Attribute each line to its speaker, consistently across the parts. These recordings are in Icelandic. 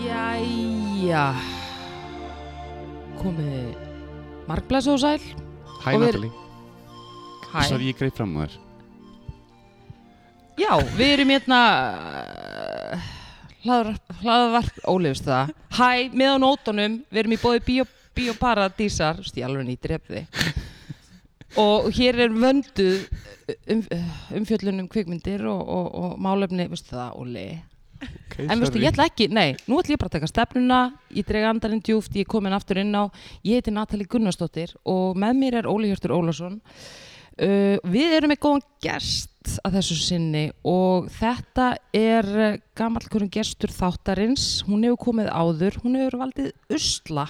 Speaker 1: Jæja Komiði Markblæs og sæl
Speaker 2: Hæ
Speaker 1: Og við-
Speaker 2: Natalie, svo
Speaker 1: Hæ
Speaker 2: ég greið fram á þér
Speaker 1: Já, við erum hérna uh, hlaðvarp- Hlaðvarp Ólefst það Hæ, með á nótunum Við erum í bóði Bíó- Bíóparadísar Þú veist, ég alveg nýtir ef þið Og hér er vönduð um, umfjöllun um kvikmyndir og, og, og málefni, veistu það, Óli
Speaker 2: okay,
Speaker 1: En veistu, ég ætla ekki, nei, nú ætla ég bara að taka stefnuna, ég dreg andarinn djúft, ég er komin aftur inn á, ég heiti Natali Gunnarsdóttir og með mér er Óli Hjörtur Ólásson. Uh, við erum með góðan gest að þessu sinni og þetta er uh, gamall hverjum gestur þáttarins, hún hefur komið áður, hún hefur valdið usla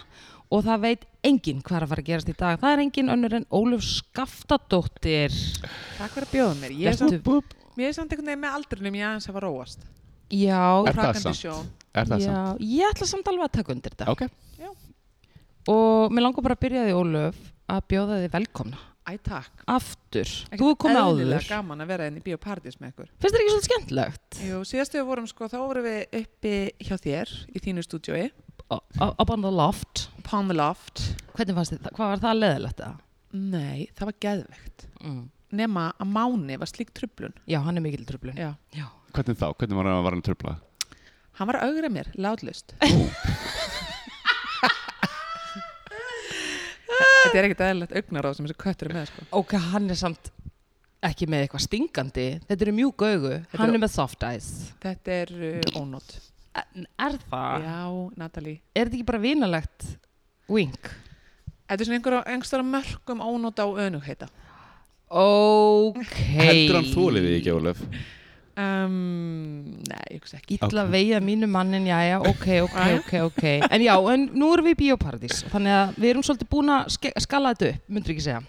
Speaker 1: og það veit enginn hvað er að fara að gerast í dag. Það er enginn önnur en Óluf Skaftadóttir.
Speaker 3: Takk fyrir að bjóða mér. Ég er
Speaker 1: Vertu-
Speaker 3: samt, mér er samt einhvern veginn með aldrinum ég aðeins hafa róast.
Speaker 1: Já,
Speaker 2: Er það
Speaker 3: Hrakandi
Speaker 2: samt?
Speaker 3: sjón.
Speaker 2: Er það samt?
Speaker 1: já, ég ætla samt alveg að taka undir þetta.
Speaker 2: Ok,
Speaker 1: og mér langar bara að byrja því Ólöf að bjóða þið velkomna
Speaker 3: Æ, takk.
Speaker 1: aftur,
Speaker 3: Ekkert
Speaker 1: þú er komið áður
Speaker 3: eðlilega
Speaker 1: finnst
Speaker 3: gaman að vera inn í biopartís með ykkur.
Speaker 1: þér ekki svolítið skemmtlegt
Speaker 3: Jú, síðast við vorum sko, þá vorum við uppi hjá þér í þínu stúdjói,
Speaker 1: up on the loft
Speaker 3: Palm Loft.
Speaker 1: hvernig fannst þið, það- hvað var það leðilegt það?
Speaker 3: Nei, það var geðvegt.
Speaker 1: Mm.
Speaker 3: Nema að máni var slík trublun.
Speaker 1: já, hann er mikil tröflun
Speaker 3: Já.
Speaker 1: já.
Speaker 2: hvernig þá? Hvernig var hann, var hann tröflað?
Speaker 3: Hann var að augra mér, látlust. Þetta er ekkert aðeinlegt augnaráð sem þessi köttur er með, sko.
Speaker 1: ok, hann er samt ekki með eitthvað stingandi þetta eru mjúk augu,
Speaker 3: Þetta
Speaker 1: hann
Speaker 3: eru-
Speaker 1: er með soft eyes
Speaker 3: Þetta er uh, ónót.
Speaker 1: en er
Speaker 2: Ah.
Speaker 1: það,
Speaker 3: Já, Natalie.
Speaker 1: er þetta ekki bara vinalegt wink
Speaker 3: Þetta er svona einhverja einhverja mörgum ónóta á önugheita.
Speaker 1: ok
Speaker 2: Heldur hann þólið þig ekki, Ólef?
Speaker 3: Um, nei, ég hugsa ekki.
Speaker 1: Ítla
Speaker 2: Ok.
Speaker 1: veiða mínu mannin, já, já, ok, ok,
Speaker 3: Jæja.
Speaker 1: ok, ok. En já, en nú erum við í bioparadís, þannig að við erum svolítið búin að ske- skala þetta upp, myndur ekki segja.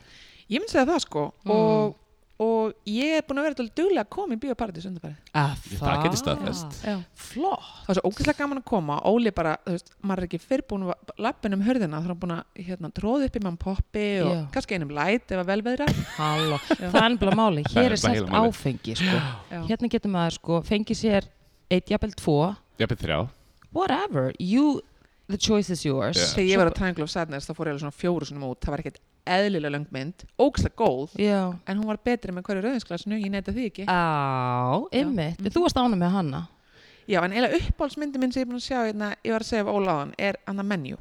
Speaker 3: Ég myndi segja það sko og, og ég er búin að vera þetta duglega að koma í biopartís undanfæri.
Speaker 1: Að
Speaker 2: Ég- það geti staðfest.
Speaker 3: Já.
Speaker 1: Flott.
Speaker 3: Það var svo ógeðslega gaman að koma. Óli bara, þú veist, maður er ekki fyrr búin að lappin um hörðina þá er hann búin að hérna, tróða upp í mann poppi
Speaker 1: Já.
Speaker 3: og kannski einum læt ef að velveðra.
Speaker 1: Halló, það er ennbla máli,
Speaker 2: er
Speaker 1: hér er
Speaker 2: nefnilega
Speaker 1: selt
Speaker 2: heila málið.
Speaker 1: áfengi, sko.
Speaker 3: Já.
Speaker 1: Hérna getur maður, sko, fengið sér eitt, jafnvel tvo,
Speaker 2: Jafnir þrjá
Speaker 1: whatever, you, the choice is yours.
Speaker 2: Já.
Speaker 3: Þegar ég var að Triangle of Sadness þá fór ég alveg svona fjóru svona út. Það var ekkert eðlilega löng mynd, ógeðslega góð,
Speaker 1: Já.
Speaker 3: en hún var betri með hverju rauðinsglasinu, ég neyta því ekki.
Speaker 1: Á, ymmit, þú varst ánum með hanna.
Speaker 3: Já, en eiginlega uppáhaldsmyndi minn sem ég er búin að sjá, hérna, ég var að segja af Óláðan, er hann að menju.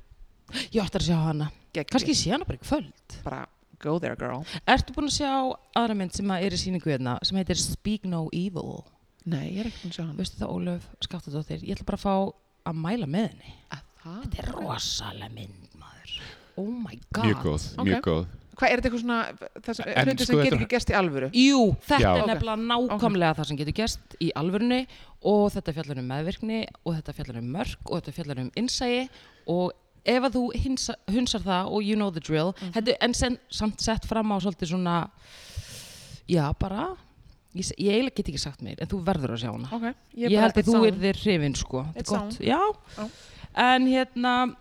Speaker 1: Ég ætti að sjá hana. Kanski ég sé hana bara í kvöld.
Speaker 3: Bara, go there girl.
Speaker 1: Ertu búin að sjá aðra mynd sem að er í síningu hérna, sem heitir Speak No Evil?
Speaker 3: Nei, ég er ekki búin að sjá hann.
Speaker 1: veistu það Ólöf Skaftadóttir, ég ætla bara að fá að mæla með henni.
Speaker 3: Hvað,
Speaker 1: Þetta er rosalega mynd, maður. Oh my god.
Speaker 2: Mjög góð,
Speaker 3: Ok.
Speaker 2: mjög góð
Speaker 3: er þetta eitthvað svona, þessu,
Speaker 2: En
Speaker 3: hluti
Speaker 2: sko,
Speaker 3: sem
Speaker 2: þetta
Speaker 3: getur
Speaker 2: er-
Speaker 3: ekki gerst í alvöru?
Speaker 1: Jú, þetta
Speaker 2: Já.
Speaker 1: er
Speaker 3: Ok.
Speaker 1: nefnilega nákvæmlega það sem getur gerst í alvörunni og þetta fjallar um meðvirkni og þetta fjallar um mörk og þetta fjallar um innsægi og ef að þú hinsa, hunsar það og you know the drill,
Speaker 3: Mhm.
Speaker 1: þetta, en sen, samt sett fram á svolítið svona, já bara, ég, s- ég eiginlega get ekki sagt meir en þú verður að sjá hana.
Speaker 3: Ok,
Speaker 1: Ég,
Speaker 3: bara-
Speaker 1: held að
Speaker 3: it's
Speaker 1: þú
Speaker 3: on.
Speaker 1: yrðir hrifin sko. Þetta er
Speaker 3: It's
Speaker 1: gott.
Speaker 3: on.
Speaker 1: Já.
Speaker 3: Já.
Speaker 1: En hérna,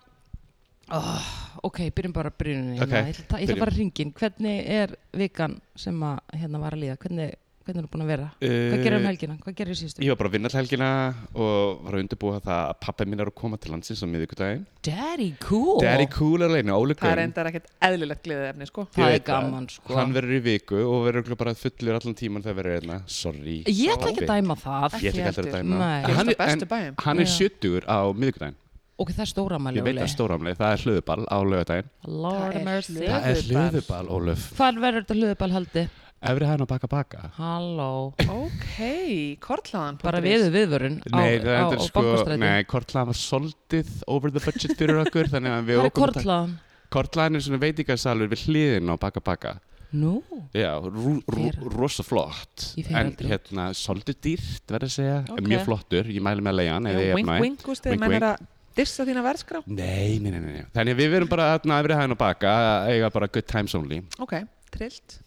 Speaker 1: oh, ok, byrjum bara að byrjunni.
Speaker 2: Ok,
Speaker 1: Hérna. Ég ætla- Ég ætla
Speaker 2: byrjum.
Speaker 1: bara að ringin. Hvernig er vikan sem að hérna var að líða? Hvernig, hvernig er það búin að vera? Hvað gerir um helgina? Hvað gerir síðustu?
Speaker 2: Eh, Ég var bara að vinna til helgina og var að undirbúa það að pappi mín er að koma til landsins á miðvikudaginn
Speaker 1: Daddy cool.
Speaker 2: Daddy Cool er alveg, Óli
Speaker 3: Það er
Speaker 2: Gunn
Speaker 3: endar ekkert eðlilegt gleðefni, sko.
Speaker 2: Ég
Speaker 1: Það er
Speaker 2: veit það.
Speaker 1: gaman sko.
Speaker 2: Hann verður í viku og verður örugglega bara fullur allan tíman þegar verður hérna Sorry
Speaker 1: Ég ætla ekki að
Speaker 2: Pabbi.
Speaker 1: dæma það.
Speaker 2: Ég ætla ekki heldur að dæma
Speaker 1: Nei.
Speaker 2: En hann
Speaker 3: Gerist á
Speaker 2: er-
Speaker 3: bestu bæjum.
Speaker 2: en Hann er
Speaker 1: Já.
Speaker 2: 70 á miðvikudaginn
Speaker 1: Ok, það er stóramæli.
Speaker 2: Ég veit að stóramlega, það er hlöðuball á lögadaginn
Speaker 1: Lord
Speaker 3: Það er
Speaker 1: mercy.
Speaker 3: hlöðu-
Speaker 2: Það er
Speaker 3: Hlöðuball.
Speaker 2: hlöðuball, Ólöf
Speaker 1: Hvað verður þetta hlöðubal haldi?
Speaker 2: Efri hæðan á baka baka
Speaker 1: Halló.
Speaker 3: Ok, kortlaðan.
Speaker 1: Bara viðu viðvörun á,
Speaker 2: Nei, það
Speaker 1: á, á,
Speaker 2: endur
Speaker 1: á
Speaker 2: sko,
Speaker 1: bankastræti.
Speaker 2: nei, kortlaðan var soldið over the budget fyrir okkur þannig að við
Speaker 1: Hvað er
Speaker 2: ókum að taka-
Speaker 1: kortlaðan?
Speaker 2: Kortlaðan er svona veitingasalur við hliðin á baka baka
Speaker 1: Nú.
Speaker 2: Já, rú, rú,
Speaker 1: Fer.
Speaker 2: rosa flott
Speaker 1: Ég fer
Speaker 2: En
Speaker 1: aldrei.
Speaker 2: hérna, soldið dýrt verður að segja
Speaker 3: Ok.
Speaker 2: Mjög flottur, ég mæli með að leiðan
Speaker 3: Wink, wink, úst, þegar
Speaker 2: Wink,
Speaker 3: menn
Speaker 2: wink.
Speaker 3: er að dissa þína verðskrá.
Speaker 2: Nei, nei, nei, nei, nei. Þannig að við verum bara að efri hæðan á baka að eiga bara good times only
Speaker 3: Ok, trillt.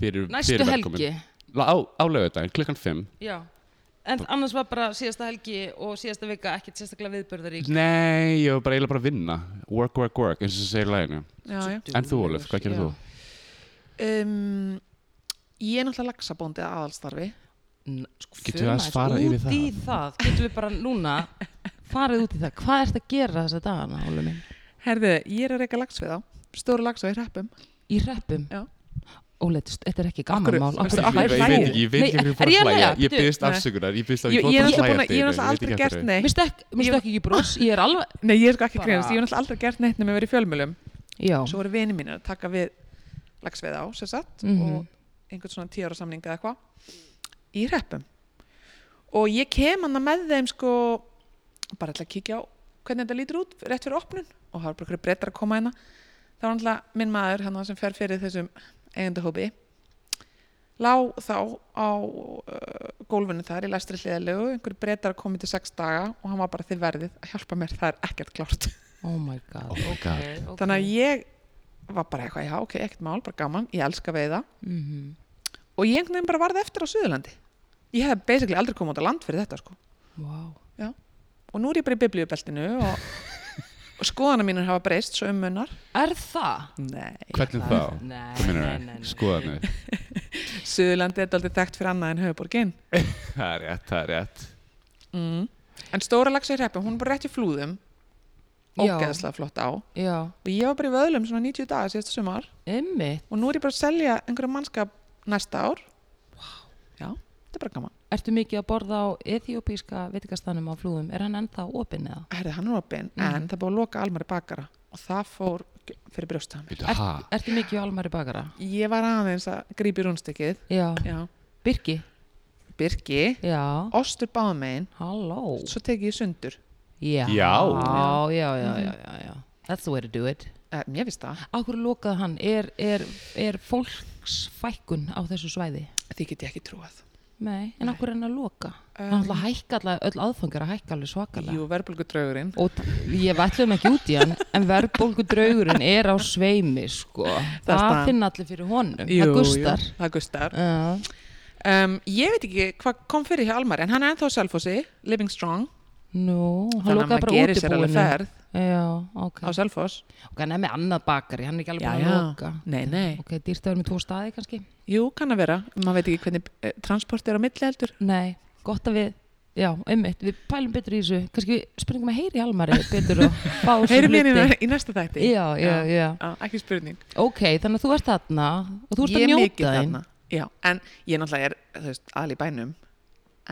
Speaker 2: fyrir,
Speaker 1: Næstu
Speaker 2: fyrir
Speaker 1: helgi.
Speaker 2: velkomin. Lá- Á, á lögudaginn, klukkan 5
Speaker 1: Já. En annars var bara síðasta helgi og síðasta vika ekkert sérstaklega viðbörðarík.
Speaker 2: Nei, ég var bara eiginlega bara að vinna Work, work, work, eins og það segir í læginu
Speaker 3: já, já.
Speaker 2: En þú, Ólef, hvað gerir
Speaker 3: Já.
Speaker 2: þú?
Speaker 3: Um, ég er náttúrulega laxabóndi að aðalstarfi
Speaker 1: N- sko,
Speaker 2: Getum við
Speaker 1: förum
Speaker 2: aðeins
Speaker 1: aðeins
Speaker 2: farað yfir
Speaker 1: út í það? Getum við bara núna farið út í það? Hvað ert að gera þessa dagana, Óli minn?
Speaker 3: herðu, ég er að reyka lax við þá stóru lax við hreppum
Speaker 1: Í reppum?
Speaker 3: Já.
Speaker 1: Óli, þetta- þetta er ekki gaman
Speaker 3: Akkur-
Speaker 1: mál.
Speaker 3: veistu,
Speaker 1: Akkur-
Speaker 3: akkur-
Speaker 2: Ég veit ég veit ekki, ég veit
Speaker 1: Nei,
Speaker 2: ekki
Speaker 1: er
Speaker 2: hverju fór
Speaker 1: ég
Speaker 2: að
Speaker 1: að
Speaker 2: hlæja
Speaker 1: hlæja?
Speaker 2: Ég
Speaker 1: Bíddu.
Speaker 2: byggðist
Speaker 3: Nei.
Speaker 2: afsökunar, ég byggðist
Speaker 3: ég, ég
Speaker 2: að
Speaker 3: er náttúrulega
Speaker 2: hlæja
Speaker 3: búin að, ég er náttúrulega aldrei gert
Speaker 2: neitt
Speaker 1: Mér
Speaker 3: neitt
Speaker 1: stökk mér
Speaker 3: Ég-
Speaker 1: stökk ekki í bros, ég er alveg...
Speaker 3: nei, ég er sko ekki
Speaker 1: Bara-
Speaker 3: greinast, ég er náttúrulega aldrei gert neitt nema að vera í fjölmjölum
Speaker 1: Já,
Speaker 3: svo voru vini mínir að taka við lagsveið á sem sagt
Speaker 1: Mhm.
Speaker 3: og einhvern svona tíu ára samning eða eitthvað í hreppum og ég kem hann með þeim sko bara ætla að kíkja á hvernig þetta lítur út rétt fyrir opnun og það var bara einhverju breytar að koma hérna þá var náttúrulega minn maður hann sem fer fyrir þessum eigendahópi lá þá á uh, gólfinu þar í læstri hliðalegu einhverju breytar að koma til sex daga og hann var bara þið verðið að hjálpa mér það er ekkert klárt
Speaker 1: oh my god.
Speaker 2: Oh my god.
Speaker 1: Ok, ok.
Speaker 3: þannig að ég var bara eitthvað, já, ok, ekkert mál, bara gaman ég elska veiða
Speaker 1: Mhm.
Speaker 3: og ég einhvern veginn bara varð eftir á Suðurlandi ég hef basically aldrei komið út á land fyrir þetta sko.
Speaker 1: Vá.
Speaker 3: og nú er ég bara í biblíubeltinu og, og skoðana mínir hafa breyst svo um munnar
Speaker 1: Er það?
Speaker 3: nei,
Speaker 2: Hvernig þá?
Speaker 1: Nei, nei,
Speaker 2: Hvað
Speaker 1: nei,
Speaker 2: meinar
Speaker 1: nei.
Speaker 2: Skoðanir
Speaker 3: Suðurlandi er aldrei þekkt fyrir annað en höfuborgin
Speaker 2: Það er rétt, það er rétt
Speaker 3: mm. en stóra lagsa í hreppum, hún er bara rétt í flúðum
Speaker 1: Já.
Speaker 3: ógeðslega flott á og
Speaker 1: Já,
Speaker 3: ég var bara í vöðlum svona 90 daga síðasta sumar
Speaker 1: einmitt.
Speaker 3: og nú er ég bara að selja einhverja mannskap næsta ár já, þetta er bara gaman
Speaker 1: Ertu mikið að borða á ethiopíska veitingastanum á flúðum? Er hann ennþá opinn eða?
Speaker 3: herði hann er opinn
Speaker 1: Mm.
Speaker 3: en það er búið að loka almari bakara og það fór fyrir brjósta mér
Speaker 2: Býtu, ha?
Speaker 1: Ertu mikið á almari bakara?
Speaker 3: ég var aðeins að grípi rúnstykkið
Speaker 1: Já.
Speaker 3: já,
Speaker 1: Birki?
Speaker 3: Birki,
Speaker 1: Já.
Speaker 3: ostur báðmein
Speaker 1: Halló.
Speaker 3: svo teki ég sundur
Speaker 1: Já.
Speaker 2: Já.
Speaker 1: Já, já, já, já, já, já. That's the way to do it.
Speaker 3: eh, mér finnst það,
Speaker 1: Á hverju lokaði hann? Er, er, er fólksfækkun á þessu svæði?
Speaker 3: því get ég ekki trúað
Speaker 1: Nei, en á hverju er hann að loka? hann ætla að hækka alla, öll aðfangar að hækka alveg svakalega.
Speaker 3: jú, verðbólgu draugurinn
Speaker 1: Og t- ég vallum ekki út í hann, en verðbólgu draugurinn er á sveimi, sko.
Speaker 3: Það er
Speaker 1: Það,
Speaker 3: staðan.
Speaker 1: finna allir fyrir honum. það gustar.
Speaker 3: það gustar
Speaker 1: Já.
Speaker 3: um, ég veit ekki hvað kom fyrir hjá almari en hann er ennþá á selfossi, living strong
Speaker 1: Nú, hann
Speaker 3: þannig að
Speaker 1: lokaði
Speaker 3: maður
Speaker 1: bara
Speaker 3: gerir sér
Speaker 1: útibúinu.
Speaker 3: alveg ferð
Speaker 1: Já, ok.
Speaker 3: á selfoss
Speaker 1: Ok, hann er með annað bakari, hann er ekki alveg
Speaker 3: Já,
Speaker 1: búin
Speaker 3: já.
Speaker 1: að loka.
Speaker 3: Nei, nei.
Speaker 1: Ok, dýrt að vera með tvo staði kannski.
Speaker 3: jú, kann að vera, maður veit ekki hvernig eh, transport er á milli heldur
Speaker 1: Nei, gott að við, já, einmitt, við pælum betur í þessu. Kannski við spurningum að heyri almari betur og fá þessu
Speaker 3: heyri mér í, í næsta þætti
Speaker 1: Já, já, já.
Speaker 3: Já, ekki spurning
Speaker 1: Ok, þannig að þú ert þarna og þú ert
Speaker 3: Ég
Speaker 1: að
Speaker 3: er
Speaker 1: njóta
Speaker 3: mikið
Speaker 1: þín.
Speaker 3: þarna. Já, en ég náttúrulega er þú veist, aðal í bænum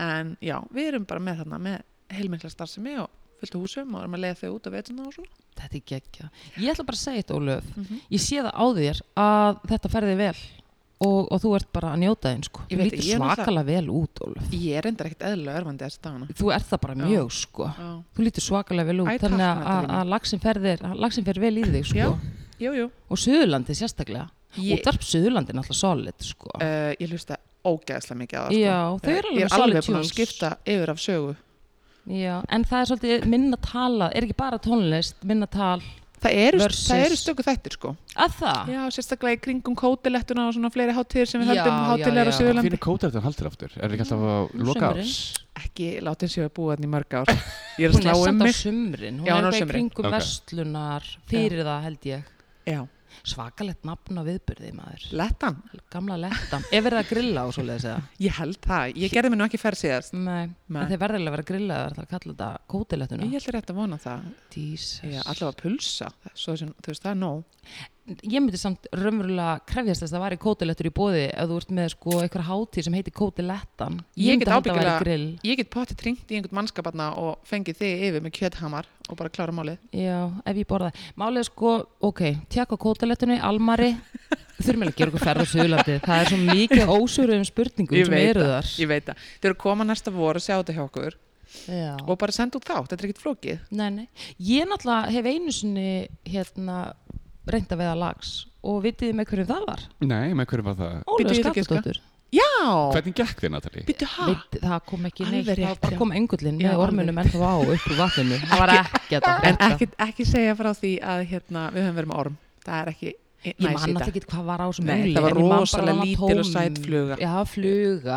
Speaker 3: en já, við erum bara með þarna með heilmikla starfsemi og fullt af húsum og erum að leiða þau út af veituna og svona
Speaker 1: Þetta er geggja. Ég ætla bara að segja þetta, Ólöf. Ég sé það á þér að þetta ferði vel og, og þú ert bara að njóta þín, sko.
Speaker 3: Ég
Speaker 1: Þú
Speaker 3: veit,
Speaker 1: lítur
Speaker 3: ég er náttúrulega-
Speaker 1: svakalega vel út, Ólöf.
Speaker 3: Ég er reyndar ekkert eðlilega örvandi þessa dagana
Speaker 1: Þú ert það bara
Speaker 3: Já.
Speaker 1: mjög, sko.
Speaker 3: Já,
Speaker 1: Þú lítur svakalega vel út,
Speaker 3: Æ, takk,
Speaker 1: þannig að- að,
Speaker 3: Natalía.
Speaker 1: að laxin ferðir, laxin fer vel í þig, sko.
Speaker 3: Já. jú, jú
Speaker 1: Og Suðurlandi sérstaklega.
Speaker 3: Ég-
Speaker 1: Útvarp Suðurlandi er náttúrulega solid, sko.
Speaker 3: uh, Ég hlusta ógeðslega mikið á það
Speaker 1: Já, þau
Speaker 3: Eh,
Speaker 1: eru alveg
Speaker 3: Ég er alveg
Speaker 1: solid
Speaker 3: búin að
Speaker 1: tunes.
Speaker 3: skipta yfir af sögu
Speaker 1: Já, en það er svolítið minna tala, er ekki bara tónlist, minna tal.
Speaker 3: Það eru,
Speaker 1: Versus-
Speaker 3: það eru stöku þættir sko
Speaker 1: Að það?
Speaker 3: Já, sérstaklega í kringum kótilettuna og svona fleiri hátíðir sem við
Speaker 1: Já,
Speaker 3: höldum
Speaker 1: já, já.
Speaker 3: hátíðlegar á
Speaker 2: Hvað
Speaker 3: Suðurlandi
Speaker 2: fyrir kóta þetta haldir aftur? Er ekki alltaf að
Speaker 1: nú
Speaker 2: loka
Speaker 1: sumrin.
Speaker 2: ás?
Speaker 3: Ekki látið séu að búa þarna í mörg ár Ég er að
Speaker 1: Hún er
Speaker 3: slá um
Speaker 1: samt á
Speaker 3: mig
Speaker 1: sumrin, hún
Speaker 3: Já, hún
Speaker 1: er
Speaker 3: er á
Speaker 1: eitthvað í
Speaker 3: sumrin.
Speaker 1: kringum
Speaker 2: Ok.
Speaker 1: verslunar, fyrir það held ég.
Speaker 3: Já,
Speaker 1: Svakalett nafn á viðburði maður,
Speaker 3: lettan
Speaker 1: gamla letta. Er verið að grilla og svoleiðis eða?
Speaker 3: Ég held það, ég gerði mér nú ekki ferð síðast
Speaker 1: Nei,
Speaker 3: Nei.
Speaker 1: en þeir verðilega að vera grillaðar, það er að kalla þetta kótilettuna.
Speaker 3: Ég held þér rétt að vona það
Speaker 1: Jesus.
Speaker 3: ég, Allavega pulsa, svo sem, þú veist það er nóg
Speaker 1: Ég myndi samt raunverulega krefjast þess að það væri kótilettur í bóði ef þú ert með sko einhver hátíð sem heitir kótilettan.
Speaker 3: Ég
Speaker 1: myndi
Speaker 3: get
Speaker 1: halda að væri
Speaker 3: ábyggilega-
Speaker 1: grill.
Speaker 3: Ég get pottið tringt í einhvern mannskaparna og fengið þig yfir með kjöthamar og bara klára málið
Speaker 1: Já, ef ég borða. Málið er sko, ok, tjaka kótilettunni, almari, þurfum ekki að gera okkur ferð á Suðurlandi. Það er svo mikið ósöruðum spurningum sem eru
Speaker 3: það,
Speaker 1: þar.
Speaker 3: ég veit það Þau eru að koma næsta vor og sjá þetta hjá okkur
Speaker 1: Já.
Speaker 3: og bara senda út þátt, þetta er ekkert flókið
Speaker 1: Nei, nei. Ég náttúrulega hef einu sinni hérna reynda veiða lags og vitið þið með hverjum það var?
Speaker 2: Nei, með hverju var það?
Speaker 1: Ólöf
Speaker 3: Bíddu, ég ætla að giska.
Speaker 1: Skaptadóttur.
Speaker 3: Já,
Speaker 2: Hvernig gekk þið, Natalie?
Speaker 3: býttu ha
Speaker 1: Veit, það kom ekki
Speaker 3: Alveg
Speaker 1: neitt, það
Speaker 3: rétt,
Speaker 1: bara
Speaker 3: já.
Speaker 1: kom engullin
Speaker 3: Já,
Speaker 1: með
Speaker 3: alveg.
Speaker 1: orminum ennþá á upp úr vatninu. Það var ekkert að
Speaker 3: En
Speaker 1: frétta.
Speaker 3: ekki, ekki segja frá því að hérna, við höfum verið með orm Það er ekki Ég
Speaker 1: Ég man alltaf ekki hvað var á þessum
Speaker 3: Nei,
Speaker 1: mögli,
Speaker 3: það var
Speaker 1: en ég man bara að
Speaker 3: rosalega
Speaker 1: hann var
Speaker 3: lítil og
Speaker 1: tóm.
Speaker 3: sæt fluga.
Speaker 1: Já, fluga.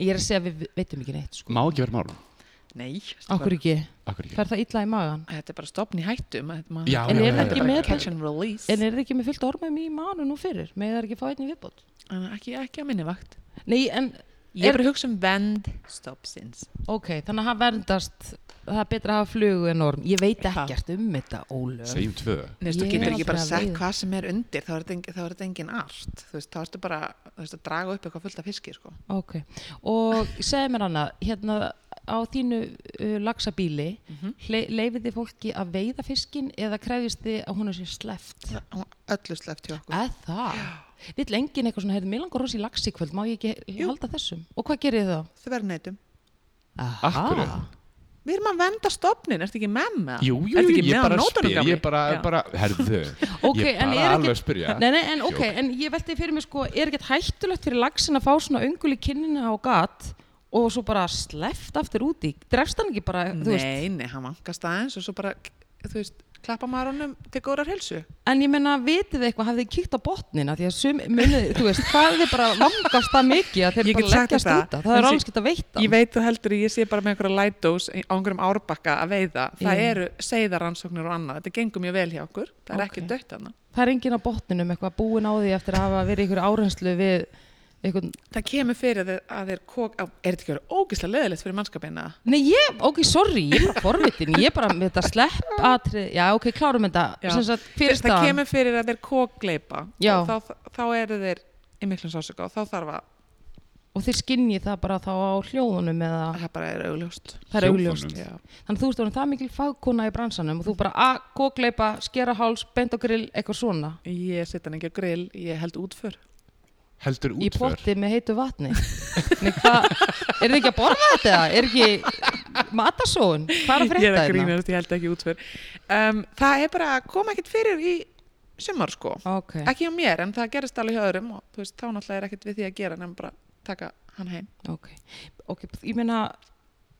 Speaker 1: Ég er að segja að við veitum ekki neitt, sko.
Speaker 2: Má ekki vera málum
Speaker 3: Nei,
Speaker 1: Akkur ekki.
Speaker 2: Akkur ekki
Speaker 1: Fer það illa í magan?
Speaker 3: þetta er bara stopn í hættu maður- maður-
Speaker 2: Já,
Speaker 1: En
Speaker 2: já,
Speaker 1: er
Speaker 2: já,
Speaker 1: það ekki
Speaker 2: já,
Speaker 1: með
Speaker 2: já.
Speaker 3: Catch and release
Speaker 1: En er það ekki með fullt af ormum í manu nú fyrir? Með það ekki fá einn í viðbót?
Speaker 3: En ekki, ekki að minni vakt
Speaker 1: Nei, en,
Speaker 3: Ég
Speaker 1: Er-
Speaker 3: er bara að hugsa um vend stop sins
Speaker 1: ok, þannig að hann verndast, það er betra að hafa flugu en orm. Ég veit ekkert um þetta, Ólöf.
Speaker 2: Segjum tvö
Speaker 3: Nei, þú
Speaker 1: Ég
Speaker 3: getur
Speaker 1: er
Speaker 3: ekki bara
Speaker 1: aldrei að
Speaker 3: sett
Speaker 1: veiða.
Speaker 3: hvað sem er undir þá er þetta engin, þá er þetta engin art þú veist, þá ertu bara þú veist, að draga upp eitthvað fullt af fiski sko.
Speaker 1: Ok, og segðu mér annað, hérna á þínu uh, lagsabíli, mm
Speaker 3: Mhm.
Speaker 1: leifið þið fólki að veiða fiskin eða krefjist þið að hún er sér sleft?
Speaker 3: Hún öllu sleppt hjá okkur
Speaker 1: Eða það? Vill enginn eitthvað svona, heyrðu, mér langar rosa í lagsi í kvöld, má ég ekki
Speaker 3: Jú.
Speaker 1: halda þessum? Og hvað gerir þið þá?
Speaker 3: þau verðum neytum
Speaker 1: Aha.
Speaker 2: Akkurru.
Speaker 3: við erum að venda stopnin, ertu ekki með með
Speaker 2: Jú, jú, jú, ég bara spyr Ég er bara,
Speaker 3: Já.
Speaker 2: bara, herðu
Speaker 1: Ok, en
Speaker 2: Ég bara
Speaker 1: er ekki-
Speaker 2: alveg að spyrja
Speaker 1: Nei, nei, en ok, en ég velti fyrir mig sko, er ekkert hættulegt fyrir lagsin að fá svona öngul í kinnina á gat og svo bara sleft aftur úti? Drefst hann ekki bara, þú veist?
Speaker 3: nei, nei, hann vankast aðeins og svo bara, þú veist, klappa maður honum til góðrar helsu
Speaker 1: En ég meina, vitið þið eitthvað, hafið þið kíkt á botnina því að sum, munið, þið, þú veist, hvað þið bara vangast það mikið að þeir
Speaker 3: Ég
Speaker 1: bara
Speaker 3: get sagt
Speaker 1: leggjast
Speaker 3: þetta.
Speaker 1: út af, það er
Speaker 3: Þessi-
Speaker 1: alls geta veitt
Speaker 3: ég veit þú heldur að ég sé bara með einhverja lightdós á einhverjum árbakka að veiða það
Speaker 1: Já.
Speaker 3: eru seiðaransóknir og annað þetta gengur mjög vel hjá okkur, það er ekki
Speaker 1: Ok.
Speaker 3: dött annað
Speaker 1: Það er enginn á botninum eitthvað búin á því eftir að hafa verið ykkur árenslu við ykkur,
Speaker 3: það kemur fyrir að þeir, að þeir kók, á, er þetta ekki verið ógeðslega leðilegt fyrir mannskapina
Speaker 1: nei ég, ok, sorry, ég er bara forvitin, ég er bara með þetta slepp atrið, já ok, klárum þetta,
Speaker 3: Já.
Speaker 1: sem sagt,
Speaker 3: það
Speaker 1: fyrir staðan.
Speaker 3: kemur fyrir að þeir kókleipa
Speaker 1: Já.
Speaker 3: og þá, þá eru þeir í miklum sásöka og þá þarf að
Speaker 1: og þeir skinni það bara þá á hljóðunum eða,
Speaker 3: það bara er augljóst
Speaker 1: það er augljóst.
Speaker 2: Hljóðunum.
Speaker 3: Já.
Speaker 1: Þannig að þú veist, það er mikil fagkona í bransanum og þú bara að gókleipa, skera háls, beint og grill, eitthvað svona.
Speaker 3: ég sitt hann ekki á grill, ég held útför
Speaker 2: Heldur
Speaker 1: í
Speaker 2: útför
Speaker 1: potti með heitu vatni Nei, hvað, er þið ekki að borða þetta? Er ekki matasóun? Hvað er að
Speaker 3: ég
Speaker 1: frétta hérna?
Speaker 3: er að
Speaker 1: þetta?
Speaker 3: grínast, ég held ekki útför um, það er bara að koma ekkert fyrir í sumar sko
Speaker 1: Ok,
Speaker 3: ekki hjá mér en það gerist alveg hjá öðrum og þú veist, þá náttúrulega er ekkert við því að gera nefn bara taka hann heim
Speaker 1: ok, ok, ég meina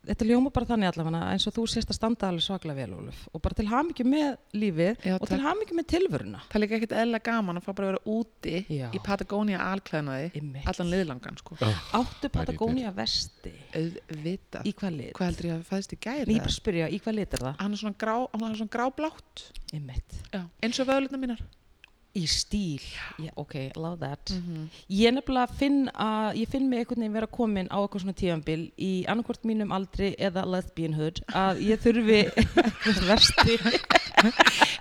Speaker 1: þetta ljóma bara þannig allavega eins og þú sést að standa alveg svaklega vel, Óluf og bara til hamingju með lífið
Speaker 3: Já,
Speaker 1: og til
Speaker 3: takk.
Speaker 1: hamingju með tilvöruna
Speaker 3: það er líka ekkert eðla gaman að fá bara að vera úti
Speaker 1: Já.
Speaker 3: í Patagonia alklæðnaði
Speaker 1: Einmitt.
Speaker 3: allan liðlangan sko
Speaker 1: Áttu
Speaker 2: Pælir
Speaker 1: Patagonia vesti
Speaker 3: auðvitað
Speaker 1: Í hvað lit?
Speaker 3: hvað heldur ég að fæðist í
Speaker 1: Nei,
Speaker 3: gæri
Speaker 1: ég bara spyrja, í hvað lit er það?
Speaker 3: hann er svona, grá, hann er svona gráblátt
Speaker 1: Einmitt.
Speaker 3: Já. eins og vöðlutna mínar
Speaker 1: Í stíl, yeah, ok, love that
Speaker 3: Mhm.
Speaker 1: Ég nefnilega finn að ég finn mig einhvern veginn vera komin á eitthvað svona tífambil í annarkvort mínum aldri eða lesbianhood að ég þurfi eitthvað versti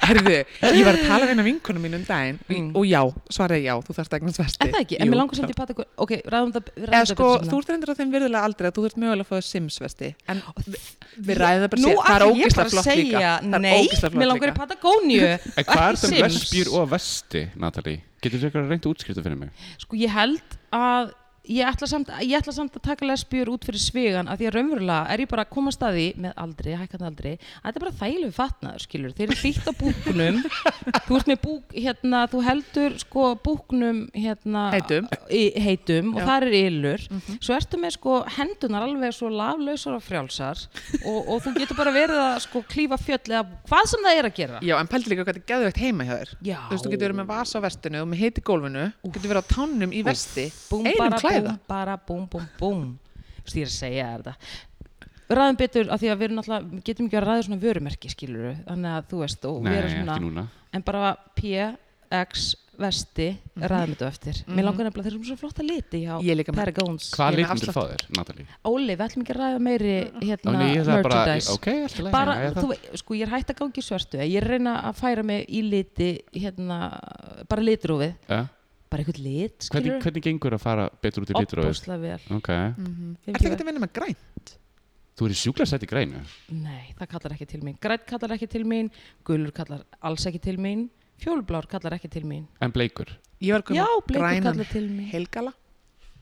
Speaker 3: herðu, ég var að tala við eina vinkonu mín um daginn
Speaker 1: Mm.
Speaker 3: og já, svaraði já, þú þarft eignast vesti
Speaker 1: Er það ekki? En mér langar samt í patta Ok, ræðum það við
Speaker 3: eða
Speaker 1: ræðum
Speaker 3: sko,
Speaker 1: það betur seinna.
Speaker 3: þú ert reyndur á þeim virðulega aldrei að þú þurft mögulega að fá Sims vesti en við,
Speaker 1: Ég-
Speaker 3: við ræðum það bara
Speaker 1: Nú
Speaker 3: sér, það er
Speaker 1: ætla ég bara
Speaker 3: ógislega
Speaker 1: að
Speaker 3: flott líka
Speaker 1: segja,
Speaker 3: það er
Speaker 1: Nei,
Speaker 3: ógeðslega
Speaker 1: mér
Speaker 3: flott
Speaker 1: langar í
Speaker 3: líka.
Speaker 1: Patagoníu
Speaker 2: En hvað er
Speaker 1: ekki
Speaker 2: það
Speaker 1: Sims.
Speaker 2: vespjur og vesti, Natalie? Getur þú eitthvað reynt að útskrifa fyrir mig?
Speaker 1: Sko, ég held að ég ætla, samt, ég ætla samt að taka lesbjur út fyrir svegan að því að raunverulega er ég bara að koma að staði með aldri, hækkandi aldri að þetta er bara þægilegu fatnaður, skilur þeir eru hlýtt á búknum þú ert með búk, hérna, þú heldur sko búknum, hérna
Speaker 3: Heitum.
Speaker 1: í, heitum og
Speaker 3: Já. Mhm.
Speaker 1: þar er ylur svo ertu með sko hendunar alveg svo laflausar og frjálsar og, og þú getur bara verið að sko klífa fjöll eða hvað sem það er að gera
Speaker 3: Já, en pældi líka hvað þetta geðu eitt heima hjá þér.
Speaker 1: Já.
Speaker 3: Þú veist, þú getur verið með vasa á vestinu og með hiti gólfinu, þú getur verið á tánum í vesti,
Speaker 1: búm,
Speaker 3: einum
Speaker 1: bara,
Speaker 3: klæða.
Speaker 1: Búm, bara búm, búm, búm. Þú veist, ég er að segja þér þetta ræðum betur af því að við erum náttúrulega við getum ekki að ræða svona vörumerki skilur þannig að þú veist og
Speaker 2: Nei,
Speaker 1: við erum
Speaker 2: ekki
Speaker 1: svona
Speaker 2: núna
Speaker 1: en bara PX vesti ræðum þetta á eftir mér langar nefnilega þeir eru svo flotta liti hjá
Speaker 3: Mhm. Ég líka með-
Speaker 1: Paragons
Speaker 3: Ég
Speaker 2: Hvað
Speaker 3: er með
Speaker 2: litum myndir
Speaker 3: afslátt.
Speaker 2: fá þér, Natalie?
Speaker 1: Óli, við ætlum ekki að ræða meiri
Speaker 2: Ó,
Speaker 3: Mhm.
Speaker 1: hérna,
Speaker 2: nei, ég ætla bara,
Speaker 1: merchandise
Speaker 2: ok, alltaf leið
Speaker 1: bara,
Speaker 2: ég,
Speaker 1: þú veit, sko, ég er hægt að gangi svörtu ég er að reyna að færa mig í liti hérna, bara litrúfið
Speaker 2: ja.
Speaker 1: bara einhvern lit,
Speaker 2: hvernig,
Speaker 1: skilur
Speaker 2: hvernig gengur að fara betur út í litróið?
Speaker 1: opbósla vel
Speaker 2: Ok,
Speaker 1: Ég
Speaker 3: Er
Speaker 1: hef ekki
Speaker 3: það ekki að vinna með græn?
Speaker 2: þú er í sjúklarsætt í grænu
Speaker 1: Nei, það kallar ekki til mín. Grætt kallar ekki til mín, gulur kallar alls ekki til mín, fjólublár kallar ekki til mín.
Speaker 2: En bleikur
Speaker 3: Ég var
Speaker 1: Já,
Speaker 3: komið
Speaker 1: bleikur
Speaker 3: grænan
Speaker 1: kallar til mín.
Speaker 3: helgala.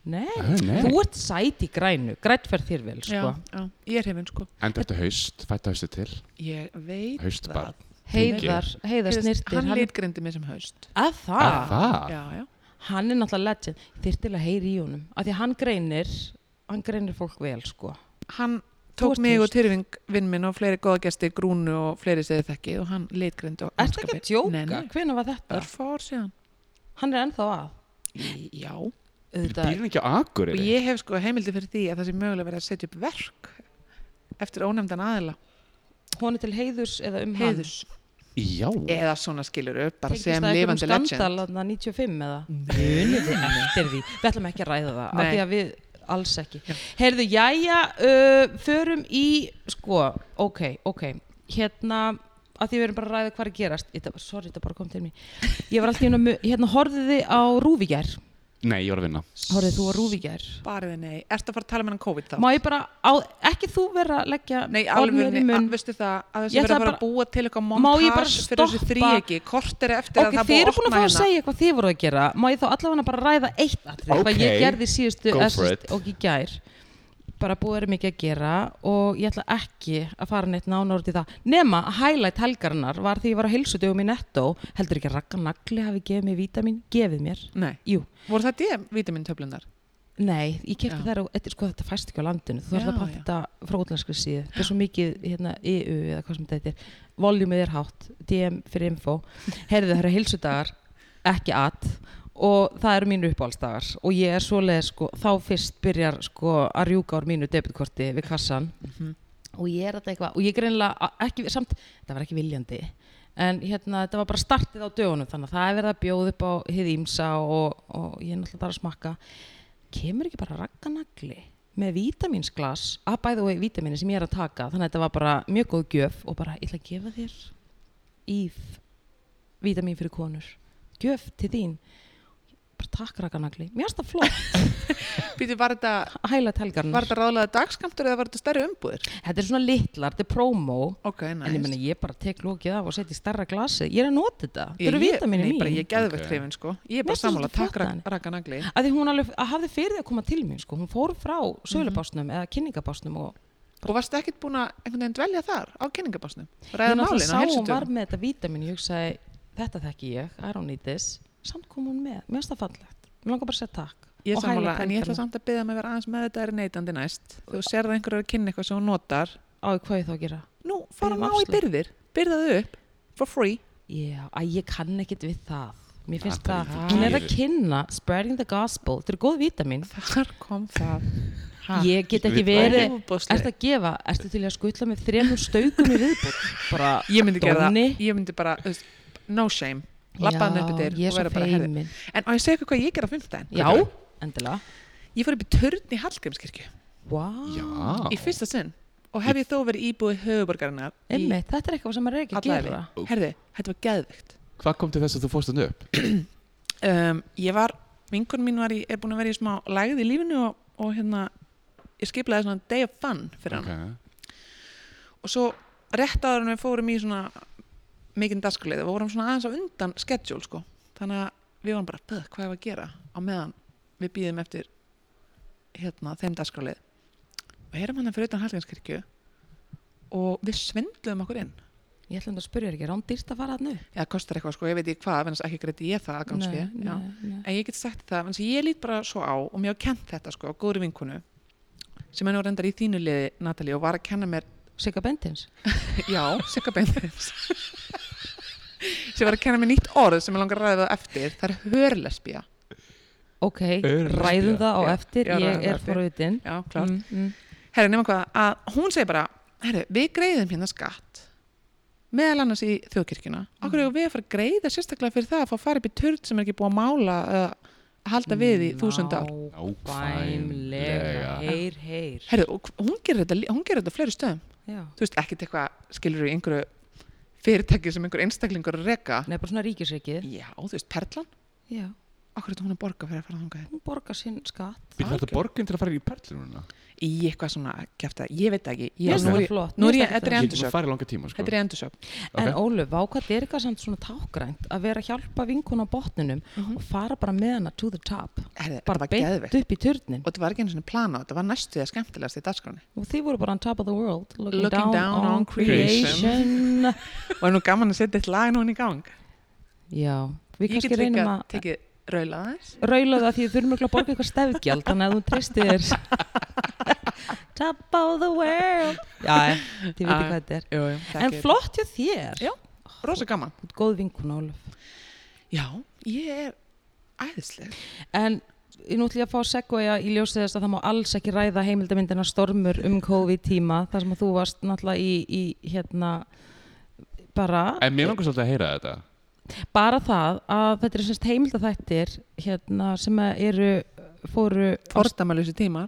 Speaker 1: Nei,
Speaker 2: Ó, nei.
Speaker 1: þú ert sæt í grænu, grætt fer þér vel, sko.
Speaker 3: já. Ég er hefinn, sko.
Speaker 2: En þetta haust, fætta haustu til
Speaker 3: Ég veit
Speaker 2: Haustbarn.
Speaker 1: Heiðar, heiðar snirtir.
Speaker 3: Hann litgrindi mig sem haust.
Speaker 1: Að það,
Speaker 2: Að Það?
Speaker 3: Já, já.
Speaker 1: hann er náttúrulega legend. Þyrt til að heyri í honum, af því að hann greinir, hann greinir fólk vel, sko.
Speaker 3: Hann
Speaker 1: Þú
Speaker 3: tók
Speaker 1: ert
Speaker 3: mig og
Speaker 1: haust.
Speaker 3: Tyrfing vinn minn og fleiri góða gesti, grúnu og fleiri segði þekki og hann litgrindi og
Speaker 1: Er það ekki að djóka?
Speaker 3: Nei, nei.
Speaker 1: Hvenær var þetta?
Speaker 3: Örfár síðan.
Speaker 1: Hann er ennþá að.
Speaker 3: Í- Já,
Speaker 1: Auðvitað,
Speaker 2: Býr hann ekki á Akureyri?
Speaker 3: og ég hef sko heimildi fyrir því að það sé mögulega verið að setja upp verk eftir ónefndan aðila
Speaker 1: hún er til heiðurs eða um
Speaker 3: heiðus,
Speaker 2: Já,
Speaker 3: eða svona skilur upp bara
Speaker 1: Tengist
Speaker 3: sem
Speaker 1: það einhverjum
Speaker 3: lifandi legend
Speaker 1: skandal þarna 95 eða? Munið þið eftir því. Við ætlum ekki að ræða það, af
Speaker 3: Nei.
Speaker 1: því að við alls ekki. Heyrðu, jæja, uh, förum í, sko, ok, ok, hérna, af því við erum bara að ræða hvað er að gerast. Þetta, sorry, þetta bara kom til mér. Ég var alltaf hérna, mu- hérna horfiði á Rúvíkjær.
Speaker 2: nei, ég var að vinna
Speaker 1: Horfið þú á Rúvíkjær?
Speaker 3: bara við nei, ertu að fara að tala með hann um COVID þá?
Speaker 1: Má ég bara, á, ekki þú vera að leggja
Speaker 3: Nei,
Speaker 1: orð mér
Speaker 3: alveg,
Speaker 1: hérna í munn.
Speaker 3: veistu það að
Speaker 1: Ég
Speaker 3: þessi verið
Speaker 1: ætlaði
Speaker 3: að fara að búa til eitthvað
Speaker 1: Má ég bara
Speaker 3: montage fyrir þessu
Speaker 1: stoppa-
Speaker 3: þríegi, kortir eftir
Speaker 1: Ok,
Speaker 3: að það
Speaker 1: þið
Speaker 3: búið
Speaker 1: eru
Speaker 3: að
Speaker 1: búin að
Speaker 3: opna
Speaker 1: fá að
Speaker 3: hérna
Speaker 1: segja hvað þið voru að gera Má ég þá allavega bara ræða eitt atrið Hvað ég
Speaker 2: Ok,
Speaker 1: gerði síðustu
Speaker 2: go
Speaker 1: eða
Speaker 2: for
Speaker 1: síðust-
Speaker 2: it.
Speaker 1: og í gær Bara búið er mikið að gera Og ég ætla ekki að fara neitt nánar út í það Nema að highlight helgarinnar var því ég var á heilsutugum í Netto Heldur ekki að Ragga Nagli hafi gefið mér vítamin Gefið mér
Speaker 3: Nei,
Speaker 1: Jú,
Speaker 3: voru það D-vitamintöflunar?
Speaker 1: nei, ég kefti
Speaker 3: Já.
Speaker 1: þær og þetta, er- sko, þetta fæst ekki á landinu Þú þarf
Speaker 3: Já,
Speaker 1: að panta þetta frá útlenskri síðu Þetta er svo mikið hérna, EU eða hvað sem þetta er Voljumið er hátt, DM fyrir info Heyrðu það eru heilsudagar, ekki at og það eru mínu uppáhaldsdagar og ég er svoleið sko, þá fyrst byrjar sko að rjúka úr mínu debitkorti við kassan
Speaker 3: Mhm.
Speaker 1: og ég er þetta eitthvað og ég greinlega a- ekki, samt, þetta var ekki viljandi en hérna, þetta var bara startið á dögunum þannig að það er verið að bjóða upp á hið ímsa og, og ég er náttúrulega bara að smakka kemur ekki bara ragganagli með vítamínsglas, Ah, að bæðu og vítamíni sem ég er að taka, þannig að þetta var bara mjög góð gjöf og bara, ég ætla að gefa þér íf vítamín fyrir konur gjöf til þín bara takk rakkanagli, mér finnst það flott
Speaker 3: Býtu, var þetta,
Speaker 1: að hæla telgarnar,
Speaker 3: var þetta ráðlega dagskamtur eða var þetta stærri umbúðir?
Speaker 1: þetta er svona litlar þetta er promo,
Speaker 3: Ok, næst.
Speaker 1: en ég meina ég bara tek lókið af og setja í starra glasi, ég er að nota þetta þetta eru
Speaker 3: nei,
Speaker 1: vitaminu mín
Speaker 3: bara ég er geðveikt
Speaker 2: Ok.
Speaker 3: hrifin sko ég er
Speaker 1: Mér finnst
Speaker 3: bara
Speaker 1: þú Ah,
Speaker 3: sammála,
Speaker 1: svolítið
Speaker 3: takk
Speaker 1: flott að henni.
Speaker 3: rakanagli
Speaker 1: að því hún alveg að hafði fyrir því að koma til mín sko. hún fór frá sölubásnum eða kynningabásnum og
Speaker 3: og varstu ekkert búin að einhvern veginn dvelja þar á kynningabásnum
Speaker 1: ég
Speaker 3: ræða málin
Speaker 1: sá
Speaker 3: á
Speaker 1: hún var
Speaker 3: helsutum
Speaker 1: með þetta vítamin ég hugsaði, þetta þekki ég, I don't need this samt kom hún með, mér finnst það fallegt mér langar bara að segja takk
Speaker 3: ég er
Speaker 1: og hæla
Speaker 3: sammála, en ég ætla
Speaker 1: telgarnar.
Speaker 3: samt að byrja mig að vera aðeins með þetta er neytandi næst
Speaker 1: Ah.
Speaker 3: þú sér það einhverju að kynna eitthvað sem hún notar
Speaker 1: á hvað ég þá að gera
Speaker 3: nú, fara
Speaker 1: Biðjum
Speaker 3: má í
Speaker 1: afslátt.
Speaker 3: byrðir byrðaðu upp, for free
Speaker 1: Já, að ég kann ekkit við það. Mér finnst
Speaker 2: Það
Speaker 1: það,
Speaker 2: er bara
Speaker 1: hún er
Speaker 2: fyrir.
Speaker 1: að kynna, spreading the gospel, þetta er góð vítamin.
Speaker 3: þar kom það Ha,
Speaker 1: Ég get ekki
Speaker 2: Við-
Speaker 1: verið,
Speaker 3: óbúðsleg.
Speaker 1: ertu að gefa, ertu til í að skutla með þremur staukum í viðbútt? Bara,
Speaker 3: ég myndi gera það,
Speaker 1: Dóni.
Speaker 3: ég myndi bara þú veist, no shame, lappaðan upp í dyr
Speaker 1: Já, ég er
Speaker 3: og vera
Speaker 1: svo
Speaker 3: bara herði
Speaker 1: feimin.
Speaker 3: en á ég segja ykkur hvað ég gera á fimmtudaginn
Speaker 1: Já,
Speaker 2: Hvað gerðu?
Speaker 1: endilega.
Speaker 3: ég fór upp í törn í Hallgrímskirkju
Speaker 1: Vá,
Speaker 2: Já,
Speaker 3: í fyrsta sinn og hef ég þó verið íbúið höfuborgarinnar í
Speaker 1: emmi, þetta er eitthvað sem maður er ekki að
Speaker 3: alla
Speaker 1: gera.
Speaker 3: ævi. Herðu, þetta var geðvikt
Speaker 2: hvað kom til þess að þú fórst hann upp?
Speaker 3: um, Ég var, vinkunum mín var í, er búin að vera í smá lægð í lífinu og, og hérna ég skiplaði svona day of fun fyrir hann
Speaker 2: Okay.
Speaker 3: og svo rétt áður en við fórum í svona mikinn dagskleið og vorum svona aðeins á undan schedule sko þannig að við vorum bara, "Bögg, hvað er að gera á meðan við býðum eftir hérna þeim dagskleið og erum hann fyrir utan Hallgjenskirkju og við svindluðum okkur inn
Speaker 1: Ég ætlum að spyrja þér ekki, rán dýrst að fara þarna upp?
Speaker 3: eða kostar eitthvað sko, ég veit ekki hvað, vennast ekki greiti ég það aðgangsfé,
Speaker 1: Nei,
Speaker 3: já.
Speaker 1: nei, nei.
Speaker 3: En ég get sagt það, vennast ég lít bara svo á og mér hafa kent þetta sko, á góðri vinkonu sem er nú reyndar í þínu liði, Natalie, og var að kenna mér,
Speaker 1: Sigga Bendins.
Speaker 3: já, Sigga Bendins sem var að kenna mér nýtt orð sem ég langar að ræða á eftir, það er hörlesbía
Speaker 1: Ok,
Speaker 2: Örlítið.
Speaker 1: ræðum það á
Speaker 3: Já,
Speaker 1: eftir,
Speaker 3: já, ræðum
Speaker 1: ég
Speaker 3: það
Speaker 1: er
Speaker 3: eftir.
Speaker 1: forvitin.
Speaker 3: Já, klart.
Speaker 1: Mm, mm.
Speaker 3: Herri, nema hvað, að hún segir bara, herri, við greiðum hérna skatt meðal annars í þjóðkirkjuna okkur mm. við að fara að greiða sérstaklega fyrir það að fá að fara upp í turn sem er ekki búið að mála uh, að halda við í þúsund ár
Speaker 1: Nákvæmlega,
Speaker 2: Nákvæmlega.
Speaker 1: heyr, heyr
Speaker 3: Herðu, og hún gerir þetta, lí- hún gerir þetta á fleiri stöðum.
Speaker 1: Já.
Speaker 3: Þú veist, ekkert eitthvað, skilur í einhverju fyrirtæki sem einhver einstaklingur er að reka.
Speaker 1: Nei, bara svona ríkisrikið
Speaker 3: Já, þú veist, Perlan,
Speaker 1: Já,
Speaker 3: okkur er þetta hún að borga fyrir að fara þangað
Speaker 1: hún borgar sinn skatt
Speaker 2: Býr þetta borgin til að fara í perlununa?
Speaker 3: í eitthvað svona kæft að, ég veit það ekki.
Speaker 1: Mér
Speaker 3: Ég,
Speaker 1: finnst
Speaker 3: nú
Speaker 1: þetta
Speaker 3: er ég-
Speaker 1: flott.
Speaker 3: Nú er
Speaker 1: Mér
Speaker 3: ég,
Speaker 1: finnst
Speaker 3: þetta er
Speaker 1: þetta
Speaker 3: í
Speaker 2: Ég
Speaker 3: endursög.
Speaker 2: fari í langa tíma sko.
Speaker 3: Þetta er í endursög.
Speaker 1: En Óluf, vá hvað þetta er eitthvað samt svona tágrænt að vera að hjálpa vinkun á botninum og fara bara með hana to the top
Speaker 3: Herðu, Mhm. þetta
Speaker 1: bara
Speaker 3: var
Speaker 1: beint
Speaker 3: geðveikt.
Speaker 1: upp í turnin
Speaker 3: Og þetta var ekki einu svona plana, þetta var næstu því að skemmtilegast í dagskránni.
Speaker 1: og þið voru bara on top of the world looking,
Speaker 3: Looking
Speaker 1: down,
Speaker 3: down
Speaker 1: on
Speaker 3: on
Speaker 1: creation,
Speaker 3: Og er nú gaman að setja eitt lag núna í gang.
Speaker 1: Já, við
Speaker 3: Ég
Speaker 1: kannski
Speaker 3: get
Speaker 1: reynum að
Speaker 3: líka tekið raula aðeins.
Speaker 1: raula það því þið þurfum örugglega að borga eitthvað stefgjald þannig að þú treystir þér top of the world Já, þið veitir
Speaker 3: Já.
Speaker 1: hvað þetta er
Speaker 3: Jú, jú,
Speaker 1: En
Speaker 3: takk.
Speaker 1: flott hjá þér
Speaker 3: Já, rosa gaman.
Speaker 1: Þú ert góð vinkun Ólaf
Speaker 3: Já, ég er æðisleg
Speaker 1: En ég nú ætlum ég að fá að segja í ljósið þess að það má alls ekki ræða heimildamindina stormur um COVID-tíma þar sem að þú varst náttúrulega í, í hérna bara,
Speaker 2: En mér langar svolítið að heyra þetta
Speaker 1: bara það að þetta er semst heimildaþættir hérna, sem að eru fóru
Speaker 3: Fordamalusi tímar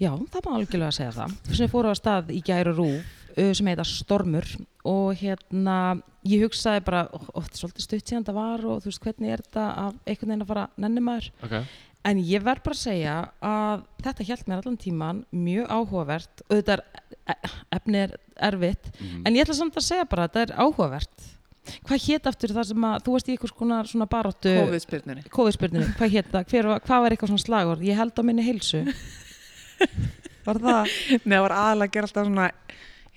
Speaker 1: Já, það má algjörlega að segja það sem fóru á stað í gæru rú sem heita Stormur og hérna, ég hugsaði bara ó, ó, þetta er svolítið stutt síðan það var og þú veist hvernig er þetta að einhvern veginn að fara nenni maður
Speaker 2: okay.
Speaker 1: en ég verð bara að segja að þetta hjælt mér allan tíman mjög áhugavert og þetta er e- efni er erfitt
Speaker 2: mm.
Speaker 1: en ég ætla samt að segja bara að þetta er áhugavert Hvað hét aftur það sem að þú varst í einhvers konar svona baróttu
Speaker 3: COVID-spyrnunni
Speaker 1: COVID-spurninu, hvað hétt það? Hver, var- hvað var eitthvað svona slagorð? Ég held á minni heilsu. Var það?
Speaker 3: Nei, það var aðalega að gera alltaf svona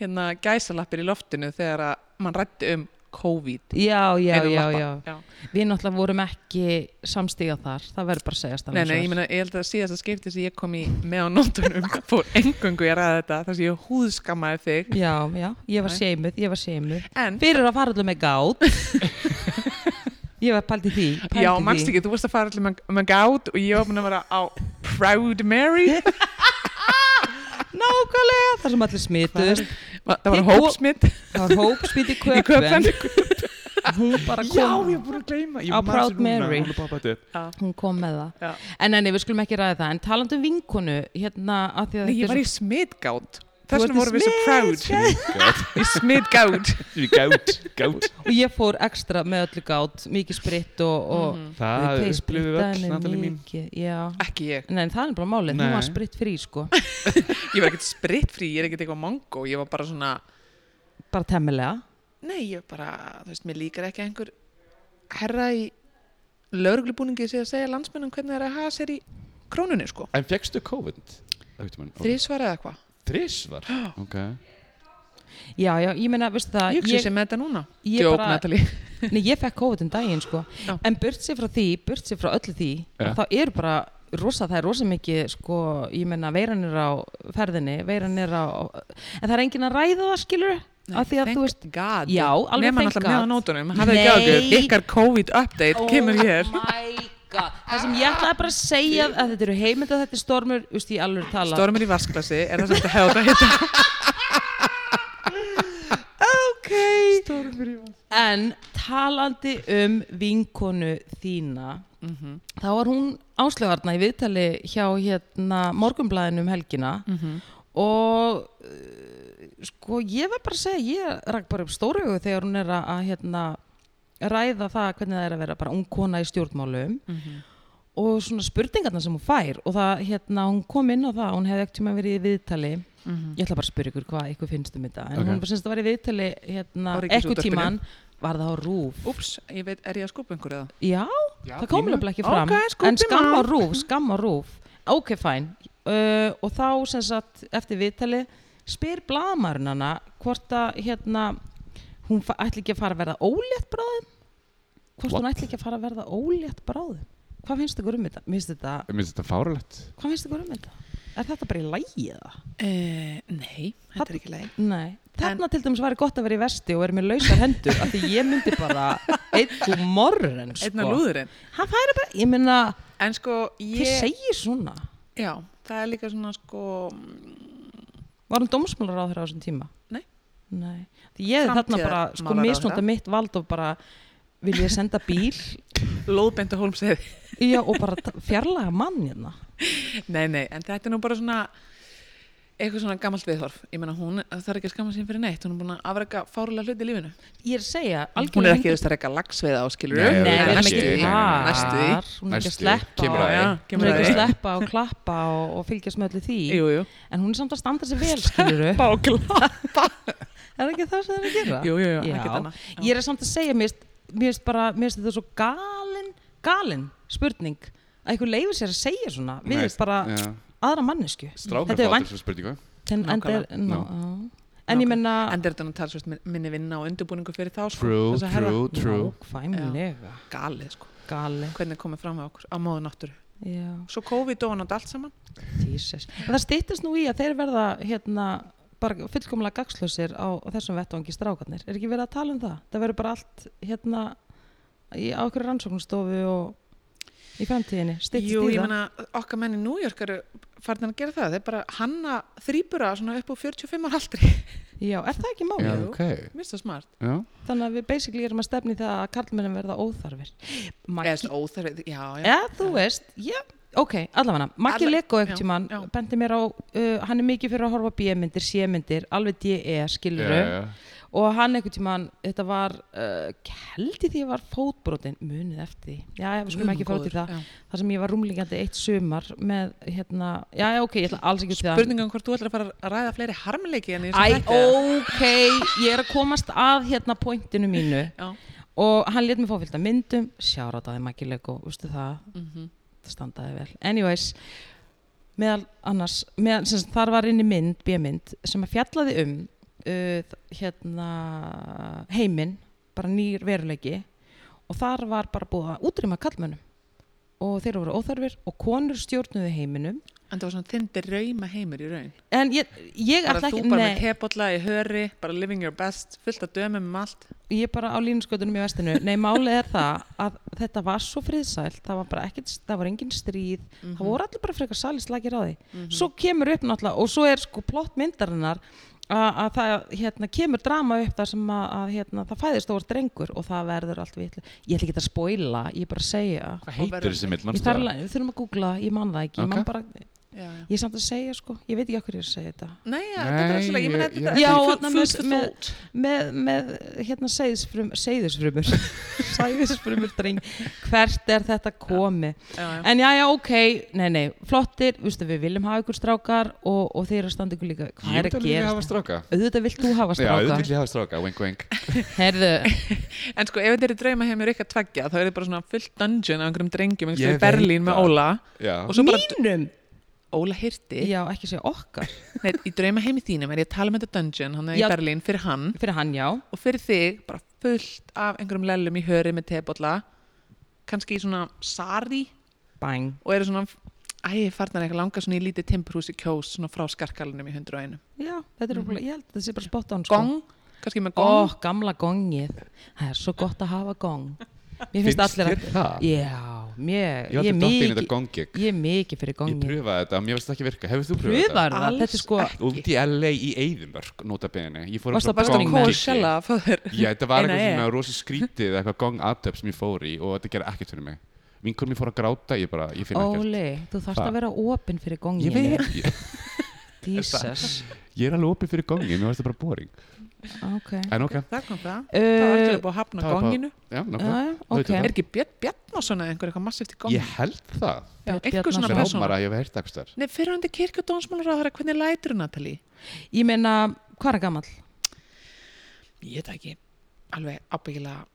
Speaker 3: hérna gæsalappir í loftinu þegar að mann rætti um COVID
Speaker 1: Já, já,
Speaker 3: Innan
Speaker 1: já,
Speaker 3: lappa.
Speaker 1: já. Við náttúrulega vorum ekki samstíga þar, það verður bara að segja
Speaker 3: Nei, nei, ég meina, ég held að síðast að skipti sem ég kom í með á nótunum fór engungu ég ræði þetta þar sem ég húðskammaði þig
Speaker 1: Já, já, ég var
Speaker 3: Nei.
Speaker 1: seimuð, ég var seimuð.
Speaker 3: en,
Speaker 1: Fyrir að fara allir með gát. ég var pælt í því. Pælt
Speaker 3: já,
Speaker 1: í
Speaker 3: mannst
Speaker 1: því.
Speaker 3: ekki, þú varst að fara allir með, með gát og ég var búin að vera á Proud Mary
Speaker 1: Nákvæmlega, þar sem allir smituðust.
Speaker 3: það var
Speaker 1: Þið-
Speaker 3: hópsmitt
Speaker 1: Það var hópsmít í
Speaker 3: í
Speaker 1: köpen.
Speaker 3: köpen
Speaker 1: Hún bara kom.
Speaker 2: búin að gleyma
Speaker 1: Á Proud Mary.
Speaker 2: Mary
Speaker 1: Hún kom með það.
Speaker 3: Já.
Speaker 1: En enni, við skulum ekki ræða það. En talandi um vinkonu, hérna, að því að
Speaker 3: Nei,
Speaker 1: þetta
Speaker 3: ég
Speaker 1: er
Speaker 3: var
Speaker 1: svo-
Speaker 3: í smitgát
Speaker 1: Þú
Speaker 3: Þess
Speaker 1: varst
Speaker 3: vegna
Speaker 1: í
Speaker 3: vorum við svo proud Í smitgát
Speaker 2: Við gát, gát
Speaker 1: og ég fór ekstra með öllu gát mikið spritt og, og mm.
Speaker 2: Það upplifum Mhm. við öll, Natalie mín
Speaker 1: já
Speaker 3: Ekki ég
Speaker 1: Nei, en það er bara málið, hún
Speaker 2: Nei.
Speaker 1: var spritt frí sko
Speaker 3: Ég var ekkert spritfrí, ég er ekkert eitthvað mango Ég var bara svona
Speaker 1: bara temmilega
Speaker 3: Nei, ég bara, þú veist, mér líkar ekki að einhver herra í lauruglubúningi sé að segja landsmennum hvernig það er að hafa sér í krónunni, sko.
Speaker 2: En fegstu COVID? Þrís
Speaker 3: Þrísvar eða eitthvað.
Speaker 2: Þrís var? Ok
Speaker 1: Já, já, ég meina, veistu það
Speaker 3: Ég hugsi sem með þetta núna.
Speaker 1: ég
Speaker 3: Djók,
Speaker 1: bara-
Speaker 3: Natalie.
Speaker 1: Nei, ég fekk COVID um daginn sko
Speaker 3: Já.
Speaker 1: En burt sér frá því, burt sér frá öllu því
Speaker 2: Ja.
Speaker 1: Þá er bara rosa, það er rosa mikið sko Ég meina, veiran er á ferðinni Veiran er á En það er engin að ræða það, skilur Af því að þú veist
Speaker 3: God.
Speaker 1: Já, alveg
Speaker 3: Nefna
Speaker 1: thank
Speaker 3: alltaf
Speaker 1: God.
Speaker 3: með á nótunum. Hafið ekki ágjör,
Speaker 1: Nei.
Speaker 3: ykkar COVID-update kemur hér.
Speaker 1: Oh my god Það sem ég ætlaði bara að segja að þetta eru heimild að þetta er stormur, þú veist, ég alveg tala
Speaker 3: Stormur í vasklasi, er það sem þetta hefði að heita?
Speaker 1: Ok En talandi um vinkonu þína
Speaker 3: Mhm,
Speaker 1: þá var hún áslögarna í viðtali hjá hérna morgumblæðinu um helgina
Speaker 3: mhm,
Speaker 1: og uh, sko ég verð bara að segja ég rak bara upp stórugu þegar hún er að, að hérna ræða það hvernig það er að vera bara ung kona í stjórnmálum
Speaker 3: mhm,
Speaker 1: og svona spurningarna sem hún fær og það hérna hún kom inn á það hún hefði ekkert tíma verið í viðtali
Speaker 3: Mhm.
Speaker 1: ég ætla bara að spyrja ykkur hvað ykkur finnst um þetta en
Speaker 2: Ok.
Speaker 1: hún var semst að vera í viðtali hérna
Speaker 3: Á
Speaker 1: ekkert
Speaker 3: Ríkisútvarpinu.
Speaker 1: tíman var það á rúf
Speaker 3: Úps, ég veit, er ég að skúpa einhverju eða?
Speaker 1: Já, það kom
Speaker 2: pínu.
Speaker 1: nefnilega ekki fram
Speaker 3: Ok, skúppi
Speaker 1: En skamma
Speaker 3: mál.
Speaker 1: rúf, skamma rúf Ok, fæn uh, Og þá sem sagt eftir viðtali spyr blaðmarinn hana hvort að hérna hún fa- ætli ekki að fara að verða ólétt bráðum hvort hún ætli ekki að fara að verða ólétt bráðum Hvað finnst ykkur um þetta? Mér Finnst þetta
Speaker 2: Mér finnst þetta fáralegt
Speaker 1: hvað finnst ykkur um þetta? Er þetta bara í lægið það?
Speaker 3: Uh, nei,
Speaker 1: þetta er
Speaker 3: ekki leið.
Speaker 1: Nei Þarna til dæmis væri gott að vera í vesti og vera með lausar hendur af því ég myndi bara einn morren sko.
Speaker 3: Einna lúðurinn.
Speaker 1: Hann færi bara, ég meina,
Speaker 3: En sko,
Speaker 1: hver
Speaker 3: ég...
Speaker 1: segir svona?
Speaker 3: Já, það er líka svona sko... mm,
Speaker 1: Var hún dómsmálar á þeirra á þessum tíma?
Speaker 3: Nei.
Speaker 1: Nei. Því ég er þarna bara, sko,
Speaker 3: Framtíðarmálaráðherra.
Speaker 1: misnóta mitt vald og bara vil ég senda bíl
Speaker 3: Lóðbend og hólmsið
Speaker 1: já, og bara ta- fjarlæga mann hérna.
Speaker 3: Nei, nei, en þetta er nú bara svona eitthvað svona gamalt viðhorf Ég meina, hún það þarf ekki að skamma sín fyrir neitt hún er búin að afreka fárulega hluti í lífinu
Speaker 1: Ég er að segja,
Speaker 3: Hún
Speaker 1: algjörlega...
Speaker 3: er ekki, þú veist, það er ekki að lagsveiða á skilur
Speaker 2: Nei,
Speaker 1: Nei,
Speaker 2: Nei,
Speaker 1: við erum
Speaker 2: næstu
Speaker 1: ekki
Speaker 2: því.
Speaker 1: þar.
Speaker 3: Næstu því
Speaker 1: Hún er ekki að
Speaker 2: Næstu því.
Speaker 1: sleppa
Speaker 2: Kemur
Speaker 1: og-
Speaker 2: að því.
Speaker 3: Já,
Speaker 1: Hún
Speaker 3: kemur
Speaker 1: er
Speaker 3: að
Speaker 1: ekki að
Speaker 3: því
Speaker 1: sleppa og klappa og, og fylgjast með öllu því
Speaker 3: Jú, jú
Speaker 1: en hún er samt að standa sér vel skiluru
Speaker 3: Bá og klappa
Speaker 1: er ekki það sem það er að gera?
Speaker 3: Jú, jú, jú,
Speaker 1: Já.
Speaker 3: ekkert annað. Já.
Speaker 1: Ég er samt að segja, mér finnst- mér finnst bara, mér finnst þetta svo galin, galin spurning að einhver leifir sér að segja svona við
Speaker 2: Nei,
Speaker 1: bara
Speaker 2: já.
Speaker 1: aðra mannesku
Speaker 2: Strákar
Speaker 1: Þetta er
Speaker 2: fá
Speaker 1: vænt-
Speaker 2: þessu spurningu
Speaker 1: en, en, er,
Speaker 3: Nákvæmlega.
Speaker 1: no,
Speaker 2: Ná.
Speaker 1: á. en ég menna
Speaker 3: En þetta er nú talsvist minni vinna og undirbúningu fyrir þá sko.
Speaker 2: True,
Speaker 3: Þessa herra.
Speaker 2: true, true
Speaker 1: nákvæmlega
Speaker 3: Galið, sko
Speaker 1: gali
Speaker 3: Hvernig komið fram með okkur á móðu náttúru
Speaker 1: já,
Speaker 3: Svo COVID og hann átt allt saman
Speaker 1: Jesus. En það stýttist nú í að þeir verða hérna bara fullkomlega gagslösir á, á þessum vettvangi strákarnir er ekki verið að tala um það það verður bara allt hérna í, á okkur rannsóknstofu og í framtíðinni, stitt
Speaker 3: Jú, ég
Speaker 1: stíða
Speaker 3: meina, okkar menn í New York eru farin að gera það, þeir bara hanna þrýbura svona upp á 45 ára aldri
Speaker 1: já, er það ekki málið?
Speaker 2: Já,
Speaker 3: jú.
Speaker 2: ok.
Speaker 3: Mér finnst það smart
Speaker 2: Já.
Speaker 1: þannig að við basically erum að stefni það að karlmennum verða óþarfir
Speaker 3: Eða
Speaker 1: Maggi,
Speaker 3: svona óþarfið, já, já
Speaker 1: ja, þú veist já, ok, allavega, Maggi
Speaker 3: Alla-
Speaker 1: Lego ekkert
Speaker 3: já,
Speaker 1: tímann,
Speaker 3: já.
Speaker 1: bendi mér á uh, hann er mikið fyrir að horfa B-myndir, C-myndir alveg E, DE, skilur
Speaker 2: Já, já.
Speaker 1: og hann ekkert tímann, þetta var uh, held ég því ég var fótbrotin munið eftir því, já, já, við skulum
Speaker 3: Guð
Speaker 1: ekki
Speaker 3: minn
Speaker 1: fót í
Speaker 3: góður,
Speaker 1: það
Speaker 3: já.
Speaker 1: þar sem ég var rúmlingandi eitt sumar með, hérna, já, já, ok, ég ætla alls ekki út í það
Speaker 3: Spurningum um hvort þú ætlar að fara að ræða fleiri harmleiki en ég
Speaker 1: Æ,
Speaker 3: sem þetta
Speaker 1: ok, ég er að komast að hérna pointinu mínu
Speaker 3: Já,
Speaker 1: og hann let mér fá fylgta myndum sjárátaði Maggi Lego, veistu það það standaði vel, anyways meðal annars meðal, sem, sagt, þar var inni mynd, B-mynd sem að fjallaði um uh, þ- hérna heiminn bara nýr veruleiki og þar var bara búið að útrýma kallmönnum og þeir voru óþarfir og konur stjórnuðu heiminum
Speaker 3: en það var svona þindir rauma heimur í raun
Speaker 1: en ég, ég
Speaker 3: Bara
Speaker 1: ætla
Speaker 3: þú
Speaker 1: ekki
Speaker 3: bara
Speaker 1: nei.
Speaker 3: með tebolla í höri, bara living your best, fullt að dömum um allt
Speaker 1: ég er bara á línuskautunum í vestinu nei, málið er það að þetta var svo friðsælt, það var bara ekkert það var engin stríð,
Speaker 2: Mhm.
Speaker 1: það voru allir bara frekar salislækir á því, svo kemur upp náttúrulega og svo er sko plott myndarinnar að að það hérna, kemur drama upp þar sem að, að hérna, það fæðist stór drengur og það verður allt vitlu ég ætla ekki að spoila, ég er bara að segja
Speaker 2: Hvað
Speaker 3: Og verður-
Speaker 2: heitir þessi mynd,
Speaker 1: Ég
Speaker 2: mannstu
Speaker 1: þarf
Speaker 2: það?
Speaker 1: að- við þurfum að googla, ég man það ekki ég,
Speaker 2: Ok.
Speaker 1: man bara,
Speaker 3: Já, já
Speaker 1: ég er samt að segja sko, ég veit ekki okkur ég er að segja þetta
Speaker 3: Nei, já, þetta
Speaker 2: Nei,
Speaker 3: er alltaf, ég
Speaker 2: ég-
Speaker 3: meina þetta
Speaker 2: ég-
Speaker 3: þetta
Speaker 1: Já,
Speaker 3: er
Speaker 1: þarna
Speaker 3: food-
Speaker 1: með-
Speaker 3: food for
Speaker 1: með-
Speaker 3: thought.
Speaker 1: með, með hérna seiðisfrum, seiðisfrumur seiðisfrumur dreng hvert er þetta komið
Speaker 3: Já, já.
Speaker 1: en já já ok, nei nei flottir, viðstu, við viljum hafa ykkur strákar og, og þeir eru að standa ykkur líka hvað
Speaker 2: Ég
Speaker 1: er
Speaker 2: veit
Speaker 1: að
Speaker 2: alveg að
Speaker 1: gera
Speaker 2: hafa stráka.
Speaker 1: auðvitað vilt þú hafa
Speaker 2: Já,
Speaker 1: stráka
Speaker 2: auðvitað vil ég hafa stráka, wink wink.
Speaker 1: herðu,
Speaker 3: En sko, ef þetta er drauma heimur ykkar tveggja, þá er þetta bara svona fullt dungeon af einhverjum drengjum einhvers
Speaker 2: Ég
Speaker 3: staðar í
Speaker 2: veit
Speaker 3: Berlín með
Speaker 2: það.
Speaker 3: Óla
Speaker 2: Já.
Speaker 3: og svo bara
Speaker 1: mínum
Speaker 3: Óla hirti
Speaker 1: já ekki segja okkar,
Speaker 3: Nei, í drauma heimi þínum er ég að tala um þetta dungeon hann er
Speaker 1: Já.
Speaker 3: í Berlín fyrir hann
Speaker 1: fyrir hann já
Speaker 3: og fyrir þig bara fullt af einhverjum lellum í höri með tebolla kannski í svona sari
Speaker 1: bang,
Speaker 3: og eru svona æ, farnar eitthvað langa svona í lítið timburhús í kjós svona frá skarkalunum í 101
Speaker 1: já, þetta
Speaker 2: Mhm.
Speaker 1: er mm ég held að þetta sé bara spott án sko.
Speaker 3: Gong, kannski
Speaker 1: Ó,
Speaker 3: með gong
Speaker 1: gamla gongið. Það er svo gott að hafa gong. Mér finnst
Speaker 2: Finnst
Speaker 1: allir að...
Speaker 2: þér það?
Speaker 1: Já, mér, er
Speaker 2: Ég var alltaf dottinn í
Speaker 1: mikið-
Speaker 2: þetta gongig.
Speaker 1: Ég er mikið fyrir
Speaker 2: Ég
Speaker 1: gongið.
Speaker 2: pröfaði þetta, mér finnst það ekki virka. Hefur þú pröfað þetta?
Speaker 1: Pröfar það,
Speaker 3: Alls
Speaker 1: þetta er sko...
Speaker 3: ekki.
Speaker 2: Út í LA í Eidinburgh, nota bene. Ég fór á
Speaker 1: Varstu
Speaker 2: svona
Speaker 1: á
Speaker 3: Varstu á
Speaker 1: Gong.
Speaker 2: gongigigi.
Speaker 3: Coachella föður
Speaker 2: Já, þetta var
Speaker 3: Eina
Speaker 2: eitthvað
Speaker 3: E.
Speaker 2: svona rosa skrítið, eitthvað gong aðtöp sem ég fór í og þetta gerði ekkert fyrir mig. Vinkur mér fór að gráta, ég bara, ég finn ekkert.
Speaker 1: Óli, þú þarfst
Speaker 2: Hvað?
Speaker 1: að vera opinn fyrir gonginu.
Speaker 2: Ég veit, ég,
Speaker 1: Jesus.
Speaker 2: ég er alveg opið fyrir gongið, mér finnst það bara boring.
Speaker 1: Ok.
Speaker 2: En ok,
Speaker 3: Það kom það Það var
Speaker 1: Uh,
Speaker 3: algjörlega búið að hafna
Speaker 2: það var bara-
Speaker 3: gonginu
Speaker 2: já, nákvæmlega.
Speaker 1: já,
Speaker 2: Þú veitir
Speaker 1: ok.
Speaker 2: það.
Speaker 3: Er ekki Björn Bjarnason eða einhver eitthvað massíft í gangi?
Speaker 2: Ég held það.
Speaker 3: Já,
Speaker 1: Björn
Speaker 3: einhver
Speaker 1: Bjarnason.
Speaker 2: Mér
Speaker 3: svona
Speaker 2: ámar
Speaker 3: persóna.
Speaker 2: að ég hef heyrt eitthvað þar.
Speaker 3: Nei, fyrir hundi kirkju og dómsmálaráðara, hvernig lætur hún Natalie?
Speaker 1: Ég meina, hvað er gammal?
Speaker 3: Ég veit það ekki. Alveg ábyggilega,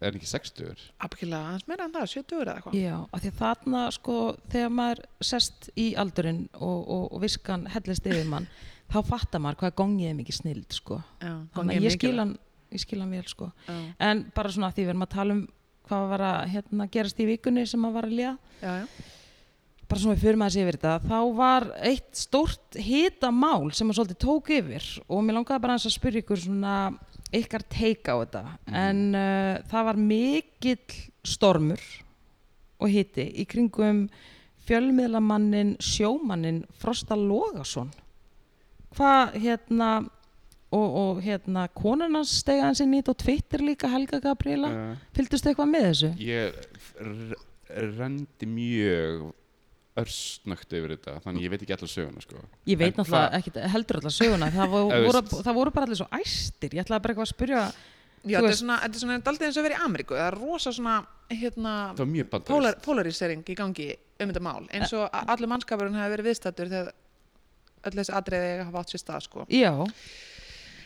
Speaker 2: Er hann ekki 60?
Speaker 3: ábyggilega aðeins meira en það, 70 eða eitthvað.
Speaker 1: Já, af því að þarna sko þegar maður sest í aldurinn og, og, og viskan hellist yfir mann þá fattar maður hvað gongið er mikið snild sko.
Speaker 3: Já,
Speaker 1: Þannig
Speaker 3: gongið
Speaker 1: að
Speaker 3: er
Speaker 1: ég skil
Speaker 3: mikilvægt.
Speaker 1: hann, ég skil hann vel sko.
Speaker 3: Já.
Speaker 1: En bara svona að því við erum að tala um hvað var að hérna, gerast í vikunni sem að var að liða
Speaker 3: Já, já.
Speaker 1: bara svona við fyrir maður sér yfir þetta þá var eitt stórt hitamál sem að svolítið tók yfir og mér langaði bara aðeins að spyrja ykkur svona ykkar teika á þetta en uh, það var mikill stormur og hiti í kringum fjölmiðlamannin sjómannin Frosta Logason hvað hérna og, og hérna konan hans stega hans inn í þetta og Twitter líka Helga Gabriela uh.
Speaker 2: Uh,
Speaker 1: fylgdustu eitthvað með þessu?
Speaker 2: ég r- renndi mjög örstnögt yfir þetta þannig ég veit ekki allar söguna sko.
Speaker 1: Ég veit
Speaker 2: En
Speaker 1: náttúrulega
Speaker 2: hvað-
Speaker 1: ekki, heldur alltaf söguna, það voru,
Speaker 2: Þú
Speaker 1: voru,
Speaker 2: veist.
Speaker 1: það voru bara allir svo æstir, ég ætlaði bara eitthvað að spyrja, Þú
Speaker 3: Já, þetta er
Speaker 1: veist-
Speaker 3: svona, þetta er svona daldið eins og verið í Ameríku. Það er rosa svona, hérna,
Speaker 2: það var mjög bandarist
Speaker 3: polar, polarisering í gangi um þetta mál. Eins og að allur mannskapurinn hefur verið viðstattur þegar öll þessi atriði hafa átt sér stað, sko.
Speaker 1: já,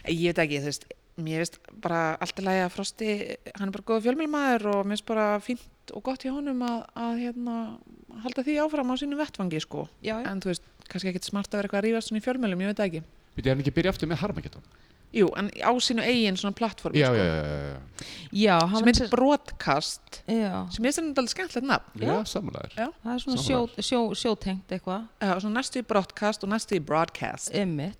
Speaker 3: Ég veit ekki, þú veist, mér veist bara allt í lagi að Frosti, hann er bara góð fjölmjölmaður og mér veist bara fínt og gott hjá honum að, að hérna, halda því áfram á sínum vettvangi, sko.
Speaker 1: já, já.
Speaker 3: En þú veist, kannski ekkit smart að vera eitthvað að rífast svona í fjölmjölum, ég veit það ekki.
Speaker 2: Býttu, er hann ekki að byrja aftur með Harmageddon?
Speaker 3: Jú, en á sínu eigin svona plattform,
Speaker 2: Já, já,
Speaker 3: sko,
Speaker 2: já, já, já,
Speaker 1: já, hann
Speaker 3: sem
Speaker 1: var
Speaker 3: heitir Broadcast,
Speaker 1: já,
Speaker 3: sem ég sem þetta alveg skemmtilegt nafn.
Speaker 2: já, sammálaður
Speaker 3: Já.
Speaker 1: það er svona sjó,
Speaker 2: Sammála.
Speaker 1: sjó, sjótengt eitthvað,
Speaker 3: Já, og svona næstu í Broadcast og næstu í Broadcast.
Speaker 1: ymmit,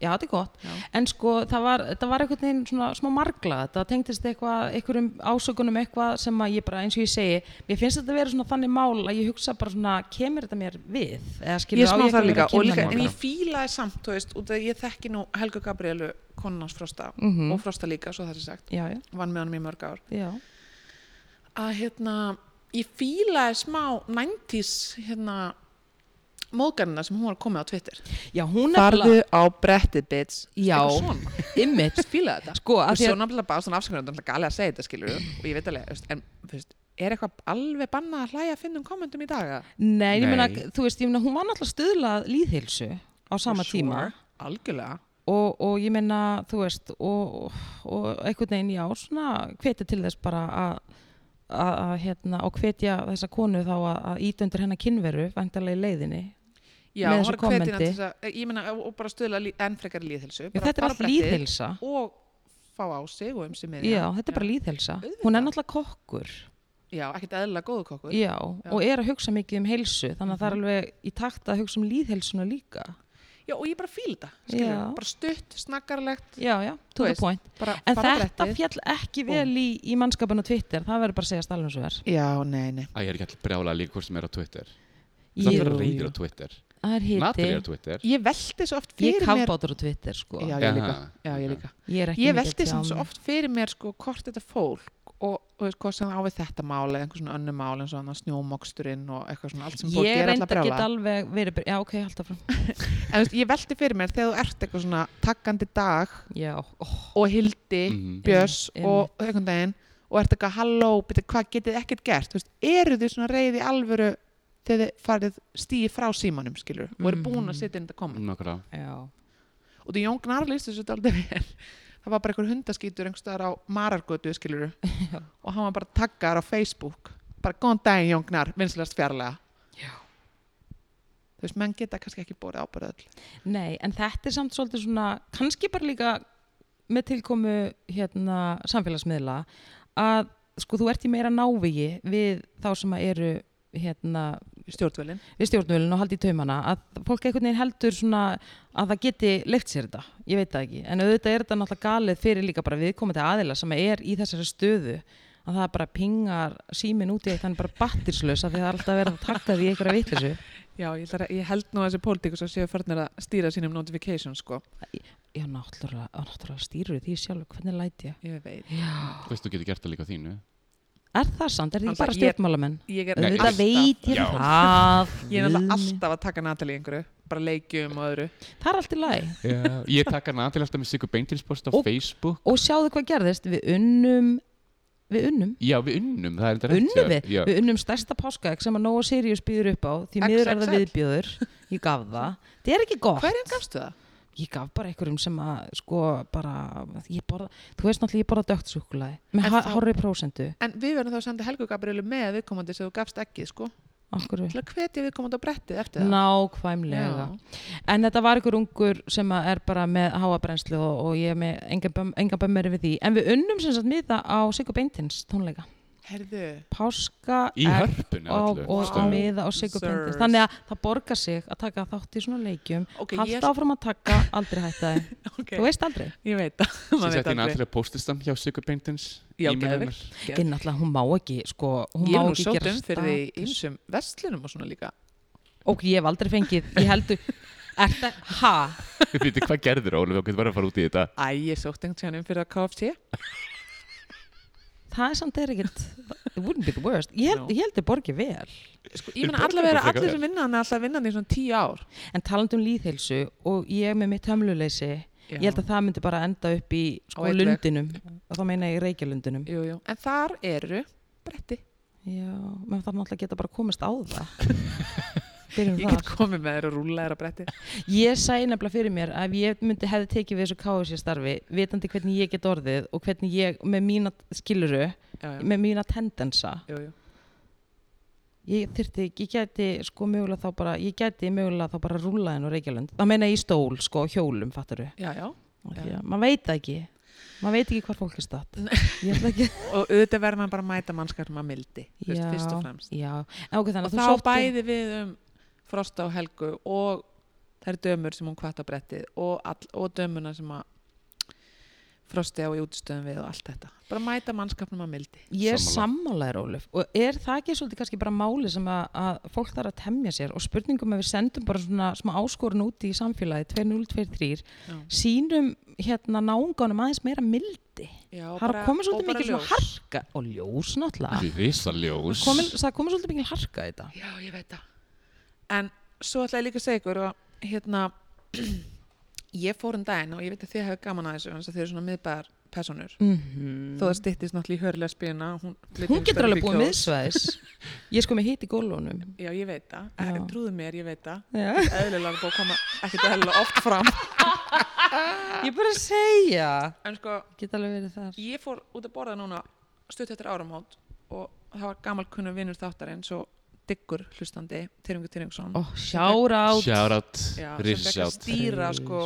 Speaker 1: já, þetta er gott
Speaker 3: Já.
Speaker 1: en sko, það var, það var einhvern veginn svona smá margla, það tengdist eitthvað einhverjum ásökunum eitthvað sem að ég bara eins og ég segi, mér finnst þetta að vera svona þannig mál að ég hugsa bara svona, kemur þetta mér við, eða skilur
Speaker 3: ég smá
Speaker 1: ekki að
Speaker 3: það
Speaker 1: vera að
Speaker 3: líka, og
Speaker 1: kynna
Speaker 3: líka
Speaker 1: mér
Speaker 3: en ég
Speaker 1: það?
Speaker 3: fílaði samt, þú veist, út af því að ég þekki nú Helgu Gabrielu, konunans Frosta
Speaker 1: Mhm.
Speaker 3: og Frosta líka, svo það er sagt
Speaker 1: já, já,
Speaker 3: vann með honum í mörg ár
Speaker 1: já,
Speaker 3: að hérna, ég fílaði smá 90s hérna, móðgarnina sem hún var komið á Twitter
Speaker 1: já, hún nefnilega
Speaker 3: á brettið bitch
Speaker 1: Já.
Speaker 3: Eitthvað svona.
Speaker 1: ymmit,
Speaker 3: fílaði þetta
Speaker 1: Sko, af
Speaker 3: og
Speaker 1: því að-
Speaker 3: svo náttúrulega bara svona afsökunar þetta er náttúrulega galið að segja þetta skilur og ég veit alveg, þú veist, en þú veist, er eitthvað alveg bannað að hlæja að finna um kommentum í dag eða?
Speaker 1: nei, ég meina,
Speaker 2: Nei.
Speaker 1: þú veist, ég meina, hún var náttúrulega stuðlað líðhilsu á sama
Speaker 3: Sure,
Speaker 1: tíma
Speaker 3: algjörlega
Speaker 1: og, og ég meina, þú veist og, og einhvern veginn, já, svona hvetja til þess bara að að, að, hérna, og hvetja þessa konu þá að, að íta undir hennar kynveru vantarlega í leiðinni
Speaker 3: Já,
Speaker 1: Með
Speaker 3: hún
Speaker 1: þessu
Speaker 3: var hvetina
Speaker 1: kommenti.
Speaker 3: til þess að- ég meina, og og bara stuðla lí- enn frekar líðhilsu
Speaker 1: já,
Speaker 3: bara
Speaker 1: þetta er
Speaker 3: fara á
Speaker 1: allt
Speaker 3: brettið
Speaker 1: líðhelsa
Speaker 3: og fá á sig og um sig með
Speaker 1: já, þetta er bara líðhelsa
Speaker 3: Auðvitað.
Speaker 1: hún er náttúrulega kokkur
Speaker 3: já, ekkert eðla góðu kokkur
Speaker 1: já, og er að hugsa mikið um heilsu þannig að það er
Speaker 3: Mhm.
Speaker 1: alveg í takt að hugsa um líðhelsuna líka
Speaker 3: Já, og ég bara fíl þetta, skilur,
Speaker 1: Já.
Speaker 3: bara stutt, snakkarlegt,
Speaker 1: já, já,
Speaker 3: Þú
Speaker 1: to the
Speaker 3: veist,
Speaker 1: point
Speaker 3: bara
Speaker 1: en
Speaker 3: fara á
Speaker 1: þetta
Speaker 3: brettið.
Speaker 1: fjall ekki vel í, í mannskapinu á Twitter það verður bara að segja stælum svo er
Speaker 3: Já, nei, nei.
Speaker 2: Æ, ég er ekki allir brjála líka hvort sem er á Twitter Það
Speaker 1: Jú,
Speaker 2: er
Speaker 1: jú.
Speaker 2: reyðir á Twitter
Speaker 1: það er
Speaker 2: Natalie er á
Speaker 1: hitti
Speaker 2: Twitter
Speaker 3: Ég velti svo
Speaker 1: ég
Speaker 3: oft fyrir
Speaker 1: er
Speaker 3: mér...
Speaker 1: kafbátur á Twitter sko
Speaker 3: Já, ég líka.
Speaker 2: Aha,
Speaker 3: Já, ég
Speaker 2: ok.
Speaker 3: líka.
Speaker 1: Ég, er ekki
Speaker 3: Ég
Speaker 1: mikið
Speaker 3: velti
Speaker 1: tjá
Speaker 3: samt svo
Speaker 1: mig.
Speaker 3: oft fyrir mér, sko, hvort þetta fólk og, og veist, hvort sem það á við þetta mál eða einhver svona önnu mál eins og annars snjómoksturinn og eitthvað svona allt sem fólk
Speaker 1: Ég
Speaker 3: er alltaf
Speaker 1: reynda að geta
Speaker 3: brjála.
Speaker 1: alveg verið brjá, já ok, halda fram
Speaker 3: En þú veist, ég velti fyrir mér þegar þú ert eitthvað svona takkandi dag
Speaker 1: Já, ó,
Speaker 3: og hildi
Speaker 2: Mhm.
Speaker 3: Björns
Speaker 1: Einmitt,
Speaker 3: og einhvern daginn og ert eitthvað halló, byrja, hvað getið þið ekkert gert þú veist, eru þið svona reyði alvöru þegar þið farið stíði frá símanum skilur, og eru
Speaker 1: Mhm.
Speaker 3: búin að setja inn þetta koma
Speaker 2: Nákvæmlega.
Speaker 1: já
Speaker 3: og því Jón Gnar lýst þessu aldrei vel það var bara einhver hundaskítur einhverstaðar á Marargötu skilur og hann var bara taggar á Facebook bara góðan daginn Jón Gnar, vinslegast fjarlæga
Speaker 1: Já.
Speaker 3: þú veist, menn geta kannski ekki bórið ábyrð öll
Speaker 1: Nei, en þetta er samt svolítið svona kannski bara líka með tilkomu hérna samfélagsmiðla að sko þú ert í meira návígi við þá sem að eru hérna
Speaker 3: stjórnvölin
Speaker 1: við stjórnvölinn og haldi í taumana að fólk einhvern veginn heldur svona að það geti leift sér þetta, ég veit það ekki en auðvitað er þetta náttúrulega galið fyrir líka bara viðkomandi aðila sem er í þessari stöðu að það bara pingar símin út í eitt hann er bara battirslaus af því að það er alltaf verið að taka því einhverja vitlissu
Speaker 3: Já, ég, ætla að- ég held nú að þessi pólitíkus að séu farnir að stýra sínum notifications sko.
Speaker 1: Já, náttúrulega, á, náttúrulega stýrur því sjálfur, hvernig læt ég?
Speaker 3: ég veit
Speaker 1: Já.
Speaker 2: Þú veist, þú getur gert það líka á þínu
Speaker 1: Er það sant? Er það ekki
Speaker 3: Alltaf
Speaker 1: bara
Speaker 3: ég-
Speaker 1: stjórnmálamenn?
Speaker 3: ég er,
Speaker 2: Nei,
Speaker 1: Auðvitað
Speaker 2: alltaf-
Speaker 1: veit ég
Speaker 2: Já.
Speaker 1: það.
Speaker 3: ég er náttúrulega
Speaker 1: Guð minn.
Speaker 3: alltaf að taka Natalie í einhverju bara leikjum og öðru
Speaker 1: Það er allt í lagi.
Speaker 2: Já, Ég taka Natalie alltaf með Sigur Beintilspost á
Speaker 1: Og-
Speaker 2: Facebook
Speaker 1: Og sjáðu hvað gerðist, við unnum, við unnum.
Speaker 2: Já, við unnum, það er þetta rétt hjá
Speaker 1: unnum
Speaker 2: þér.
Speaker 1: við,
Speaker 2: Já.
Speaker 1: við unnum stærsta páskaegg sem að Nóa Sirius býður upp á því miður er það
Speaker 3: XXL.
Speaker 1: viðbjóður, ég gaf það það er ekki gott,
Speaker 3: hverjum gafstu það?
Speaker 1: ég gaf bara einhverjum sem að sko bara, ég borða þú veist náttúrulega ég borða dögt súkulaði með
Speaker 3: En
Speaker 1: há,
Speaker 3: þá-
Speaker 1: hárri prósendu,
Speaker 3: en við verðum þá að senda Helgu Gabrielu með viðkomandi sem þú gafst ekki sko
Speaker 1: af hverju
Speaker 3: til að hvetja viðkomandi á brettið eftir það
Speaker 1: nákvæmlega, en þetta var einhver ungur sem að er bara með háabrennslu og, og ég er með engan bömm- engan bömmeri við því, en við unnum sem sagt miða á Sigur Beintins tónleika
Speaker 3: herðu
Speaker 1: páska
Speaker 2: Í hörpunni
Speaker 1: og,
Speaker 2: öllu
Speaker 1: og
Speaker 2: stöðu.
Speaker 1: wow. miða og Sigur
Speaker 3: Sirs.
Speaker 1: Beintins þannig að það borgar sig að taka þátt í svona leikjum
Speaker 3: Ok,
Speaker 1: okay,
Speaker 3: ég-
Speaker 1: halda áfram að taka, aldrei hætta þeim þú
Speaker 3: okay.
Speaker 1: veist aldrei,
Speaker 3: ég veit það
Speaker 2: Svo
Speaker 3: maður veit
Speaker 2: sett ég
Speaker 3: aldrei.
Speaker 2: Natalie að postist hjá Sigur Beintins
Speaker 3: Já,
Speaker 2: e-mail
Speaker 3: geðveikt.
Speaker 2: hennar.
Speaker 1: en náttúrulega hún má ekki sko, hún
Speaker 3: ég
Speaker 1: má
Speaker 3: er nú
Speaker 1: ekki
Speaker 3: sótt
Speaker 1: gera
Speaker 3: um fyrir því
Speaker 1: status.
Speaker 3: einsum vestlunum og svona líka
Speaker 1: ok, ég hef aldrei fengið, ég heldur er það, ha,
Speaker 2: Við veitum hvað gerður Ólaf, við getum bara að fara út í þetta
Speaker 3: æ, ég sótt einhvern um fyrir að KFC
Speaker 1: það er samt er ekkert it wouldn't be the worst, ég held,
Speaker 3: No.
Speaker 1: ég held ég borgi vel
Speaker 3: sko,
Speaker 2: Þeir
Speaker 3: ég menna
Speaker 2: borga
Speaker 3: allavega
Speaker 2: bara frekar
Speaker 3: allir
Speaker 2: vel.
Speaker 3: sem vinna hann er alltaf vinnandi í svona tíu ár
Speaker 1: en talandi um líðheilsu og ég með mitt hömluleysi ég held að það myndi bara enda upp í
Speaker 3: Á
Speaker 1: sko
Speaker 3: einn veg.
Speaker 1: lundinum, og þá meina ég reykjalundinum
Speaker 3: jú, jú. en þar eru bretti
Speaker 1: já, menn þarf náttúrulega að geta bara komist á það byrjum
Speaker 3: ég
Speaker 1: þar
Speaker 3: get komið með þér og rúla þér á bretti
Speaker 1: Ég sæði nefnilega fyrir mér að ef ég myndi hefði tekið við þessu KFC starfi vitandi hvernig ég get orðið og hvernig ég með mína skiluru,
Speaker 3: já, já.
Speaker 1: með mína tendensa
Speaker 3: Jú, jú.
Speaker 1: ég þyrfti, ég gæti sko mögulega þá bara, ég gæti mögulega þá bara rúla henn og Reykjavík, það meina ég í stól sko, á hjólum, fattaru,
Speaker 3: já, já. Já.
Speaker 1: maður veit það ekki maður veit ekki hvar fólk er statt ég ætla ekki,
Speaker 3: og auðvitað verður maður bara að mæta mannskar sem maður mildi, þú veist,
Speaker 1: Já.
Speaker 3: fyrst og fremst
Speaker 1: já en ok, þannig
Speaker 3: og
Speaker 1: að þú
Speaker 3: þá
Speaker 1: sótti
Speaker 3: bæði við um Frosta og Helgu og það eru dömur sem hún kvatt á brettið og, all, og dömuna sem að frosti á í útistöðum við og allt þetta bara mæta mannskapnum að mildi
Speaker 1: Ég er
Speaker 2: Sammála.
Speaker 1: sammálaðir, Óluf, og er það ekki svolítið kannski bara máli sem að, að fólk þarf að temja sér og spurningum að við sendum bara svona smá áskorun úti í samfélagi 2023,
Speaker 3: Já.
Speaker 1: sínum hérna náunganum aðeins meira mildi.
Speaker 3: Já,
Speaker 1: það er komið svolítið mikil svona harka, og ljós náttúrulega,
Speaker 2: Rísaljós.
Speaker 1: það komið, það komið svolítið mikil harka í þetta.
Speaker 3: Já, ég veit það En svo ætla ég líka að segja ykkur og hérna ég fór um daginn og ég veit að þið hefur gaman að þessu þannig að þið eru svona miðbæðar personur þó það styttist náttúrulega í hörlega spina Mm. hún,
Speaker 1: Hún getur alveg búið
Speaker 3: með
Speaker 1: miðsvæðis. Ég er sko með hitt í gólunum.
Speaker 3: Já, ég veit það,
Speaker 1: Já.
Speaker 3: Eh, trúðu mér, ég veit það
Speaker 1: Já.
Speaker 3: eðlilega búið að koma ekkert eðlilega oft fram
Speaker 1: Ég er bara að segja.
Speaker 3: en sko,
Speaker 1: Get alveg verið þar.
Speaker 3: ég fór út að borða núna stutt eftir áramót og það var gamal kunnum vinnur þáttarinn svo diggur hlustandi, Tyrfingur Tyrfingsson
Speaker 1: Ó, sjára átt.
Speaker 2: Sjárat,
Speaker 3: Já, sem fékk að
Speaker 2: rísasjátt.
Speaker 3: stýra sko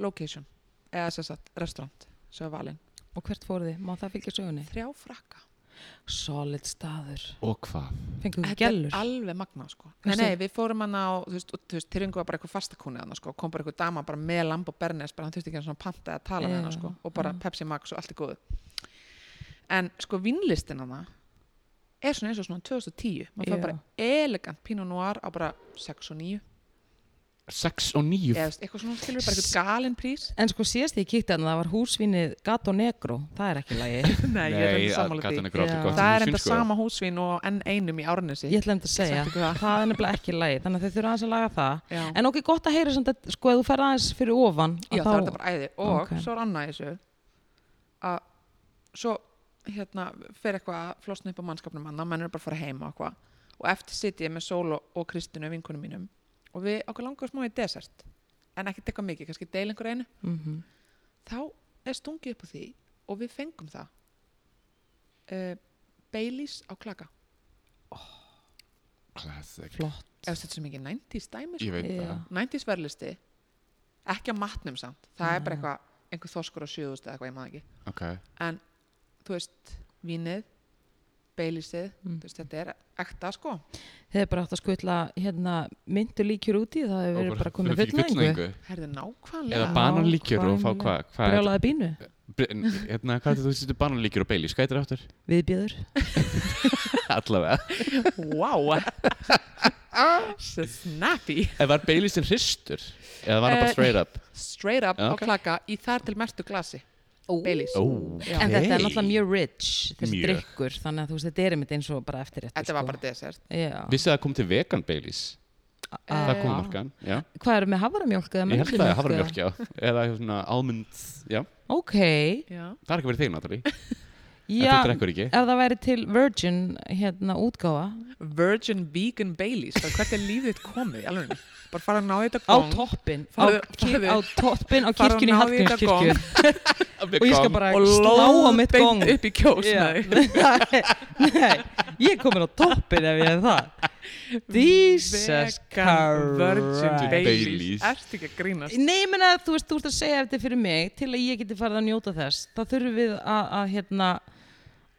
Speaker 3: location eða sem sagt restaurant sem er valinn
Speaker 1: Og hvert fóruð þið? Má það fylgja sögunni?
Speaker 3: þrjá frakka
Speaker 1: Solid staður.
Speaker 2: Og hvað?
Speaker 1: Fengum við
Speaker 3: þetta er
Speaker 1: gellur.
Speaker 3: alveg magna sko
Speaker 1: Þú
Speaker 3: nei,
Speaker 1: veist
Speaker 3: nei, við fórum hann á þú veist, og, þú veist Tyrfingu var bara eitthvað fastakúni hann sko kom bara eitthvað dama bara með lamb og bernes bara hann þurfti ekki að svona panta eða tala
Speaker 1: Já,
Speaker 3: með hann sko og bara
Speaker 1: já.
Speaker 3: Pepsi Max og allt er góð en sko vinnlistin hann er svona eins og svona 2010 maður
Speaker 1: Já.
Speaker 3: fær bara elegant Pinot Noir á bara 6 og 9
Speaker 2: 6 og 9.
Speaker 3: eða þú veist, eitthvað svona skilur bara eitthvað galin prís
Speaker 1: En sko síðast þegar ég kíkti hann, það var húsvinnið Gato Negro. Það er ekki lægi.
Speaker 3: nei, ég er þetta sammála því
Speaker 2: gatan er grátt
Speaker 1: Já.
Speaker 2: og gott.
Speaker 3: það er
Speaker 2: í sko.
Speaker 3: enda
Speaker 2: svínsku.
Speaker 3: sama húsvin og enn einum í Árnesi
Speaker 1: Ég ætla um þetta að segja.
Speaker 3: Sagt ykkur það.
Speaker 1: Það er nefnilega ekki lægi. Þannig að þau þurfa aðeins að laga það.
Speaker 3: Já.
Speaker 1: En okkur gott að heyra samt að sko ef þú ferð aðeins fyrir ofan. að
Speaker 3: Já,
Speaker 1: þá-
Speaker 3: það var þetta bara æði og
Speaker 1: Ok.
Speaker 3: svo er annað í þessu að svo hérna fer eitthvað að flosna upp á mannskapnum annar, menn eru bara að fara heim og eitthvað og eftir sitt ég með Sól og, og Kristinu vinkunum mínum og við okkur langar smá í desert en ekki eitthvað mikið, kannski deil einhver einu
Speaker 1: Mhm.
Speaker 3: þá er stungið upp á því og við fengum það uh, Baileys á klaka
Speaker 2: Classic.
Speaker 1: Flott.
Speaker 3: ef þetta er sem ekki 90s dæmi
Speaker 2: Ég
Speaker 3: sko.
Speaker 2: veit
Speaker 1: Já.
Speaker 2: það.
Speaker 3: 90s verðlisti ekki á matnum samt, það er
Speaker 1: Nei.
Speaker 3: bara eitthvað einhver þorskur á 7000 eða eitthvað, ég maður ekki
Speaker 2: Ok.
Speaker 3: en þú veist, vínið beilisið,
Speaker 1: Mm.
Speaker 3: þú veist, þetta er ekta sko,
Speaker 1: Þið er bara átt að skutla hérna, myndu líkjur úti. Það hefur verið bara komið fullnæðingu.
Speaker 3: herðu nákvæmlega
Speaker 2: Eða bananlíkjur og fá hvað? Hvað er
Speaker 1: Brjálaði bínu.
Speaker 2: Br- n- Hérna, hvað er þetta þú setur bananlíkjur og beilis? Hvað er þetta aftur?
Speaker 1: Viðbjöður.
Speaker 2: Allavega.
Speaker 3: wow so snappy
Speaker 2: En var beilistinn hristur? Eða var hann
Speaker 3: Eh,
Speaker 2: bara straight up?
Speaker 3: straight up
Speaker 2: Já,
Speaker 3: á
Speaker 2: ok.
Speaker 3: klaka í þar til mestu glasi Baileys.
Speaker 2: Ó,
Speaker 3: Já.
Speaker 1: En þetta
Speaker 2: ok.
Speaker 1: er náttúrulega mjög rich, þessi
Speaker 2: Mjög.
Speaker 1: drikkur, þannig að þú veist, þetta er einmitt eins og bara eftir
Speaker 3: þetta var bara desert
Speaker 1: Já.
Speaker 2: Vissið að það kom til vegan beilis?
Speaker 1: Eh,
Speaker 2: Það kom á markan, já.
Speaker 1: Hvað eru með haframjólk eða
Speaker 2: Ég held það að hafa
Speaker 1: möndlumjólk
Speaker 2: mjölk, já. Eða svona almund, já.
Speaker 1: eða- Ok,
Speaker 3: já,
Speaker 2: Það er ekki verið þig, Natalie. En
Speaker 1: já,
Speaker 2: þú drekkur ekki.
Speaker 1: ef það væri til Virgin hérna útgáfa
Speaker 3: virgin vegan Baileys bara hvert er lífið þitt komið, alveg bara fara að ná í
Speaker 1: á
Speaker 3: þetta gong
Speaker 1: toppin á,
Speaker 3: Farðu-
Speaker 1: ki-
Speaker 3: farðu-
Speaker 1: á toppin á
Speaker 3: farðu
Speaker 1: kirkjunni í
Speaker 3: og náðu í þetta
Speaker 1: Hallgrímskirkju og ég skal bara
Speaker 3: og
Speaker 1: slá á mitt gong
Speaker 3: beint upp í kjós
Speaker 1: Já.
Speaker 3: yeah.
Speaker 1: Nei, nei, ég er komin á toppin ef ég er það Jesus
Speaker 3: Virgin
Speaker 1: Christ
Speaker 2: Baileys.
Speaker 3: Baileys Ertu ekki að grínast?
Speaker 1: Nei, ég meina að þú veist, þú ert að segja þetta fyrir mig til að ég geti farið að njóta þess þá þurfum við að, að hérna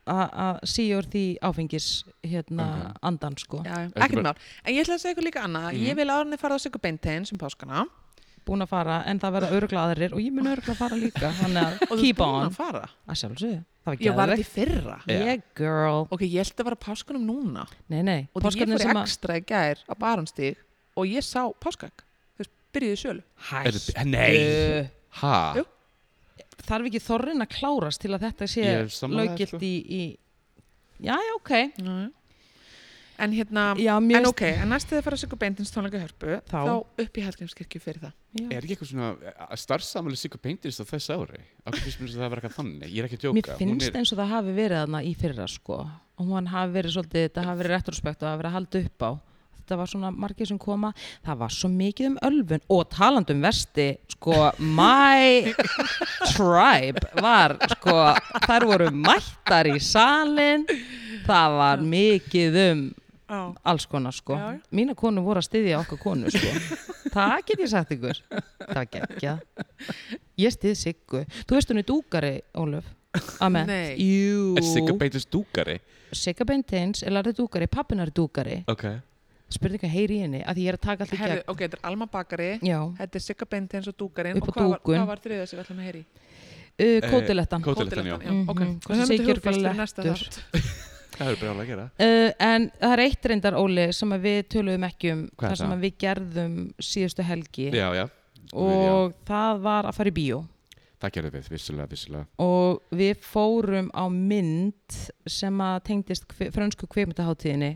Speaker 1: að- að síður því áfengis hérna andan sko
Speaker 3: Já,
Speaker 2: Ekki
Speaker 3: ekkert
Speaker 2: bara- Mhm.
Speaker 3: mál. En ég ætla að segja ykkur líka annað. Ég vil árinni fara á sig ykkur beintegin sem páskana.
Speaker 1: búin að fara en það verða örgla aðrir og ég mun örgla að fara líka þannig
Speaker 3: Og
Speaker 1: að
Speaker 3: þú ert
Speaker 1: keep
Speaker 3: búin
Speaker 1: on
Speaker 3: að fara.
Speaker 1: að sjálfsögðu, það var
Speaker 3: Ég var þetta
Speaker 1: geðvegt
Speaker 3: í fyrra.
Speaker 2: Já.
Speaker 1: yeah girl,
Speaker 3: Ok, ég held að fara á páskunum núna.
Speaker 1: nei nei
Speaker 3: Og því ég
Speaker 1: páskarnir
Speaker 3: fór
Speaker 1: sem að-
Speaker 3: ekstra í gær á Baronstíg og ég sá páskak. Þú veist, byrjuði í sölu.
Speaker 2: Er þetta- Nei.
Speaker 1: hættu
Speaker 2: Ha?
Speaker 3: Jú.
Speaker 1: þarf ekki þorrin að klárast til að þetta sé
Speaker 2: Ég er sammála þér,
Speaker 1: löggilt
Speaker 2: sko.
Speaker 1: í, í já já ok
Speaker 3: En hérna,
Speaker 1: já, mér
Speaker 3: en
Speaker 1: finnst-
Speaker 3: ok, en næst þegar fara á sig ykkur beintins tónleika í hörpu, þá,
Speaker 1: Þá.
Speaker 3: upp í Hallgrímskirkju fyrir það.
Speaker 1: já.
Speaker 2: Er ekki eitthvað svona eh, starfsamlega sigur beintirist á þess ári? Akkur finnst mér þess að það vera eitthvað þannig. Ég er ekki að
Speaker 1: mér
Speaker 2: djóka. Hún
Speaker 1: finnst
Speaker 2: er-
Speaker 1: eins og það hafi verið þarna í fyrra sko og hún hafi verið svolítið, þetta hafi verið retrospekt og hafi verið að halda upp á þetta var svona margir sem koma það var svo mikið um ölfun og talandi um vesti sko my tribe var sko þær voru mættar í salin það var mikið um
Speaker 3: Já.
Speaker 1: alls konar sko
Speaker 3: Já, já.
Speaker 1: mína konu voru að styðja okkar konu sko það get ég sagt ykkur það gekkja ég styð Siggu þú veist hún er dúkari Ólöf Amen.
Speaker 3: Nei.
Speaker 1: Jú.
Speaker 2: Er sigur beintirist dúkari?
Speaker 1: Sigga Beintins er lærið dúkari, pappinar dúkari
Speaker 2: Ok.
Speaker 1: spurði hvað heyri í henni að því ég er að taka allt í
Speaker 3: Herðu,
Speaker 1: gegn
Speaker 3: ok, þetta er Alma Bakari
Speaker 1: Já, Uh,
Speaker 3: Þetta er Sigga Beintens og Dúkarinn
Speaker 1: Upp
Speaker 3: og
Speaker 1: á
Speaker 3: hvað var,
Speaker 1: dúkun.
Speaker 3: hvað var þriðið sem við ætlum að heyri?
Speaker 1: uh,
Speaker 2: Eh,
Speaker 1: kótilettan
Speaker 2: kó- Kótilettan, já.
Speaker 1: Mhm.
Speaker 3: ok.
Speaker 1: Hvort
Speaker 3: Við höfum
Speaker 1: segir
Speaker 3: þetta hugfast
Speaker 1: gjörvallegt
Speaker 3: fyrir næsta
Speaker 1: aftur.
Speaker 3: þátt.
Speaker 2: Það er brjálega að gera
Speaker 1: uh, En það er eitt reyndar, Óli, sem að við töluðum ekki um
Speaker 2: Hvað er
Speaker 1: þar sem
Speaker 2: það?
Speaker 1: að við gerðum síðustu helgi
Speaker 2: Já, já
Speaker 1: og það var að fara í bíó
Speaker 2: Það gerðum við, vissulega, vissulega
Speaker 1: og við fórum á mynd sem að tengdist kve, fransku kveikmyndaháttíðinni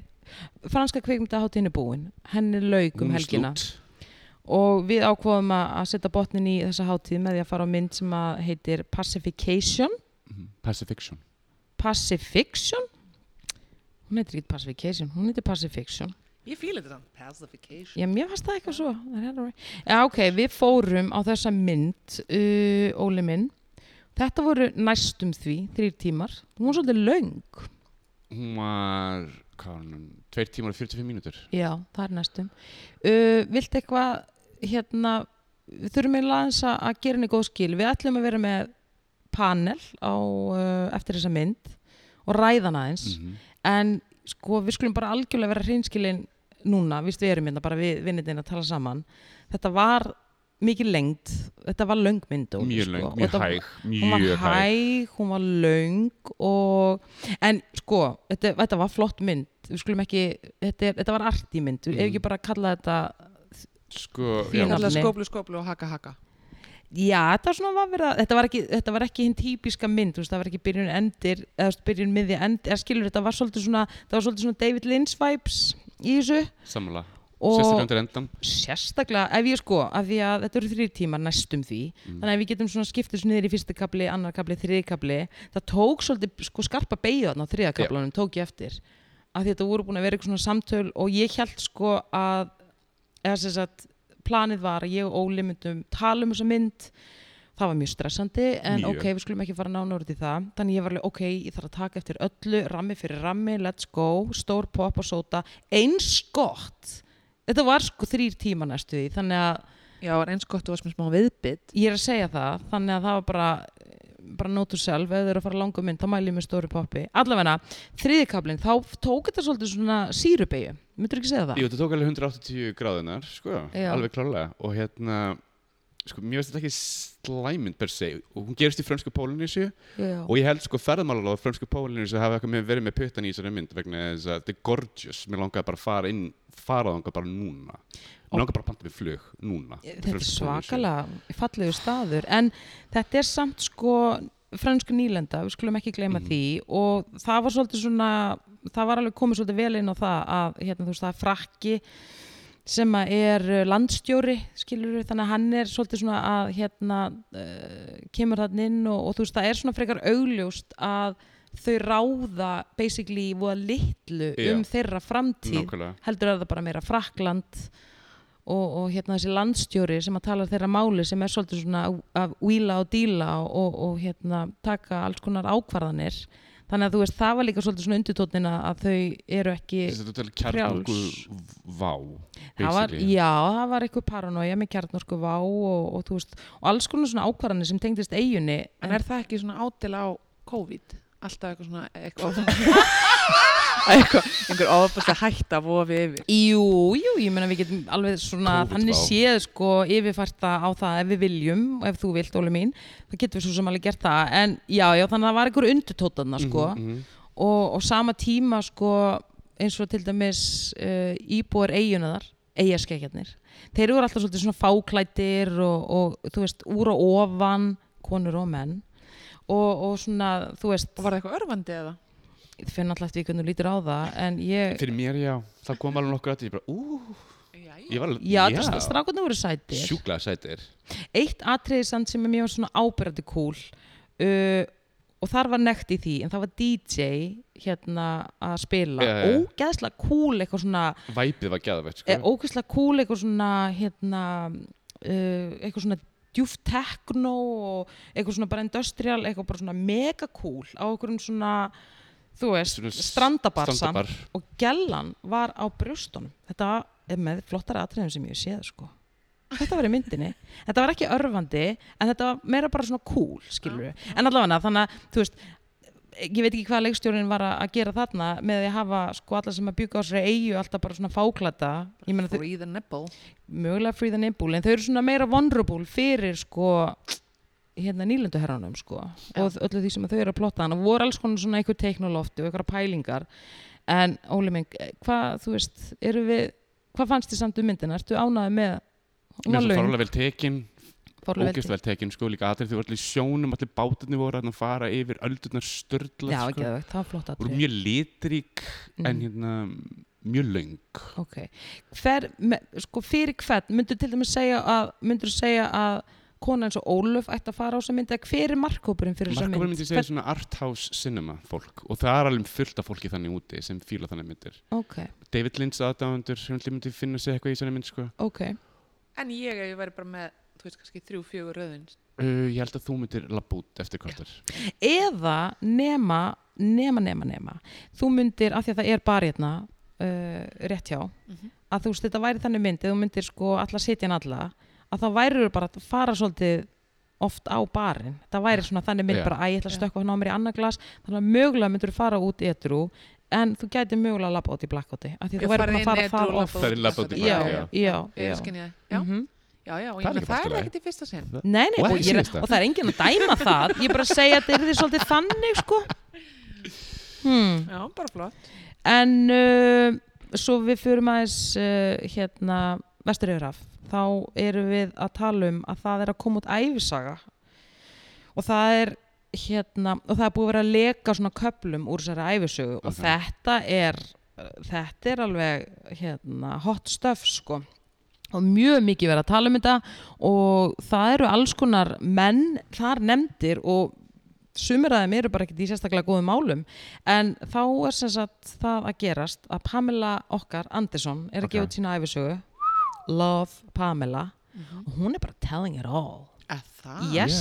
Speaker 1: franska kveikmyndaháttíðin er búin henni lauk um
Speaker 2: Hún
Speaker 1: helgina
Speaker 2: slút.
Speaker 1: og við ákvaðum að að setja botnin í þessa háttíð með því að fara á mynd sem að heitir Pacification
Speaker 2: Mhm. Pacifiction
Speaker 1: Pacifiction hún heitir ekki Pacification, hún heitir Pacifiction
Speaker 3: Ég fíla þetta. Pacification.
Speaker 1: Já, mér fannst það eitthvað svo. Það er alveg- Já, ok, við fórum á þessa mynd, uh, Óli minn. Þetta voru næstum því, þrýr tímar. Hún var svolítið löng.
Speaker 2: Hún var, hvað var hún, 2 tímar og 45 mínútur
Speaker 1: Já, það er næstum. Uh, viltu eitthvað, hérna, við þurfum eiginlega aðeins að að gera henni góð skil. Við ætlum að vera með panel á, uh, eftir þessa mynd og ræðan aðeins.
Speaker 2: Mhm.
Speaker 1: en sko við skulum bara algjörlega vera hreinskilin núna, víst við erum hérna bara við vinnitinn að tala saman þetta var mikið lengd þetta var löngmynd Óli,
Speaker 2: Mjög
Speaker 1: sko.
Speaker 2: löng,
Speaker 1: Og
Speaker 2: mjög
Speaker 1: þetta-
Speaker 2: hæg
Speaker 1: hún var
Speaker 2: Mjög hæg
Speaker 1: hæg, hún var löng og, en sko þetta, þetta var flott mynd við skulum ekki, þetta, er, þetta var arti mynd mm. ef
Speaker 2: Mhm.
Speaker 1: ekki bara kalla þetta
Speaker 2: Sko,
Speaker 1: Þín
Speaker 2: já,
Speaker 1: alveg.
Speaker 3: Kallar
Speaker 1: nafni.
Speaker 3: skóplu, skóplu og haka, haka.
Speaker 1: Já, þetta var svona var verið að, þetta var ekki, þetta var ekki hinn típiska mynd, þú veist, það var ekki byrjun endir, eða þú veist, byrjun miði endir, eða skilur þetta var svolítið svona, það var svolítið svona David Lynch vibes í þessu
Speaker 2: sammála
Speaker 1: og
Speaker 2: Sérstaklega undir endan
Speaker 1: sérstaklega, ef ég sko, af því að þetta eru þrýr tímar næstum því, þannig að við getum svona skipt þessu niður í fyrsta kapli, annar kapli, þriði kapli, það tók svolítið sko skarpa beigja þarna á þriða kaplanum, tók ég eftir, af því þetta voru búin að vera eitthvað svona samtöl og ég held sko að, eða sem sagt, planið var að ég og Óli myndum tala um þessa mynd, það var mjög stressandi en
Speaker 2: Mjög.
Speaker 1: ok, við skulum ekki fara nánar út í það þannig ég var alveg, ok, ég þarf að taka eftir öllu rammi fyrir rammi, let's go, stór pop og sóta, eins gott þetta var sko þrýr tíma næstu því þannig að
Speaker 3: Já, var eins gott þú varst með smá viðbytt.
Speaker 1: ég er að segja það þannig að það var bara bara notu sjálf, ef þau eru að fara langa mynd þá mæli ég með stóri poppi, allavega þriðikablin, þá tók þetta svolítið svona sírubeyju, myndur ekki segja það?
Speaker 2: Jú, þetta tók alveg 180 gráðunar, sko,
Speaker 1: Já.
Speaker 2: alveg klálega og hérna, sko, mér finnst þetta ekki slæmynd per se og hún gerist í frönsku Pólunísju
Speaker 1: Já.
Speaker 2: og ég held sko ferðamálalega að frönsku Pólunísju hafa eitthvað með verið með puttan í þessari mynd vegna þess að þetta er gorgeous, mér langaði bara að fara inn, fara þangað bara núna
Speaker 1: Og-
Speaker 2: mér langaði bara að panta við flug núna til
Speaker 1: þetta er
Speaker 2: frönsku Pólýnesíu.
Speaker 1: svakalega fallegu staður en þetta er samt sko fransku nýlenda, við skulum ekki gleyma
Speaker 2: Mhm.
Speaker 1: því og það var svolítið svona það var alveg komið svolítið vel inn á það að hérna, þú veist, það er frakki sem að er uh, landstjóri skilur þannig að hann er svolítið svona að hérna uh, kemur þann inn og, og þú veist, það er svona frekar augljóst að þau ráða basically voða litlu
Speaker 2: Já.
Speaker 1: um þeirra framtíð
Speaker 2: Nákvæmlega,
Speaker 1: heldur er það bara meira Frakland og, og hérna þessi landstjóri sem að tala þeirra máli sem er svolítið svona að- að výla og díla og, og, og hérna taka alls konar ákvarðanir þannig að þú veist það var líka svolítið svona undirtótnina að þau eru ekki
Speaker 2: Þess að þetta er kjarnorku vá
Speaker 1: það var,
Speaker 2: basically.
Speaker 1: já, það var eitthvað paranoia með kjarnorku vá og, og þú veist og alls konar svona ákvarðanir sem tengdist eiginni
Speaker 3: En er það ekki svona ádela á COVID? Alltaf eitthvað svona, eitthvað, eitthvað einhver ofast að hætta að vofi yfir.
Speaker 1: Jú, jú, ég meina við getum alveg svona
Speaker 2: Covid
Speaker 1: þannig
Speaker 2: vá.
Speaker 1: séð sko yfirfært á það ef við viljum og ef þú vilt, Óli mín þá getum við svo sem alveg gert það en já, já, þannig að það var einhver undirtótana sko
Speaker 2: Mhm,
Speaker 1: og, og sama tíma sko eins og til dæmis uh, íbúar eigunar eigaskeggjarnir, þeir eru alltaf svolítið svona fáklættir og, og þú veist, úr og ofan konur og menn og, og svona, þú veist
Speaker 3: Og var það eitthvað örvandi eða?
Speaker 1: ég finn alltaf eftir því hvernig þú lítur á það en ég,
Speaker 2: mhm. Fyrir mér, já, það kom alveg nokkur að ég bara, ú, ég var alveg,
Speaker 1: já, já. strákunum voru sætir
Speaker 2: sjúklega sætir
Speaker 1: eitt atriði samt sem er mjög svona ábyrðandi cool uh, og þar var nekt í því en það var DJ hérna að spila
Speaker 2: Já,
Speaker 1: yeah,
Speaker 2: já.
Speaker 1: ógeðslega cool eitthvað svona
Speaker 2: Væpið var gæðvegt, sko
Speaker 1: eh, ógeðslega cool eitthvað svona hérna uh, eitthvað svona djúft techno og eitthvað svona bara industrial eitthvað bara svona mega cool á einhverjum svona þú veist,
Speaker 2: Svona s-
Speaker 1: strandabarsan
Speaker 2: strandabar.
Speaker 1: og gellan var á brjóstunum þetta er með flottara atriðum sem ég hef séð sko þetta var í myndinni, þetta var ekki örfandi en þetta var meira bara svona cool skilur en allavega þannig að þú veist ég veit ekki hvað leikstjórin var að að gera þarna með því að hafa sko alla sem að bygga á sér eigu alltaf bara svona fáklata ég meina þau,
Speaker 3: Free the nipple
Speaker 1: mögulega free the nipple en þau eru svona meira vulnerable fyrir sko hérna nýlenduherranum sko og öllu því sem þau eru að plotta hann og voru alls konar svona einhver teiknolofti og einhverja pælingar en Óli minn, hvað þú veist, eru við hvað fannst þið samt um myndina, ertu ánaði með hún var
Speaker 2: Mér
Speaker 1: löng,
Speaker 2: fórlega vel tekin,
Speaker 1: fárlega
Speaker 2: ógæst vel tekin sko líka aðrið því voru allir í sjónum, allir bátarnir voru þarna að fara yfir öldurnar störla
Speaker 1: já,
Speaker 2: sko.
Speaker 1: ekki það, það var flott
Speaker 2: voru
Speaker 1: atrið
Speaker 2: mjög litrík en
Speaker 1: Mm.
Speaker 2: hérna mjög löng
Speaker 1: ok, Hver, me, sko fyrir hvern myndur til dæmis segja að myndur segja að kona eins og Ólöf ætti að fara á þessa mynd eða hver er markkópurinn fyrir þessa mynd
Speaker 2: Markofur myndi segja svona arthouse cinema fólk og það er alveg fullt af fólki þannig úti sem fíla þannig myndir
Speaker 1: ok,
Speaker 2: David Lynch aðdáðandur, hún allir myndi finna sig eitthvað í þessari mynd sko.
Speaker 1: ok,
Speaker 3: En ég, ef ég væri bara með, þú veist, kannski þrjú, fjögur röðin
Speaker 2: uh, ég held að þú myndir lapp út eftir kvartar
Speaker 1: eða nema nema, nema, nema þú myndir, af því að það er bara hérna uh, rétt hjá
Speaker 3: Mhm.
Speaker 1: að þú veist, þetta væri þannig mynd, ef þú myndir sko alla sitja en alla, að þá væri bara að fara svolítið oft á barinn það væri svona þannig mynd
Speaker 2: Já.
Speaker 1: bara að ég ætla að
Speaker 3: Já.
Speaker 1: stökkva hann á mér í annar glas þannig að mögulega myndur fara út etru en þú gæti mögulega að labba út í blackouti af því að
Speaker 3: Ég
Speaker 1: þú væri
Speaker 3: fara
Speaker 1: búin að
Speaker 3: inn
Speaker 1: fara
Speaker 3: edrú
Speaker 1: það
Speaker 3: og
Speaker 1: oft
Speaker 2: Það er labba út í
Speaker 1: já,
Speaker 2: blackouti,
Speaker 1: já,
Speaker 2: já.
Speaker 1: já, já.
Speaker 3: Ég skynja það, já,
Speaker 1: Mhm.
Speaker 3: já, já, og
Speaker 2: Það er
Speaker 3: ég meina
Speaker 2: ekki
Speaker 3: það er
Speaker 2: bara
Speaker 3: ekkert í fyrsta sinn
Speaker 1: Nei, nei,
Speaker 2: Og
Speaker 1: og, ég,
Speaker 2: ekki síðasta.
Speaker 1: og það er enginn að dæma það ég er bara að segja að þetta er því svolítið þannig sko hmm.
Speaker 3: Já, bara flott
Speaker 1: en uh, svo við förum aðeins uh, hérna vesturöðraf þá erum við að tala um að það er að koma út æfisaga og það er hérna og það er búið að vera að leka svona köplum úr þessari æfisögu og
Speaker 2: Ok.
Speaker 1: þetta er þetta er alveg hérna hot stuff sko og mjög mikið verið að tala um þetta og það eru alls konar menn þar nefndir og sumir af þeim eru bara ekkert í sérstaklega góðum málum en þá er sem sagt það að gerast að Pamela okkar Anderson er að
Speaker 2: Ok.
Speaker 1: gefa út sína æfisögu Love Pamela og hún er bara telling it all
Speaker 3: Að það?
Speaker 1: Yes.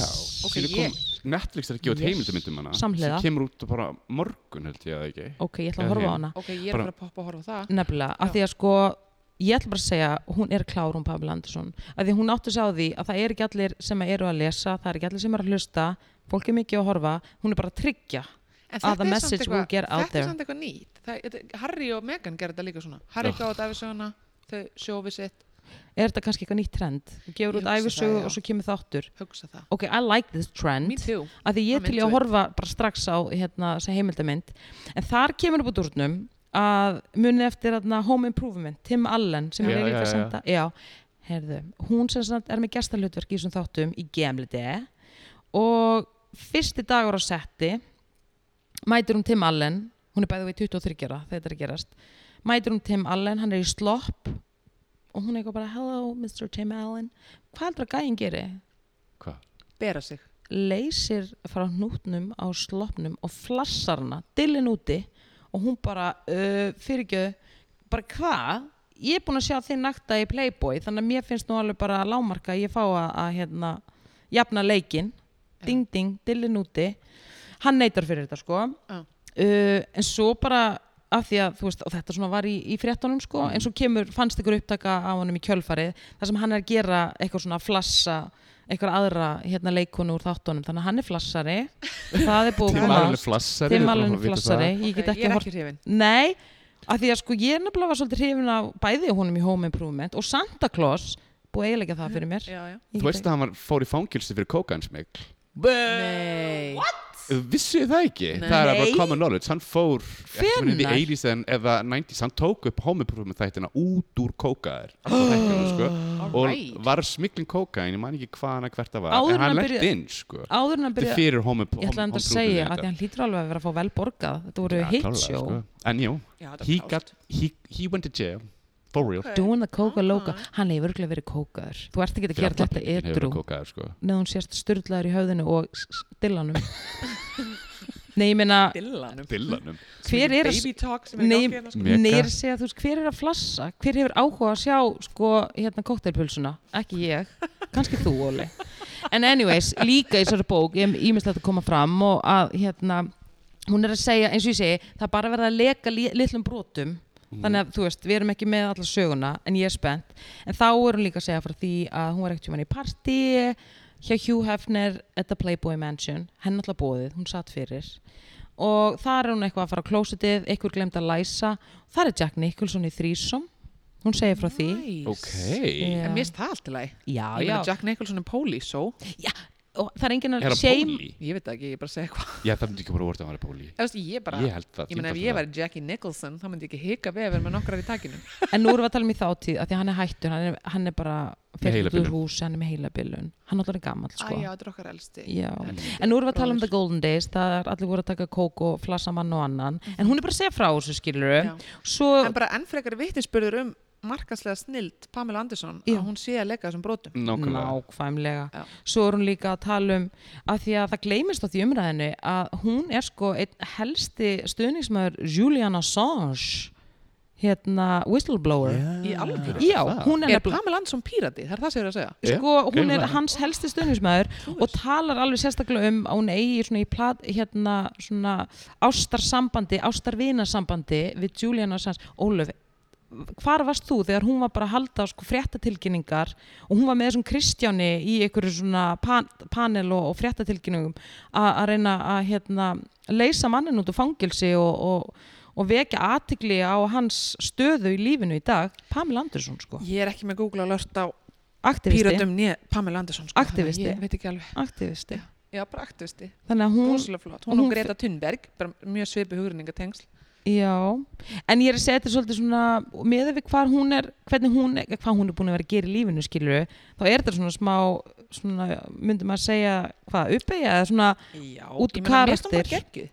Speaker 3: Ok,
Speaker 2: Síðan kom- Netflix er að gefa út
Speaker 1: Yes.
Speaker 2: heimildamyndum hana
Speaker 1: Samhliða.
Speaker 2: sem kemur út bara á morgun held ég að ekki
Speaker 1: ok, ég ætla að
Speaker 2: Já,
Speaker 1: horfa á
Speaker 2: heim.
Speaker 1: hana
Speaker 3: Ok, ég er
Speaker 2: Bara-
Speaker 3: bara að poppa og horfa á það
Speaker 1: nefnilega, af
Speaker 3: Já.
Speaker 1: því að sko ég ætla bara að segja, hún er klár hún Pamela Andersson af því hún átti sig á því að það er ekki allir sem eru að lesa, það er ekki allir sem eru að hlusta fólk er mikið að horfa, hún er bara að tryggja
Speaker 3: En
Speaker 1: Ah, the
Speaker 3: þetta er samt
Speaker 1: message we
Speaker 3: eitthvað-
Speaker 1: get out
Speaker 3: þetta
Speaker 1: there.
Speaker 3: er samt eitthvað nýtt Það- þetta- Harry og Meghan gerðu þetta líka svona Harry
Speaker 2: Já.
Speaker 3: gáði þetta æfisöguna, þau sjófi sitt
Speaker 1: er þetta kannski eitthvað nýtt trend hún
Speaker 3: Ég
Speaker 1: gefur út
Speaker 3: hugsa það,
Speaker 1: æfisögu
Speaker 3: já.
Speaker 1: og svo kemur þáttur
Speaker 3: hugsa það
Speaker 1: ok, I like this
Speaker 3: Me
Speaker 1: trend
Speaker 3: too
Speaker 1: af því ég
Speaker 3: I'm
Speaker 1: til ég að
Speaker 3: into it.
Speaker 1: horfa bara strax á hérna, þessa heimildamind en þar kemur upp úr durnum að muni eftir hérna, Home Improvement Tim Allen sem
Speaker 2: Já,
Speaker 1: er
Speaker 2: já,
Speaker 1: líka
Speaker 2: já.
Speaker 1: senda já, herðu, hún sem sagt er með gestalutverk í þessum þáttum í Gemlidi og fyrsti dagur á setti mætir hún Tim Allen hún er bæðið við 23 ára þegar þetta er að gerast mætir hún Tim Allen, hann er í slopp og hún er eitthvað bara hello Mr. Tim Allen hvað heldur að gæðin gerir?
Speaker 2: Hva?
Speaker 3: Bera sig
Speaker 1: leysir frá hnútnum á sloppnum og flassar hana dillin úti og hún bara uh, fyrirgjöðu, bara hvað ég er búin að sjá þið nakta í Playboy þannig að mér finnst nú alveg bara að lámarka að ég fá að, að hérna, jafna leikin ding ding, dillin úti hann neytar fyrir þetta sko
Speaker 3: Já.
Speaker 1: uh, en svo bara af því að, þú veist, og þetta svona var í, í fréttunum sko,
Speaker 3: Mhm.
Speaker 1: en svo kemur, fannst ykkur upptaka á honum í kjölfarið, þar sem hann er að gera eitthvað svona að flassa, eitthvað aðra hérna leikonu úr þáttunum, þannig að hann er flassari það er búið að
Speaker 2: Tim
Speaker 1: koma
Speaker 2: Allen er flassari
Speaker 1: Tim
Speaker 2: við erum
Speaker 1: Allen
Speaker 2: að
Speaker 1: er
Speaker 2: vita
Speaker 1: flassari, ég
Speaker 3: Ok,
Speaker 1: get
Speaker 3: Ég
Speaker 1: ekki
Speaker 3: er
Speaker 1: hort
Speaker 3: ekki hrifin
Speaker 1: nei, af því að sko ég nefnilega var svolítið hrifin af bæði húnum í Home Improvement og Santa Claus búið að eiginlega það fyrir mér
Speaker 3: Já, já
Speaker 2: það. Þú veist að hann var, fór í fangilsi fyrir kókansmikl
Speaker 3: Uh, Nei
Speaker 2: Vissu það ekki?
Speaker 3: Nei.
Speaker 2: Það er bara
Speaker 1: Nei.
Speaker 2: common knowledge Hann fór Hvernig?
Speaker 1: Hvenær?
Speaker 2: 80s en- eða 90s Hann tók upp homoprofum þættina út úr kókaðir Þættina sko
Speaker 3: Alright.
Speaker 2: Og var smikling kókaðin Ég man ekki hvaðan að hvert það var
Speaker 1: Áður en
Speaker 2: En hann
Speaker 1: hann
Speaker 2: lett
Speaker 1: byrja-
Speaker 2: inn sko
Speaker 1: áður en að
Speaker 2: Þetta
Speaker 1: byrja,
Speaker 2: er fyrir homoprofum
Speaker 1: ég ætla hann að segja
Speaker 2: hérna.
Speaker 1: að því hann hlýtur alveg að vera að fá vel borgað þetta voru hitsjó
Speaker 2: sko. En jú
Speaker 3: Já, þetta er
Speaker 2: He
Speaker 3: klárt.
Speaker 2: got He he went to jail For real
Speaker 1: Doing the coca loca
Speaker 3: Ah.
Speaker 1: Hann hefur örglega verið kókaður Þú ert ekki að
Speaker 2: Fyrir
Speaker 1: gera
Speaker 2: allan
Speaker 1: þetta
Speaker 2: peninginn hefur
Speaker 1: edru
Speaker 2: verið kókaður sko
Speaker 1: Neða hún sést styrlaður í höfðinu og dillanum Nei, ég meina
Speaker 3: Dillanum
Speaker 2: Dillanum
Speaker 1: Hver er að
Speaker 3: Baby talk sem er í
Speaker 1: Nei,
Speaker 3: gangi hérna, sko.
Speaker 2: Mega.
Speaker 1: Nei, ég er að segja, þú veist, hver er að flassa? Hver hefur áhuga að sjá, sko, hérna kóktelpulsuna? Ekki ég, kannski þú, Óli. En anyways, líka í þessari bók, ég hef ímislegt að koma fram og að, hérna, hún er að segja, eins og ég segi, það er bara verið að leka li litlum brotum,
Speaker 3: Mm.
Speaker 1: þannig að, þú veist, við erum ekki með alla söguna, en ég er spennt. En þá er hún líka að segja frá því að hún var ekkert tjóman í partí hjá Hugh Hefner at the Playboy Mansion, henn alltaf bóðið, hún satt fyrir og þar er hún eitthvað að fara á klósitið, eitthvað glemt að læsa þar er Jack Nicholson í þrísom hún segir frá því
Speaker 3: Nice.
Speaker 2: Ok
Speaker 1: Já.
Speaker 3: En mér finnst það allt í lagi.
Speaker 1: já, já,
Speaker 3: Ég meina Jack Nicholson er pólísó.
Speaker 1: já og það er enginn
Speaker 2: Er
Speaker 1: að
Speaker 2: hann
Speaker 1: shame
Speaker 2: Póli?
Speaker 3: Ég veit það ekki, ég bara segi eitthvað.
Speaker 2: Já, það myndi ekki bara orðið að hann er Póli
Speaker 3: Ég, veist, ég bara,
Speaker 2: Ég held það
Speaker 3: ég meina ef ég væri Jackie Nicholson, þá myndi ég ekki hika við að vera með nokkrar í takinu.
Speaker 1: en nú erum við að tala um í þátíð af því að hann er hættur, hann er, hann er bara fyrir út úr
Speaker 2: heilabilun.
Speaker 1: húsi, hann er með heilabilun hann er alltaf gammal sko
Speaker 3: Æ, já, þetta er okkar elsti.
Speaker 1: Já. En nú erum við að tala um The Golden Days, það er allir voru að taka kók og flassa mann og annan, en hún er bara að segja frá þessu skilur
Speaker 3: Mhm. Já.
Speaker 1: Svo,
Speaker 3: En bara enn frekar vittinsbyrður um markaslega snild Pamela Anderson
Speaker 1: Já.
Speaker 3: að hún sé að leika þessum brotum.
Speaker 2: Nákvæmlega
Speaker 1: nákvæmlega.
Speaker 3: Já.
Speaker 1: Svo er hún líka að tala um að því að það gleymist á því umræðinu að hún er sko einn helsti stuðningsmaður Julian Assange, hérna whistleblower.
Speaker 3: Í alvöru?
Speaker 1: Já, hún er
Speaker 3: Eh. Er
Speaker 1: nefnilega...
Speaker 3: Pamela Anderson pírati? Það er það sem ég er að segja.
Speaker 2: Já,
Speaker 1: Sko, hún er
Speaker 2: greinilega.
Speaker 1: hans helsti stuðnismæður og talar alveg sérstaklega um að hún eigi svona í plat, hérna, svona ástarsambandi, ástarvinasambandi við Julian Assange. Ólöf, hvar varst þú þegar hún var bara að halda á, sko fréttatilkynningar og hún var með þessum Kristjáni í einhverju svona pan, panel og, og fréttatilkynningum a- að reyna að hérna, leysa mannin út úr fangilsi og, og, og vekja aðtikli á hans stöðu í lífinu í dag Pamela Andersson sko,
Speaker 3: Ég er ekki með Google alert á
Speaker 1: aktivisti
Speaker 3: píratum nýja Pamela Anderson. Sko,
Speaker 1: Aktivisti.
Speaker 3: þannig að Ég veit ekki alveg.
Speaker 1: aktivisti
Speaker 3: Já, bara aktivisti.
Speaker 1: þannig að hún,
Speaker 3: Rosalega flott.
Speaker 1: og
Speaker 3: Hún
Speaker 1: hún
Speaker 3: og Greta Thunberg, bara mjög svipi hugrinningatengsl.
Speaker 1: já en ég er að segja þetta svolítið svona með við hvar hún er, hvernig hún er hvað hún er búin að vera að gera í lífinu skilur þá er þetta svona smá svona, myndi maður segja hvað, uppeigja eða svona,
Speaker 3: Já,
Speaker 1: Út
Speaker 3: ég meina,
Speaker 1: karakter.
Speaker 3: mér finnst hún bara geggjuð.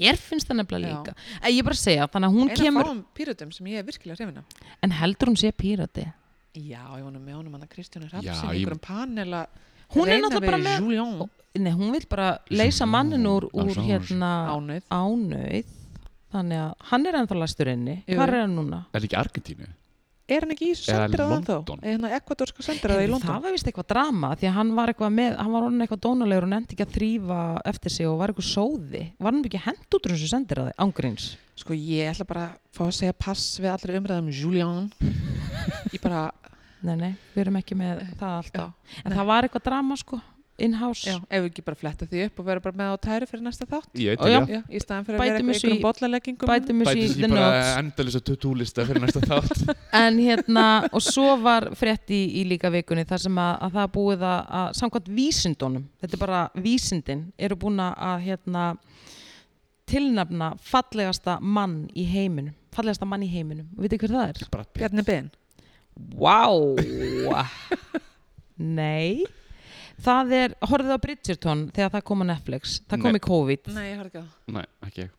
Speaker 1: mér finnst það nefnilega
Speaker 3: Já.
Speaker 1: líka en ég er bara að segja, þannig að hún
Speaker 3: Eina
Speaker 1: kemur
Speaker 3: fáum um píratum sem ég er virkilega hrifin af.
Speaker 1: en heldur hún sé pírati
Speaker 3: Já, ég vonum með honum hann að Kristjánu Raps
Speaker 2: Já, ég-
Speaker 3: í einhverjum panel að
Speaker 1: Hún er
Speaker 3: reyna
Speaker 1: náttúrulega
Speaker 3: við
Speaker 1: bara með-
Speaker 3: Julian
Speaker 1: nei, hún vil bara leysa mannin úr, úr
Speaker 2: Assange.
Speaker 1: hérna
Speaker 3: ánöð.
Speaker 1: ánauð þannig að hann er ennþá læstur inni
Speaker 3: Jú.
Speaker 1: hvar er hann núna?
Speaker 2: Er það ekki Argentínu?
Speaker 3: Er hann ekki í þessu
Speaker 2: Eða
Speaker 3: sendiráð ennþá?
Speaker 2: London.
Speaker 3: Er hann að ekvatorska sendiráð í
Speaker 1: Heyrðu,
Speaker 3: London?
Speaker 1: það var vist eitthvað drama því að hann var eitthvað með, hann var orðin eitthvað dónalegur og nefndi ekki að þrýfa eftir sig og var eitthvað sóði var hann ekki hend út úr þessu sendir að þið, ángríns
Speaker 3: Sko ég ætla bara að fá að segja pass við allri umræðum um Julian Ég bara,
Speaker 1: nei, nei, við erum ekki með það alltaf
Speaker 3: já,
Speaker 1: en það var eitthvað drama sko, in-house
Speaker 3: já, ef við ekki bara fletta því upp og vera bara með á tæru fyrir næsta þátt
Speaker 2: Ég
Speaker 1: Ó,
Speaker 2: veit
Speaker 1: já.
Speaker 2: ekki
Speaker 3: Já, í staðan fyrir að vera
Speaker 1: Bætum
Speaker 3: eitthvað
Speaker 1: þessu í-
Speaker 3: ykkur um bollaleggingum
Speaker 1: bæti mjög
Speaker 2: Bæti
Speaker 1: í
Speaker 2: sér
Speaker 1: the
Speaker 2: bara
Speaker 1: notes
Speaker 2: endalisa tutúlista fyrir næsta þátt
Speaker 1: en hérna, og svo var frett í, í líka vikunni þar sem að, að það er búið að, að samkvæmt vísindunum þetta er bara vísindin, eru búin að hérna tilnafna fallegasta mann í heiminum fallegasta mann í heiminum, veitir hver það er?
Speaker 2: Brad Pitt.
Speaker 3: Bjarni Ben
Speaker 1: Vá Nei Það er, horfðu á Bridgerton þegar það kom á Netflix, það kom
Speaker 2: Nei.
Speaker 1: í COVID
Speaker 3: Nei, ég har ekki á það
Speaker 2: Nei, ekki ég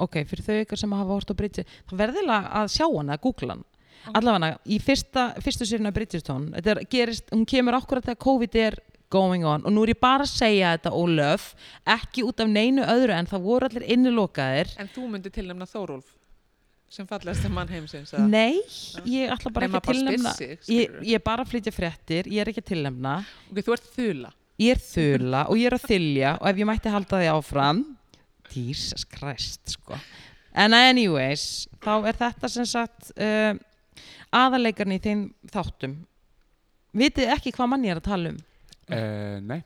Speaker 1: ok, fyrir þau ykkur sem hafa hort á Bridgerton þá verðilega að sjá hana, að googla hana allavega, í fyrsta, fyrstu sérinu af Bridgerton, þetta er, gerist, hún kemur akkurat þegar COVID er going on og nú er ég bara að segja þetta, Ólöf ekki út af neinu öðru en það voru allir innilokaðir
Speaker 3: En þú myndi tilnæmna Þórólf sem fallast að mann heimsins eða?
Speaker 1: Nei, ég ætla bara ekki
Speaker 3: Nei, maður
Speaker 1: að tilnefna
Speaker 3: bara spyr sig,
Speaker 1: ég,
Speaker 3: skilurðu.
Speaker 1: ég er bara að flytja fréttir, ég er ekki að tilnefna
Speaker 3: Ok, þú ert þula
Speaker 1: ég er þula og ég er að þylja og ef ég mætti halda því áfram Jesus Christ sko en anyways, þá er þetta sem sagt uh, aðarleikarni í þeim þáttum vitið ekki hvað mann ég er að tala um
Speaker 2: uh, Nei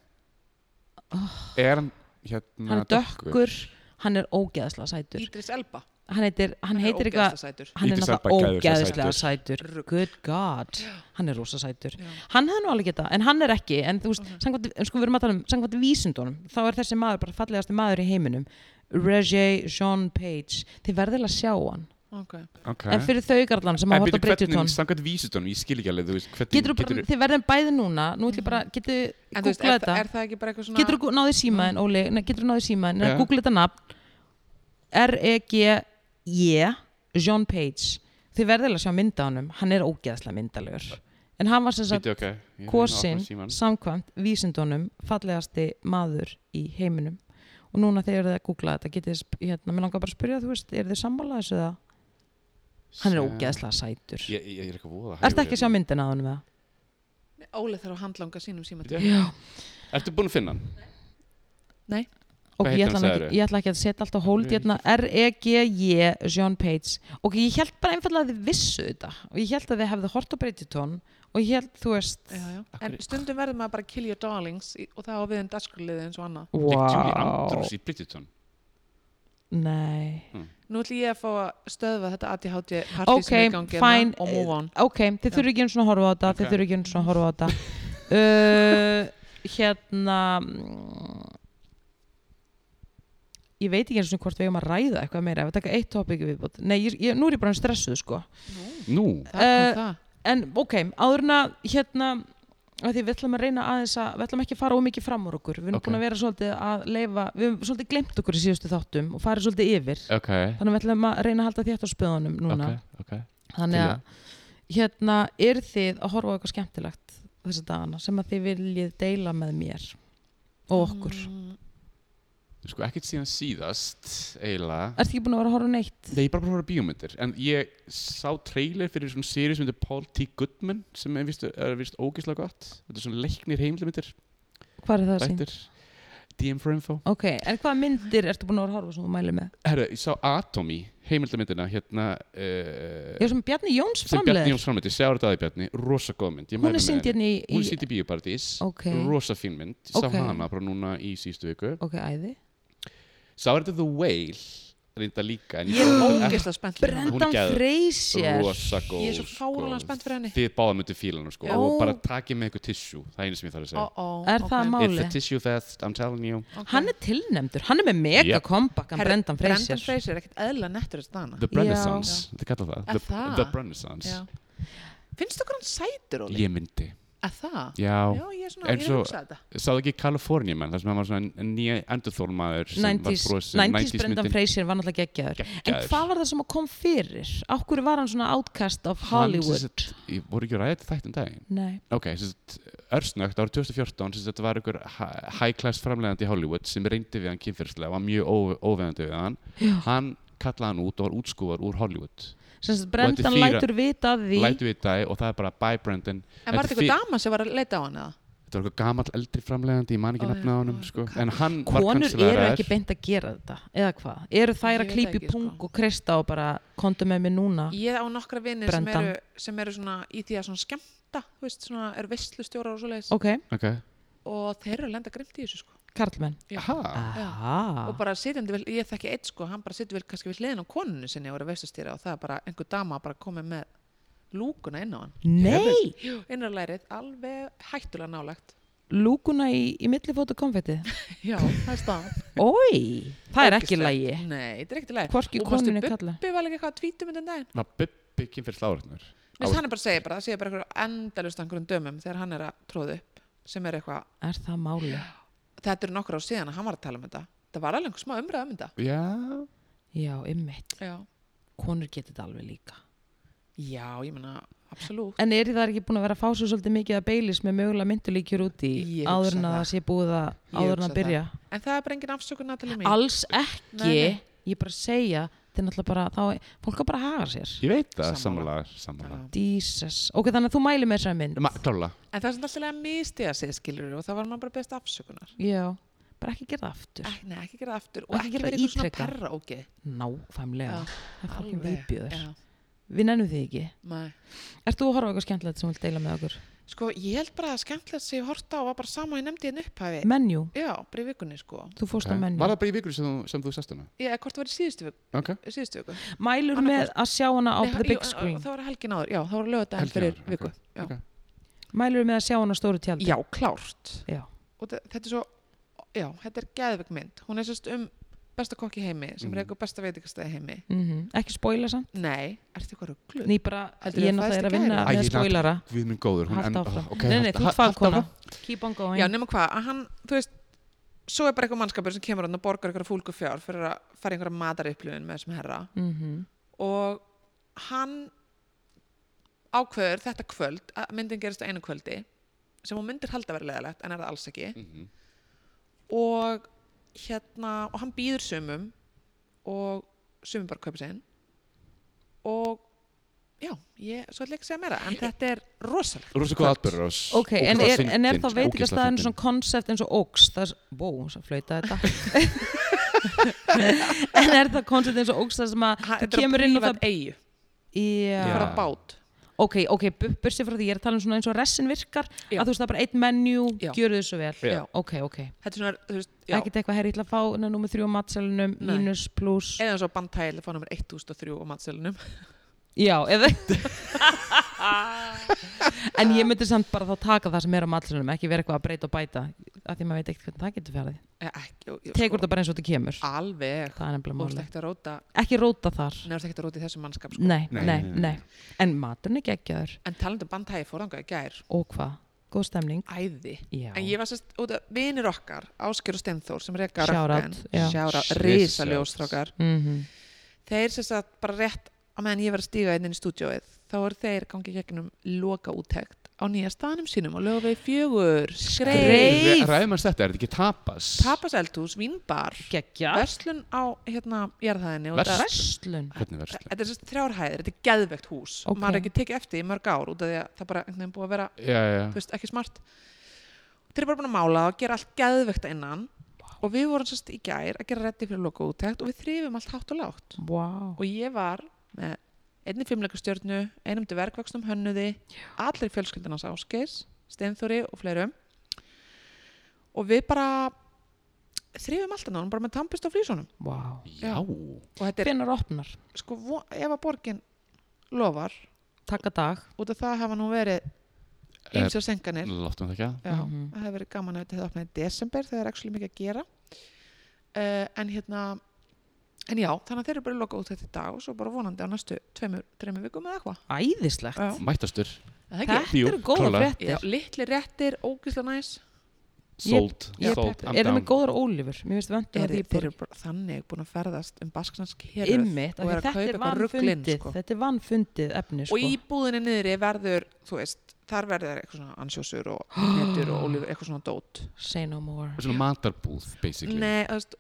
Speaker 2: Er hann hérna
Speaker 1: Oh. hann er dökkur, hann er ógeðslega sætur
Speaker 3: Ídris Elba
Speaker 1: hann, heitir, hann
Speaker 3: er
Speaker 1: heitir eitthvað
Speaker 3: ógeðslega sætur.
Speaker 1: hann er
Speaker 2: Idris Elba
Speaker 1: náttúrulega
Speaker 2: gæðislega
Speaker 1: ógeðslega sætur good god, hann er rosa sætur
Speaker 3: Já.
Speaker 1: hann hefði nú alveg getað, en hann er ekki en þú veist, samkvæmt, en sko við erum að tala um samkvæmt vísindunum, þá er þessi maður bara fallegasti maður í heiminum Regé Jean Page, þið verðilega að sjá hann
Speaker 3: Ok
Speaker 2: okay.
Speaker 1: en fyrir þau garlan sem hafa hótt á Bridgerton
Speaker 2: Samkvæmt vísutunum, ég skil ekki alveg þú veist, hvernig,
Speaker 1: getur bara, þið verðum bæði núna nú ætlum ég bara, getur
Speaker 3: Mhm. En þú veist,
Speaker 1: googlað
Speaker 3: er, það-
Speaker 1: þetta
Speaker 3: er það ekki bara eitthvað svona
Speaker 1: getur þú náðið símaðin, Óli, nei, getur þú náðið símaðin ja.
Speaker 2: Já.
Speaker 1: Hérna, Google þetta nafn R-E-G-E E, John Page, þið verðilega að sjá mynda honum hann er ógeðslega myndalegur en hann var sem sagt
Speaker 2: Bíddu, ok, ég er að
Speaker 1: kosin
Speaker 2: opna símann.
Speaker 1: samkvæmt vísindunum fallegasti maður í heiminum og núna þegar þið að googla þetta getið þið, sp- hérna, mér langar bara að spyrja þú veist, er þið sammála þessu það? Hann er
Speaker 2: Sem-
Speaker 1: ógeðslega sætur
Speaker 2: Ég, ég er ekki að voða hérna.
Speaker 1: Ertu ekki að sjá myndina á honum eða?
Speaker 3: Óli þarf að handlanga sínum síma
Speaker 2: Já.
Speaker 1: Já,
Speaker 2: Ertu búin að finna hann?
Speaker 3: Nei
Speaker 1: ok, ég ætla,
Speaker 2: Hvað heitir hann,
Speaker 1: nú ekki,
Speaker 2: sagðirðu?
Speaker 1: ég ætla ekki að setja allt á hold hérna, R-E-G-J John Page ok, ég held bara einfallega að þið vissu þetta og ég held að þið hefðu hort á Bridgeton og ég held, þú veist
Speaker 3: já, já.
Speaker 2: Af
Speaker 3: En
Speaker 2: hverju-
Speaker 3: stundum verður maður bara kill your um darlings í- og það á við en dagskurliði eins og annað
Speaker 2: Wow. Julie Andrews í Bridgerton
Speaker 1: Nei.
Speaker 3: Nú ætlum ég að fá að stöðva þetta ADHD partí
Speaker 1: Ok,
Speaker 3: sem er í gangi hérna
Speaker 1: fine.
Speaker 3: og move on.
Speaker 1: Ok, þið þurfi ekki eins og að horfa á þetta,
Speaker 2: Ok.
Speaker 1: þið þurfi ekki eins og að horfa á þetta. uh, hérna, mm, ég veit ekki eins og hvort við eigum að ræða eitthvað meira, ef við taka eitt topic viðbútt. Nei, ég, ég, nú er ég bara stressuð, sko.
Speaker 2: Nú,
Speaker 3: Það kom
Speaker 1: Eh,
Speaker 3: það.
Speaker 1: En ok, áðurna, hérna, að því við ætlum að reyna aðeins að, við ætlum ekki að fara ómikið fram úr okkur. Við erum
Speaker 2: Ok.
Speaker 1: búin að vera svolítið að leifa, við erum svolítið glemt okkur í síðustu þáttum og farið svolítið yfir.
Speaker 2: ok,
Speaker 1: Þannig að við ætlum að reyna að halda þétt á spöðunum núna.
Speaker 2: Eh. ok, ok
Speaker 1: Þannig
Speaker 2: Til í
Speaker 1: að hérna er þið að horfa á eitthvað skemmtilegt þessa dagana sem að þið viljið deila með mér og okkur. Mm.
Speaker 3: Mm,
Speaker 2: Sko, ekkert síðan síðast, eiginlega
Speaker 1: Ertu ekki búin að vera að horfa á neitt?
Speaker 2: Nei, ég er bara búin að horfa á bíómyndir En ég sá trailer fyrir svona series sem heitir Paul T. Goodman sem er vist, er vist ógislega gott Þetta er svona leiknir heimildarmyndir
Speaker 1: Hvað er það að sín?
Speaker 2: Þættir DM for info
Speaker 1: Ok, en hvaða myndir ertu búin að vera að horfa á sem þú mæli með?
Speaker 2: Herra, ég sá Atomy, heimildarmyndina hérna uh,
Speaker 1: Ég er sem Bjarni Jóns
Speaker 2: sem
Speaker 1: framleið.
Speaker 2: Bjarni Jóns framleiti, sjáur þetta aðið Bjarni Rosa góð mynd, ég
Speaker 1: Hún er
Speaker 2: mæli með
Speaker 1: synd
Speaker 2: henni.
Speaker 1: hérna í,
Speaker 2: Hún er
Speaker 1: í
Speaker 2: sýnd í Bíóparadís
Speaker 1: Ok,
Speaker 2: Rosa fín mynd, sá
Speaker 1: Ok.
Speaker 2: hana bara núna í síðustu viku
Speaker 1: ok, æði.
Speaker 2: Sá er þetta The Whale reynda líka en
Speaker 3: Ég er ógeðslega spennt fyrir hana.
Speaker 1: Brendan
Speaker 2: Brent- geðveik.
Speaker 1: Freysier.
Speaker 2: rosa góð
Speaker 3: Ég er svo fárólega spennt fyrir henni.
Speaker 2: þið báða myndið fílan sko,
Speaker 1: Já.
Speaker 2: og bara takið með eitthvað tissú það er einu sem ég þarf að segja
Speaker 3: Ó, ó,
Speaker 1: Er
Speaker 3: ok.
Speaker 1: það
Speaker 2: It's
Speaker 1: máli?
Speaker 2: a tissue theft, I'm telling you
Speaker 3: Ok.
Speaker 1: Hann er tilnefndur, hann er með mega
Speaker 2: Yep.
Speaker 1: yep. comeback, hann
Speaker 3: Herra,
Speaker 1: Brendan Freysier.
Speaker 3: Brendan Fraser er ekkert eðla nettur þess dana.
Speaker 2: The Renaissance, þið kallar það
Speaker 3: Er
Speaker 2: The,
Speaker 3: það?
Speaker 2: the Renaissance
Speaker 3: Já. Finnst okkur hann sætur, Óli?
Speaker 2: ég myndi
Speaker 3: Er það?
Speaker 2: Já,
Speaker 3: Já, ég er svona,
Speaker 2: En
Speaker 3: ég er
Speaker 2: svo-
Speaker 3: að hugsa þetta.
Speaker 2: sáðu ekki California menn, þar sem hann var svona n- nýja endurþólmaður sem var
Speaker 1: 90s,
Speaker 2: brosinn,
Speaker 1: 90s Brendan
Speaker 2: myndin.
Speaker 1: Fraser var náttúrulega geggjaður En
Speaker 2: Geggjaður.
Speaker 1: hvað var það sem að kom fyrir? Akkur var hann svona outcast of
Speaker 2: Hann sem
Speaker 1: Hollywood?
Speaker 2: sagt- Ég voru ekki að ræða þetta þætt um daginn
Speaker 1: Nei,
Speaker 2: Ok, sérst, örsnögt árið 2014 sérst, þetta var einhver hi- high class framlegandi í Hollywood sem reyndi við hann kynfyrslega var mjög ó- óviðandi við hann hann kallaði hann út og var útskúfar úr Hollywood
Speaker 1: sem sagt
Speaker 2: þetta er
Speaker 1: Brendan
Speaker 2: fýra-
Speaker 1: lætur vita af því
Speaker 2: lætu við þetta og það er bara bye Brendan
Speaker 3: En
Speaker 2: Þetta er
Speaker 3: var þetta eitthvað
Speaker 2: fyr-
Speaker 3: dama sem var að leita á hann eða?
Speaker 2: þetta var eitthvað gamall eldri framlegandi ég man ekki
Speaker 3: Ó,
Speaker 2: oh,
Speaker 3: já,
Speaker 2: nefna á honum
Speaker 3: ó,
Speaker 2: sko.
Speaker 3: kall-
Speaker 2: en hann var
Speaker 1: Konur eru
Speaker 2: kansleraður.
Speaker 1: ekki beint að gera þetta eða hvað? Eru
Speaker 3: Ég
Speaker 1: þær að
Speaker 3: veit
Speaker 1: klípa í
Speaker 3: ekki, sko.
Speaker 1: pung og kreista og bara kontu með mér núna?
Speaker 3: Ég á nokkra vinni sem
Speaker 1: Brendan.
Speaker 3: eru, sem eru svona í því að svona skemmta, þú veist, svona eru veistlustjóra og svoleiðis
Speaker 1: Ok,
Speaker 2: ok,
Speaker 3: og þeir eru að lenda grimt í þessu sko.
Speaker 1: Karlmenn
Speaker 3: Já. Ah.
Speaker 2: aha
Speaker 1: Aha.
Speaker 3: og bara sitjandi vel, ég þekki eitt sko, hann bara sitjandi vel kannski við hliðin á konunni sinni og er að veistustjóra og það er bara einhver dama bara komið með lúkuna inn á hann.
Speaker 1: Nei,
Speaker 3: Jú, innarlærið, alveg hættulega nálagt.
Speaker 1: lúkuna í, í millifótu konfetti
Speaker 3: Já, það er staðan.
Speaker 1: Ói, það er ekki
Speaker 3: Ógeðslegt.
Speaker 1: lægi
Speaker 3: Nei, þetta er ekkert í lægi.
Speaker 1: Hvorki konunni kalla
Speaker 3: Bubbi var líka eitthvað að tvítum undan um daginn.
Speaker 2: var Bubbi kynfyrslega áriðnur
Speaker 3: Mér finnst hann er bara að segja bara, það segja bara einhver endalust einhverjum dömum þegar hann er að tróða upp sem er eitthvað,
Speaker 1: Er það máli?
Speaker 3: þetta eru nokkur á síðan að hann var að tala um þetta. Það var alveg einhver smá umræða um þetta.
Speaker 2: já,
Speaker 1: Já, ymmit
Speaker 3: Já.
Speaker 1: Konur getur þetta alveg líka
Speaker 3: Já, ég meina, absolutt.
Speaker 1: En er það ekki búin að vera að fá svo svolítið mikið að beilis með mögulega myndulíkjur út í
Speaker 3: Ég hugsa
Speaker 1: áður en að
Speaker 3: það.
Speaker 1: það sé búið að
Speaker 3: Ég
Speaker 1: áður en
Speaker 3: hugsa
Speaker 1: að byrja?
Speaker 3: En það er bara engin afsökun Natalie mín.
Speaker 1: Alls ekki,
Speaker 3: Nei, nei.
Speaker 1: ég er bara að segja, þetta er náttúrulega bara, þá, fólk er bara að haga sér.
Speaker 2: ég veit það
Speaker 3: Sammála.
Speaker 2: sammála, sammála.
Speaker 3: Já.
Speaker 1: Jesus, ok, þannig að þú mæli með þessari mynd.
Speaker 2: Ma, klála,
Speaker 3: En það er svona alltaf að mistiða sig, skilur og þá var maður bara best afsökunar.
Speaker 1: Já, bara ekki gera það aftur.
Speaker 3: Ek, nei, ekki gera það aftur og
Speaker 1: Ekki
Speaker 3: ekki
Speaker 1: gera
Speaker 3: verið eitthvað svona
Speaker 1: ítrekað.
Speaker 3: perra ógi.
Speaker 1: Nákvæmlega,
Speaker 3: Já,
Speaker 1: það er fólkin viðbjöður.
Speaker 3: Já,
Speaker 1: Við nennum því ekki.
Speaker 3: nei.
Speaker 1: Ert þú að horfa á eitthvað skemmtilegt sem þú vilt deila með okkur?
Speaker 3: Sko, ég held bara að skemmtilegt sem ég horta á var bara sama og ég nefndi hérna upphæfi.
Speaker 1: Menjú,
Speaker 3: Já, bara í vikunni, sko.
Speaker 1: þú fórst á
Speaker 2: var
Speaker 1: menjú.
Speaker 2: það bara í vikur sem þú, sem þú sast hana
Speaker 3: Ég, eða hvort það var í síðustu viku.
Speaker 2: ok,
Speaker 3: Síðustu viku.
Speaker 1: Mælur með að sjá hana á
Speaker 3: Nei,
Speaker 1: the
Speaker 3: jú,
Speaker 1: big
Speaker 3: en-
Speaker 1: screen?
Speaker 3: Það var helgin áður, já, það var lögadaginn
Speaker 2: Helgin
Speaker 3: fyrir
Speaker 2: áður,
Speaker 3: viku.
Speaker 2: ok,
Speaker 3: Já.
Speaker 2: ok.
Speaker 1: Mælur með að sjá hana á stóru tjaldi?
Speaker 3: já, klárt.
Speaker 1: Já.
Speaker 3: Og þe- þetta er svo, já, þetta er geðveg mynd. Hún er sérst um besta kokki í heimi,
Speaker 2: Mhm.
Speaker 3: sem mm. reyku besta veitingastæði heimi.
Speaker 1: Mhm. Ekki spoila samt?
Speaker 3: Nei, ertu eitthvað rugglu?
Speaker 1: Ný bara,
Speaker 3: Heldurðu
Speaker 1: ég
Speaker 3: að
Speaker 1: náttúrulega er
Speaker 3: fæðst
Speaker 1: að
Speaker 3: í
Speaker 1: vinna
Speaker 3: gær?
Speaker 2: Æ,
Speaker 1: með
Speaker 2: ég
Speaker 1: spoilara
Speaker 2: við minn góður hún
Speaker 1: Halda
Speaker 2: enda-
Speaker 1: áfram,
Speaker 2: ok,
Speaker 1: nei, nei, þú
Speaker 2: halda-
Speaker 1: ert
Speaker 2: halda áfram.
Speaker 1: fagkona Keep on going
Speaker 3: Já, nema hvað, að hann, þú veist, svo er bara eitthvað mannskapur sem kemur hann og borgar eitthvað fúlgu fjár fyrir að fara í einhverja matarupplifun með þessum herra
Speaker 1: Mhm.
Speaker 3: og hann ákveður þetta kvöld að myndin gerist á einu kvöldi sem hún myndir halda að vera leðalegt en er það alls ekki
Speaker 2: Mhm.
Speaker 3: og hérna, og hann býður sumum og sumum bara kaupa sinn og já, ég, svo ætla ég ekki að segja meira en þetta er rosalegt
Speaker 2: rosa góð atbyrður ás
Speaker 1: Ok, en er, en er þá veitingastæðin svona konsept eins og óks það er, bó, svo flöytaði þetta En er það konsept eins og óks það sem að
Speaker 3: Ha-
Speaker 1: þú
Speaker 3: þetta er á
Speaker 1: kemur inn og
Speaker 3: prívat
Speaker 1: það
Speaker 3: eigu,
Speaker 1: Já,
Speaker 3: það er á bát
Speaker 1: ok, ok, bu- bursi frá því, ég er að tala um svona eins og ressin virkar,
Speaker 3: Já.
Speaker 1: að þú veist það er bara einn menjú,
Speaker 3: Já.
Speaker 1: gjöru þau svo vel.
Speaker 2: Já.
Speaker 1: Ok, ok.
Speaker 3: Þetta er svona, þú veist, já,
Speaker 1: Ekkert eitthvað herri, ég ætla að fá nummið þrjú á matselunum,
Speaker 3: Nei.
Speaker 1: mínus, pluss.
Speaker 3: eða svo bandtæl fá nummer 1003 á matsölunum.
Speaker 1: Já, eða En
Speaker 3: Ah.
Speaker 1: ég myndi samt bara þá taka það sem er á matselunum, ekki vera eitthvað að breyta og bæta, af því maður veit ekkert hvernig það getur farið.
Speaker 3: Eh, Ekki, og-
Speaker 1: Tekur þetta bara eins og þetta kemur.
Speaker 3: Alveg.
Speaker 1: Það er nefnilega
Speaker 3: Þú ert
Speaker 1: máli.
Speaker 3: ekkert að róta,
Speaker 1: Ekki róta þar.
Speaker 3: neður ekkert að róta í þessum mannskap, sko.
Speaker 1: Nei,
Speaker 2: Nei,
Speaker 1: nei,
Speaker 2: nei,
Speaker 1: nei.
Speaker 2: nei.
Speaker 1: En maturinn er geggjaður.
Speaker 3: En talandi um bandtægi fórðanga í gær,
Speaker 1: Og hvað? Góð stemning.
Speaker 3: æði.
Speaker 1: Já.
Speaker 3: En ég var sérst, út af vinir okkar, Ásker og Steinþór, sem reyka
Speaker 1: Shout out, já.
Speaker 3: sjára,
Speaker 2: Shout
Speaker 3: risaljóstrákar,
Speaker 1: Mhm.
Speaker 3: þeir sérst að bara rétt á meðan ég var að stíga inn inn í stúdjóið, þá eru þeir gangið gegnum loka útækt á nýja staðnum sínum og lögum við fjögur, skreif,
Speaker 1: Skreif.
Speaker 2: Re- Ræðum að þetta, er þetta ekki tapas?
Speaker 3: papaseldhús, vínbar,
Speaker 1: Geggja.
Speaker 3: verslun á hérna, jarðhæðinni og
Speaker 2: Verslun?
Speaker 3: þetta-
Speaker 1: Verslun.
Speaker 2: Hvernig verður
Speaker 3: þetta er sérst þrjárhæðir, þetta er geðvegt hús og
Speaker 1: Ok.
Speaker 3: maður er ekki tekið eftir í mörg ár út af því að það bara einhvern veginn búið að vera
Speaker 2: Já, já.
Speaker 3: þú veist, ekki smart þeir eru bara búin að mála og gera allt geðveikt að innan og við vorum sérst í gær að gera reddi fyrir loka útækt og við þrifum allt hátt og lágt
Speaker 1: Vá. Wow.
Speaker 3: og ég var með einni fimmleikastjörnu, einum til verkvaksnum hönnuði, allir fjölskyldunars áskeis, steinþóri og fleirum og við bara þrifum allt að náðum bara með tampist á flýsunum
Speaker 1: Vá.
Speaker 2: Já.
Speaker 3: og þetta er
Speaker 1: Hvenær opnar?
Speaker 3: sko, vo- ef að borgin lofar,
Speaker 1: Takka dag.
Speaker 3: út af það hafa nú verið
Speaker 2: Eh,
Speaker 3: ymsjá senganir
Speaker 2: Láttum það ekki að?
Speaker 3: Já,
Speaker 1: Mhm.
Speaker 3: það hefur verið gaman að þetta hefði opnað í desember þegar það er ekki mikið að gera uh, en hérna en já, þannig að þeir eru bara að loka út þetta í dag og svo bara vonandi á næstu tveimur, dreimur vikum eða eitthvað
Speaker 1: Æðislegt.
Speaker 3: Já.
Speaker 2: Mættastur.
Speaker 3: Er það ekki?
Speaker 1: Þetta
Speaker 2: Jú,
Speaker 1: eru góða
Speaker 2: klárlega.
Speaker 3: Já,
Speaker 1: fréttir.
Speaker 3: litli réttir, ógislega næs
Speaker 2: Sold.
Speaker 1: ég er
Speaker 2: Sold. I'm
Speaker 1: Eru
Speaker 2: down.
Speaker 1: með góðar ólífur. Mér finnst vöndu
Speaker 3: er,
Speaker 1: að ég
Speaker 3: þeir eru bara þannig búin að ferðast um baskansk héruð
Speaker 1: ymmit.
Speaker 3: og er að
Speaker 1: Þetta
Speaker 3: kaupa
Speaker 1: er
Speaker 3: eitthvað rugglinn
Speaker 1: vannfundið.
Speaker 3: sko.
Speaker 1: Þetta er vannfundið efni sko.
Speaker 3: og í búðinni niðri verður, þú veist þar verður eitthvað svona ansjósur og netur og olífur, eitthvað svona dót
Speaker 1: Say no more.
Speaker 2: Þetta er Svona matarbúð, basically.
Speaker 3: Nei, þú veist,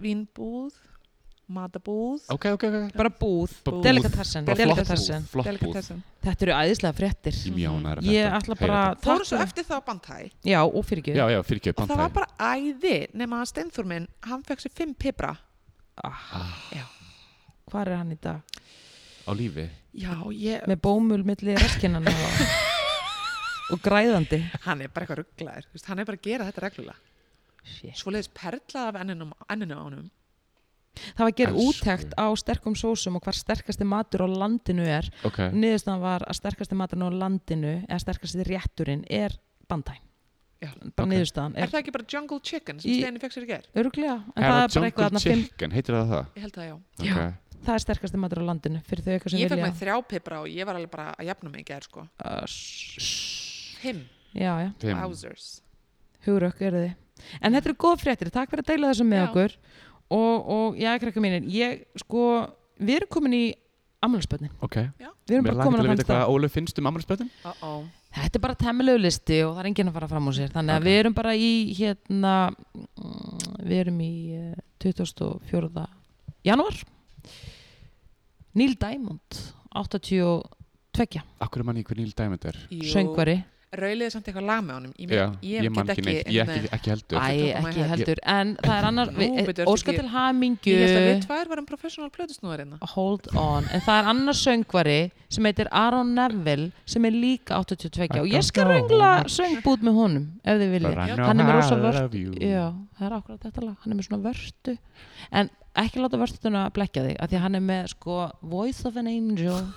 Speaker 3: vínbúð matabúð
Speaker 2: Ok, ok, ok.
Speaker 1: Bara búð.
Speaker 2: Bara búð.
Speaker 1: Delikatessen.
Speaker 2: Bara flott
Speaker 1: Delikatessen.
Speaker 2: búð, Flott búð.
Speaker 3: Delicatessen.
Speaker 1: Þetta eru æðislega fréttir.
Speaker 2: Ég mjónar að
Speaker 1: Ég ætla bara
Speaker 2: Heyra þetta.
Speaker 3: fóru svo
Speaker 1: Takk.
Speaker 3: eftir það á bandhæ
Speaker 1: Já, og fyrir
Speaker 2: Já, já, fyrir ekki
Speaker 3: og það var bara æði nema að Steinþór minn, hann fekk sér fimm pipra
Speaker 1: Hvar er hann í dag?
Speaker 2: Á lífi.
Speaker 3: já, ég,
Speaker 1: Með bómul milli raskinnana og, og græðandi.
Speaker 3: hann er bara eitthvað rugglaður veist, hann er bara að gera þetta reglulega
Speaker 1: Shit.
Speaker 3: svo leiðis perlað af enninu, enninu ánum
Speaker 1: Það var að gera
Speaker 2: Elsku.
Speaker 1: úttekt á sterkum sósum og hvar sterkasti matur á landinu er.
Speaker 2: Ok.
Speaker 1: Niðurstaðan var að sterkasti maturinn á landinu eða sterkasti rétturinn er bandæn.
Speaker 3: Já.
Speaker 1: Bara
Speaker 2: Ok.
Speaker 1: niðurstaðan
Speaker 3: er
Speaker 1: er
Speaker 3: það ekki bara Jungle Chicken sem
Speaker 1: Í-
Speaker 3: Steini fekk sér í ger
Speaker 1: öruglega. En það er bara eitthvað
Speaker 2: Jungle
Speaker 1: að fimm.
Speaker 2: Chicken, heitir það það?
Speaker 3: ég held það já,
Speaker 2: Ok.
Speaker 1: Það er sterkasti matur á landinu fyrir þau eitthvað sem
Speaker 3: ég fekk
Speaker 1: vilja. Uh,
Speaker 3: með þrjá pipra og ég var alveg bara að jafna mig í ger sko, fimm
Speaker 1: Já, já.
Speaker 2: Fimm.
Speaker 3: housers
Speaker 1: Hugrökk eru þið. En þetta eru góð fréttir, takk fyrir að deila þessu með
Speaker 3: Já.
Speaker 1: okkur og, og já, krakka mínir, ég sko, við erum komin í ammálspötnin,
Speaker 2: Ok.
Speaker 1: við erum
Speaker 2: Mér
Speaker 1: bara
Speaker 2: langar
Speaker 1: komin á
Speaker 2: til að
Speaker 1: þann
Speaker 2: vita
Speaker 1: stað.
Speaker 2: hvað Ólef finnst um ammalspötin.
Speaker 3: uh -oh.
Speaker 1: Þetta er bara temmilegu listi og það er enginn að fara fram úr sér, þannig
Speaker 2: Ok.
Speaker 1: að við erum bara í hérna, mm, við erum í eh, 24. janúar, Neil Diamond, 82,
Speaker 2: Akkur er manni í hvernig íl dæmið er.
Speaker 1: söngvari,
Speaker 3: rauliði samt eitthvað lag með honum ég,
Speaker 2: Já,
Speaker 3: ég, ég
Speaker 2: man
Speaker 3: get ekki,
Speaker 2: neitt. Ég ekki, ekki heldur.
Speaker 3: Æ,
Speaker 1: æ,
Speaker 3: tökum að
Speaker 1: ekki
Speaker 3: hel-
Speaker 1: heldur, en það er annar,
Speaker 3: Nú,
Speaker 1: við-
Speaker 3: byrju, ertu
Speaker 1: óska
Speaker 3: ekki-
Speaker 1: til hamingju.
Speaker 3: ég held að við tvær varum professional plötusnúðar hérna
Speaker 1: Hold on, en það er annar söngvari sem heitir Aron Neville sem er líka 82 og ég skal röngla söngbút með honum ef þið vilja
Speaker 2: Bara
Speaker 3: Já.
Speaker 2: know
Speaker 1: Hann er með
Speaker 2: I
Speaker 1: rosa vörn.
Speaker 2: love you.
Speaker 1: Já, það er akkurat þetta lag, hann er með svona vörtu en ekki láta vörstuna blekja þig af því að hann er með sko Voice of an Angel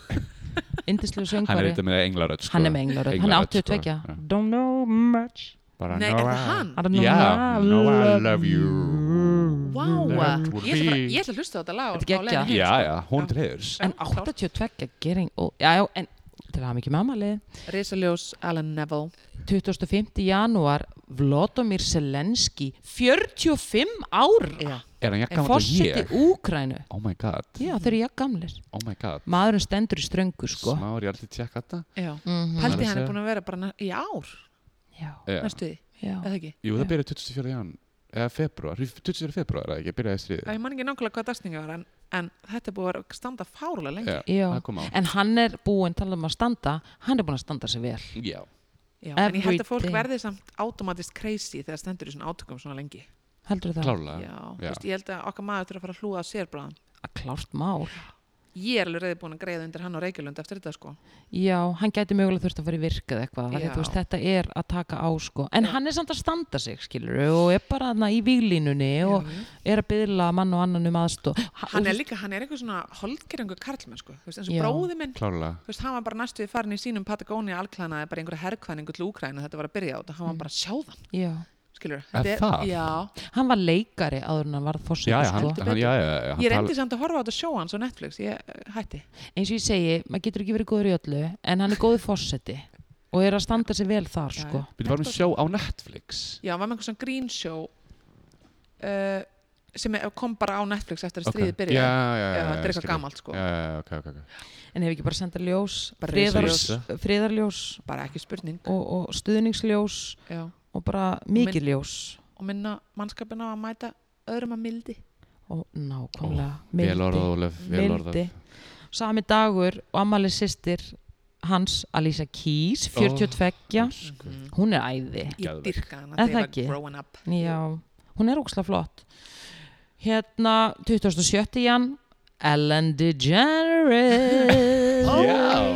Speaker 1: indislegu
Speaker 2: Hann er
Speaker 1: söngvari
Speaker 2: eitthvað með englarödd sko.
Speaker 1: Hann er með englaröð, hann er
Speaker 2: Englarödd, sko.
Speaker 1: 82
Speaker 2: Já.
Speaker 1: Don't know much
Speaker 2: Bara
Speaker 3: nei, er
Speaker 2: know
Speaker 3: það
Speaker 2: I-
Speaker 3: hann?
Speaker 1: I don't know
Speaker 2: Já,
Speaker 1: much.
Speaker 2: know I love Mm. you
Speaker 3: Vá,
Speaker 2: That would
Speaker 3: ég ætla, bara,
Speaker 2: be-
Speaker 3: ég ætla að hlusta á þetta lag á-
Speaker 1: Þetta er
Speaker 3: á leiðinni
Speaker 1: geggjað.
Speaker 3: heim,
Speaker 2: Já,
Speaker 3: sko.
Speaker 2: já, hún til heiðurs
Speaker 1: en 82 gering og, já, já, en til að mikið með amalið
Speaker 3: Risaljós Alan Neville
Speaker 1: 25. janúar Vlodomir Selenski 45 ára
Speaker 3: Já.
Speaker 2: Er hann
Speaker 1: en
Speaker 2: jakkan að
Speaker 1: fórseti
Speaker 2: ég?
Speaker 1: Úkrænu
Speaker 2: Oh my god,
Speaker 1: já þeir eru jafn gamlir
Speaker 2: oh my god
Speaker 1: maðurinn stendur í ströngu sko
Speaker 2: Smá er ég alltaf að tjekka þetta
Speaker 3: Já.
Speaker 1: mm
Speaker 3: Paldi hann
Speaker 2: Meira að
Speaker 3: er
Speaker 2: segja.
Speaker 3: búin að vera bara næ- í ár
Speaker 1: já,
Speaker 2: Já.
Speaker 3: næstu því,
Speaker 1: já.
Speaker 3: eða ekki
Speaker 2: Jú, það byrjaði 24. jan eða februar, 24. februar eða ekki, byrjaði stríð
Speaker 3: Æ, Ég man ekki nákvæmlega hvað dagsningi var en, en þetta er búið að vera- standa fárulega lengi
Speaker 1: Já.
Speaker 2: það kom á
Speaker 1: en hann er búinn talað um að standa hann er búinn að standa sér vel
Speaker 2: Já,
Speaker 3: Já, En ég held að
Speaker 1: Everything.
Speaker 3: fólk verði samt automatist crazy þegar stendur í svona átökum svona lengi
Speaker 1: heldur það
Speaker 2: klálega
Speaker 3: Já, þú veist, ég held að okkar maður þurfa að fara að hlúa að sér bráðan
Speaker 1: að klárt mál
Speaker 3: ég er alveg reyði búin að greiða undir hann og Reykjulund eftir þetta sko
Speaker 1: Já, hann gæti mögulega þurft að fara í virka eða eitthvað, af því að þú veist, þetta er að taka á sko, en hann er samt að standa sig skilur og er bara þarna í víglínunni og er að byðla mann og annan um aðstóð
Speaker 3: hann er líka, hann er eitthvað svona holdgeringu karlmenn sko, þú veist, eins og
Speaker 1: Já.
Speaker 3: bróði minn
Speaker 2: klárlega
Speaker 3: þú veist, hann var bara næstu við farin í sínum Patagonia alklæðnaði bara einhverja herrkvæningu til Úkræna þetta var að byrja á þetta, hann
Speaker 1: Mm.
Speaker 3: var bara sjáðan
Speaker 1: Já,
Speaker 3: skilur,
Speaker 2: Er það?
Speaker 3: já,
Speaker 1: hann var leikari áður en hann varð
Speaker 2: já,
Speaker 1: fórsættur
Speaker 2: já,
Speaker 1: sko.
Speaker 2: hann, hann, já, já, já, hann
Speaker 3: ég
Speaker 2: tala-
Speaker 3: reyndi samt að horfa á þetta sjóans á Netflix, ég eh, hætti
Speaker 1: eins og ég segi, maður getur ekki verið góður í öllu en hann er góður fórsætti og er að standa sig vel þar
Speaker 3: Já,
Speaker 1: sko.
Speaker 3: já.
Speaker 2: Við varum að sjá á Netflix
Speaker 3: já, hann var með einhver svona green show uh, sem er- kom bara á Netflix eftir að
Speaker 2: Ok.
Speaker 3: stríðið byrja
Speaker 2: Já, já, já,
Speaker 3: Já,
Speaker 2: já,
Speaker 3: þetta er eitthvað
Speaker 2: skilja.
Speaker 3: gamalt, sko.
Speaker 2: Já, já, já, ok, ok, ok
Speaker 1: en hefur ekki bara senda ljós
Speaker 3: Bara
Speaker 1: friðarljós,
Speaker 2: risaljós.
Speaker 1: friðarljós
Speaker 3: bara ekki spurning
Speaker 1: og, og stuðningsljós
Speaker 3: já.
Speaker 1: og bara mikið ljós
Speaker 3: og minna mannskapina á að mæta öðrum að mildi
Speaker 1: og nákvæmlega
Speaker 2: Vel orðað, Ólef, vel orðað
Speaker 1: mildi. sami dagur og ammali sýstir hans Alisa Keys 42,
Speaker 3: Mhm.
Speaker 2: Elsku.
Speaker 1: hún er æði
Speaker 3: ég
Speaker 2: Geðveikt.
Speaker 3: Mm. dyrka hann
Speaker 1: Er
Speaker 3: að
Speaker 1: það
Speaker 3: þegar
Speaker 1: ekki?
Speaker 3: growing up
Speaker 1: já, hún er ókslega flott hérna 27. jan Ellen DeGeneres
Speaker 2: Já.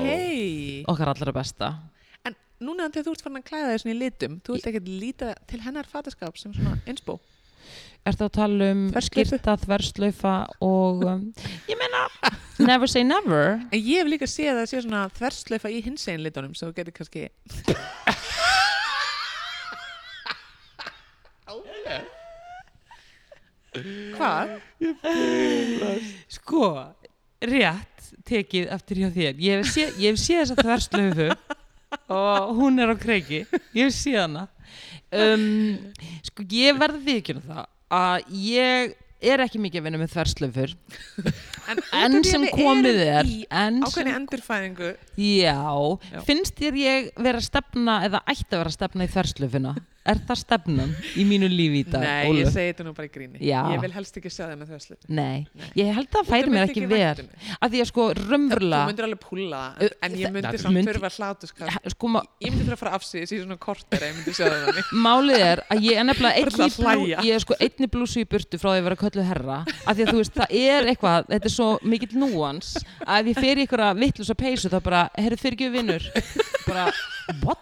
Speaker 3: hey.
Speaker 1: okkar allra besta
Speaker 3: en núna þegar þú ert farin að klæða þig svona í litum þú ert ekkert líta til hennar fataskap sem svona insbó
Speaker 1: Er það að tala um
Speaker 3: Þverskiptu.
Speaker 1: skýrta, þverslaufa og um, ég meina, never say never
Speaker 3: en ég hef líka séð að það sé svona þverslöfa í hins einn litunum sem þú getur kannski hvað?
Speaker 1: Sko, rétt tekið eftir hjá þér Ég hef séð sé, sé þessa þverslaufu og hún er á kreiki Ég hef séð hana um, Sko, ég verði viðkjörna það að ég er ekki mikið að vinna með þverslaufur
Speaker 3: en, út af
Speaker 1: enn
Speaker 3: því að
Speaker 1: sem
Speaker 3: við
Speaker 1: komið
Speaker 3: erum
Speaker 1: er
Speaker 3: í
Speaker 1: enn sem,
Speaker 3: ákveðni endurfæðingu
Speaker 1: já,
Speaker 3: Já.
Speaker 1: finnst þér ég vera að stefna eða ætti að vera að stefna í þverslöfuna er það stefnan í mínu lífi í dag
Speaker 3: nei, ég
Speaker 1: Ólöf?
Speaker 3: segi þetta nú bara í gríni
Speaker 1: Já.
Speaker 3: ég vil helst ekki sjá það með þverslu
Speaker 1: Nei, ég held að það færi
Speaker 3: Þú
Speaker 1: mér
Speaker 3: myndir
Speaker 1: ekki
Speaker 3: ekki vænt
Speaker 1: vel
Speaker 3: um
Speaker 1: af því að sko
Speaker 3: þú
Speaker 1: raunverulega
Speaker 3: myndir alveg púla það, en- en ég myndi
Speaker 2: það
Speaker 3: samt
Speaker 1: myndi-
Speaker 3: þurfa hlátuskap
Speaker 1: sko ma-
Speaker 3: ég myndi þurfa að fara afsýðis í svona kortir ef ég myndi sjá það þannig
Speaker 1: Málið er að ég er nefnilega
Speaker 3: Bara til
Speaker 1: einni,
Speaker 3: að
Speaker 1: blú,
Speaker 3: hlæja.
Speaker 1: ég er sko einni blúsu í burtu frá því að vera kölluð herra af því að þú veist, það er eitthvað, þetta er svo mikill núans að ef ég fer í ykkur að vittlus að peysu þá bara, heyrðu fyrir ekki vinnur bara, what?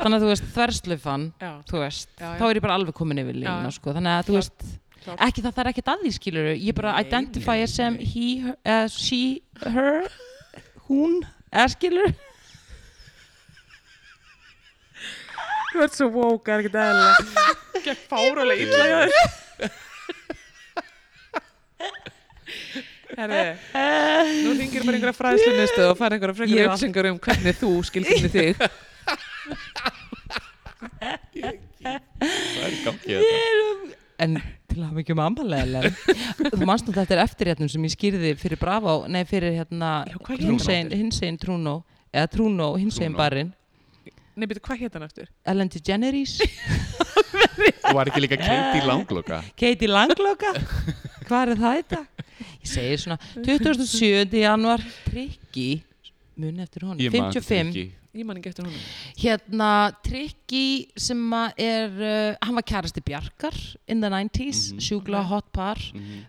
Speaker 1: Þannig að þú veist, þverslöfan
Speaker 3: já,
Speaker 1: þú veist,
Speaker 3: Já, já.
Speaker 1: þá er ég bara alveg komin yfir
Speaker 3: Já,
Speaker 1: lína
Speaker 3: já.
Speaker 1: sko, þannig að þú
Speaker 3: Klárt,
Speaker 1: veist
Speaker 3: klárt.
Speaker 1: ekki það það er ekkert að því skilur ég bara
Speaker 3: Nei,
Speaker 1: identify
Speaker 3: nei,
Speaker 1: sem
Speaker 3: nei.
Speaker 1: he, her, uh, she, her hún, eh, eða skilur
Speaker 3: þú ert svo woke, það er ekkert eðla gekk fárulega illa hjá þér herri nú ringir bara einhverja fræðslunustu og fara einhverja
Speaker 1: Ég
Speaker 3: frekar
Speaker 1: hef allt-
Speaker 3: uppsengar um hvernig þú skilginni þig
Speaker 2: Það er gangið þetta
Speaker 1: en til að mikið um ambalega þú manst nú þetta er eftirréttum sem ég skýrði fyrir Bravo, nei fyrir hérna
Speaker 3: Já, hvað hét hann
Speaker 1: hinsegin, hinsegin Trúnó eða Trúnó, hinsegin
Speaker 2: Trúnó.
Speaker 1: barinn
Speaker 3: nei, betur, hvað hétt hann eftir?
Speaker 1: Ellen DeGeneres,
Speaker 2: Og var ekki líka Katie Langloka
Speaker 1: Katie Langloka hvað er það þetta? ég segi svona 27. januar Tryggi, muni eftir honum
Speaker 2: Ég man
Speaker 1: 55
Speaker 2: ekki.
Speaker 3: ég man ekki eftir hún
Speaker 1: Hérna, Tryggi sem að er, uh, hann var kærasti Bjarkar in the 90s, mm sjúkla hot par,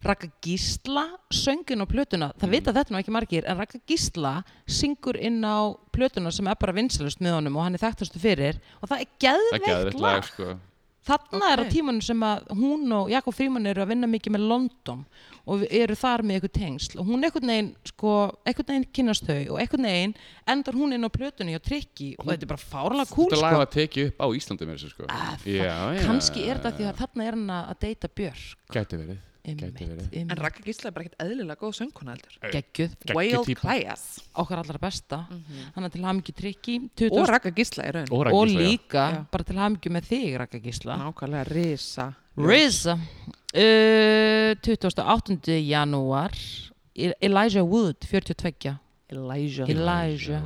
Speaker 1: Raka Gísla söngin á plötuna, það vita þetta nú ekki margir, en Raka Gísla syngur inn á plötuna sem er bara vinsalust með honum og hann er þekktastu fyrir og það er
Speaker 2: Það er
Speaker 1: geðveikt
Speaker 2: geðveikt
Speaker 1: lag
Speaker 2: lag sko
Speaker 1: þarna er á
Speaker 3: Ok.
Speaker 1: tímanum sem að hún og Jakob Fríman eru að vinna mikið með London og við eru þar með eitthvað tengsl og hún einhvern veginn, sko, einhvern veginn kynast þau og einhvern veginn endar hún inn á plötunni hjá Tryggi og þetta er bara fárlega kúl
Speaker 2: Þetta
Speaker 1: sko.
Speaker 2: lag var tekið upp á Íslandi með þessu sko Já, já.
Speaker 1: kannski er þetta því að þarna er hann að deyta Björk
Speaker 2: Gæti verið Gæti verið.
Speaker 3: en Raka Gísla er bara ekkert eðlilega góð söngkona heldur
Speaker 1: geggjuð,
Speaker 2: Geggjuð
Speaker 3: Whale
Speaker 2: típa.
Speaker 3: Class
Speaker 1: okkar allra besta hann er til hamingju Tryggi 20
Speaker 3: og Raka Gísla er raun
Speaker 2: Og
Speaker 1: og
Speaker 2: Ragnar Gísla, já.
Speaker 1: líka
Speaker 3: Já.
Speaker 1: bara til hamingju með þig Raka Gísla
Speaker 3: nákvæmlega risa
Speaker 1: Riza uh, 28. janúar E- Elijah Wood 42
Speaker 3: Elijah
Speaker 1: Elijah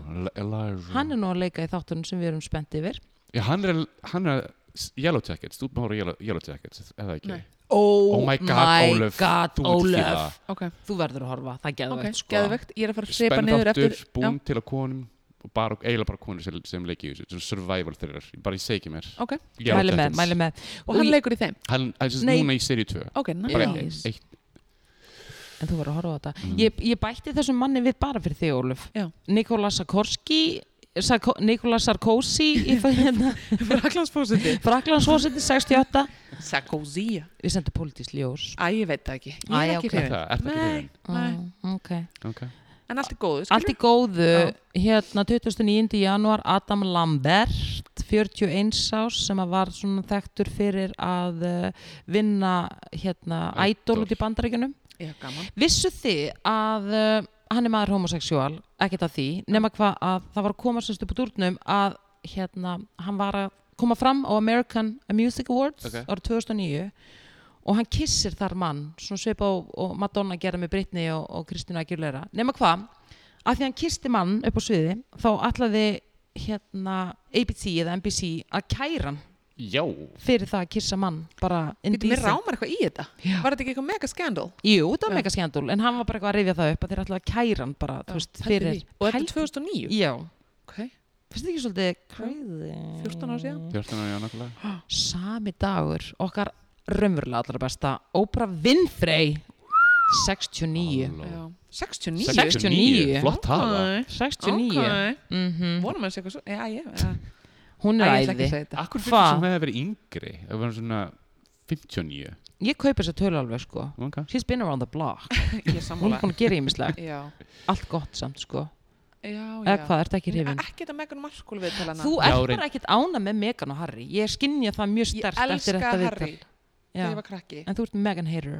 Speaker 2: Eli- Elijah
Speaker 1: hann er nú að leika í þáttunum sem við erum spennt yfir
Speaker 2: Já, hann er, hann er Yellow Jackets, þú báður Yellow, yellow Jackets, eða ekki?
Speaker 3: Nei.
Speaker 2: Oh my god, Ólöf,
Speaker 1: God,
Speaker 2: þú ert
Speaker 1: Ólöf.
Speaker 2: fíla.
Speaker 3: ok,
Speaker 1: þú verður að horfa, það er
Speaker 3: ok,
Speaker 1: geðvægt sko.
Speaker 3: geðvegt ég er að fara að sepa niður
Speaker 2: Spennþáttur,
Speaker 3: eftir
Speaker 2: búin til að konum og bara, eiginlega bara konur sem, sem leikið í þessu, svona survival þeirrar, Ég bara ég segi ekki mér.
Speaker 3: Já, ok
Speaker 2: Yellow
Speaker 1: mæli með,
Speaker 2: Jackets.
Speaker 1: mæli með
Speaker 3: og hann leikur í þeim
Speaker 2: Hann, hann er sem sagt
Speaker 1: Nei.
Speaker 2: núna í seríu 2.
Speaker 3: ok,
Speaker 2: Bara
Speaker 3: nice
Speaker 2: eitt.
Speaker 1: en þú verður að horfa á þetta
Speaker 2: Mm.
Speaker 1: ég, ég bætti þessum manni við bara fyrir þig, Óluf
Speaker 3: Já.
Speaker 1: Nikola Sarkozy Sarko, Nikola Sarkozy í það hérna
Speaker 3: Fraklandsfósiti
Speaker 1: Fraklandsfósiti 68
Speaker 3: Sarkozy
Speaker 1: Við sendum pólitísk ljós
Speaker 3: Æ, ég veit það ekki Ég
Speaker 1: Æ, ok.
Speaker 3: er ekki
Speaker 2: Er
Speaker 3: hrifin
Speaker 2: það, er það ekki
Speaker 3: Nei,
Speaker 2: hrifin?
Speaker 3: nei.
Speaker 1: ah, okay.
Speaker 2: Okay.
Speaker 3: En allt er góðu
Speaker 1: Allt í góðu
Speaker 3: Já.
Speaker 1: Hérna 29. januar Adam Lambert 41 ás sem að var svona þekktur fyrir að eh, vinna hérna
Speaker 2: Idol.
Speaker 1: Idol út í bandaríkjunum
Speaker 3: Já, gaman
Speaker 1: Vissu þið að uh, hann er maður homoseksual, ekkert að því, nema hvað að það var að koma sérst upp úr durnum að hérna, hann var að koma fram á American Music Awards
Speaker 2: Ok.
Speaker 1: árið 2009 og hann kissir þar mann, svona svipa og, og Madonna gerði með Britney og, og Kristina Aguilera. Nema hvað, að því hann kisti mann upp á sviði, þá ætlaði hérna ABC eða NBC að kæra hann
Speaker 2: Já,
Speaker 1: fyrir það að kissa mann bara
Speaker 3: Býttu, mér
Speaker 1: indecent.
Speaker 3: rámar eitthvað í þetta
Speaker 1: Já.
Speaker 3: Var þetta ekki eitthvað mega skandal?
Speaker 1: Jú, það var
Speaker 3: Já.
Speaker 1: mega skemmtul, en hann var bara eitthvað að rifja það upp að þeir ætlaði að kæra hann bara, þú veist,
Speaker 3: Pældu
Speaker 1: fyrir
Speaker 3: því. Og þetta
Speaker 1: Pældu-
Speaker 3: er 2009
Speaker 1: Já,
Speaker 3: Ok,
Speaker 1: finnst þið ekki svolítið crazy
Speaker 3: 14 ára síðan
Speaker 2: 14 ára, já, nákvæmlega
Speaker 1: Sami dagur, okkar raunverulega allra besta Oprah Winfrey 69
Speaker 2: Halló.
Speaker 3: Já. 69
Speaker 1: 69.
Speaker 2: Flott tala
Speaker 3: Ok,
Speaker 1: 69
Speaker 3: ok.
Speaker 1: Mhm.
Speaker 3: Vonum að sé eitthvað svo Já, ég Æ,
Speaker 1: Hún
Speaker 3: ég
Speaker 1: er
Speaker 3: ætla ekki að
Speaker 1: æði
Speaker 3: segja þetta
Speaker 2: Akkur
Speaker 1: Hva?
Speaker 2: fyrir sem hefði verið yngri Það var svona 59
Speaker 1: Ég kaupa þessa tölu alveg sko
Speaker 2: okay.
Speaker 1: She's been around the block
Speaker 3: Ég
Speaker 1: Hún
Speaker 3: er
Speaker 1: er
Speaker 3: sammála
Speaker 1: búin að gera ímislega
Speaker 3: Já,
Speaker 1: Allt gott samt sko
Speaker 3: já, já
Speaker 1: Eða hvað, ertu ekki hrifin?
Speaker 3: Ekki þetta Megan Markle við talana
Speaker 1: Þú
Speaker 2: Já,
Speaker 1: ert
Speaker 2: reynd-
Speaker 1: bara ekkert ána með Megan og Harry Ég skynja það mjög
Speaker 3: Ég
Speaker 1: stert eftir
Speaker 3: elska
Speaker 1: þetta
Speaker 3: Harry
Speaker 1: viðtal.
Speaker 3: Þegar ég
Speaker 1: Já.
Speaker 3: var krakki
Speaker 1: En þú ert Megan hater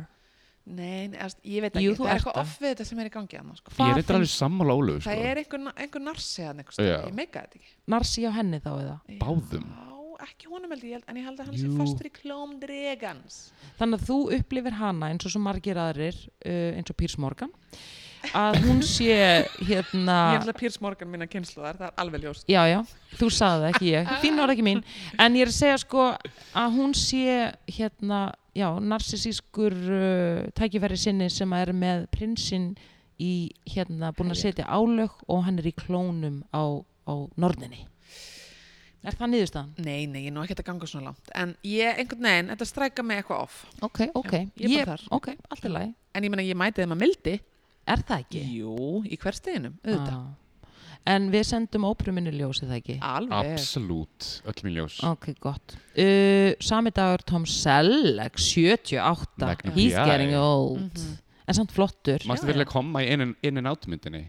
Speaker 3: Nei, nei, þú veist, ég veit ekki,
Speaker 1: Jú, þú
Speaker 3: það er
Speaker 1: ert
Speaker 3: eitthvað
Speaker 1: það.
Speaker 3: off við þetta sem er í gangi annars, sko.
Speaker 2: Ég
Speaker 1: Hvað
Speaker 2: er eitthvað alveg sammála ólu sko.
Speaker 3: Það er einhver, einhver narsi að einhver
Speaker 2: Já.
Speaker 3: stund, ég meika þetta ekki.
Speaker 1: Narsi á henni þá eða
Speaker 2: Báðum.
Speaker 3: Já, ekki honum held ég, held- en ég held að hann sé
Speaker 2: Jú.
Speaker 3: fastur í klóm dregans.
Speaker 1: Þannig að þú upplifir hana eins og svo margir aðrir uh, eins og Pírs Morgan að hún sé hérna
Speaker 3: Ég held að Pírs Morgan minna kynsluðar, það er alveg ljóst.
Speaker 1: Já, já, þú sagði það ekki ég þín var ekki mín, en ég er að segja sko að hún sé hérna já, narsisískur uh, tækifæri sinni sem að er með prinsinn í hérna búin að setja álög og hann er í klónum á, á norninni Er það niðurstaðan?
Speaker 3: Nei, nei, ég er nú ekki að ganga svona langt, en ég, einhvern veginn, þetta strækka mig eitthvað off.
Speaker 1: Ok, ok,
Speaker 3: ég er bara þar.
Speaker 1: ok, allt í lagi
Speaker 3: En ég meina, ég mæti þeim að mildi.
Speaker 1: Er það ekki?
Speaker 3: Jú, í hversteginum, auðvitað.
Speaker 1: auðvitað Ah. en við sendum ópruminu ljósið það ekki
Speaker 3: Alveg.
Speaker 2: Absolút, öll mín ljós
Speaker 1: ok, gott uh, sami dagur Tom Selleck 78,
Speaker 2: Magnum
Speaker 1: he's
Speaker 2: PI.
Speaker 1: getting old
Speaker 3: Mhm.
Speaker 1: en samt flottur
Speaker 2: Mástu fyrir að koma í inn en átmyndinni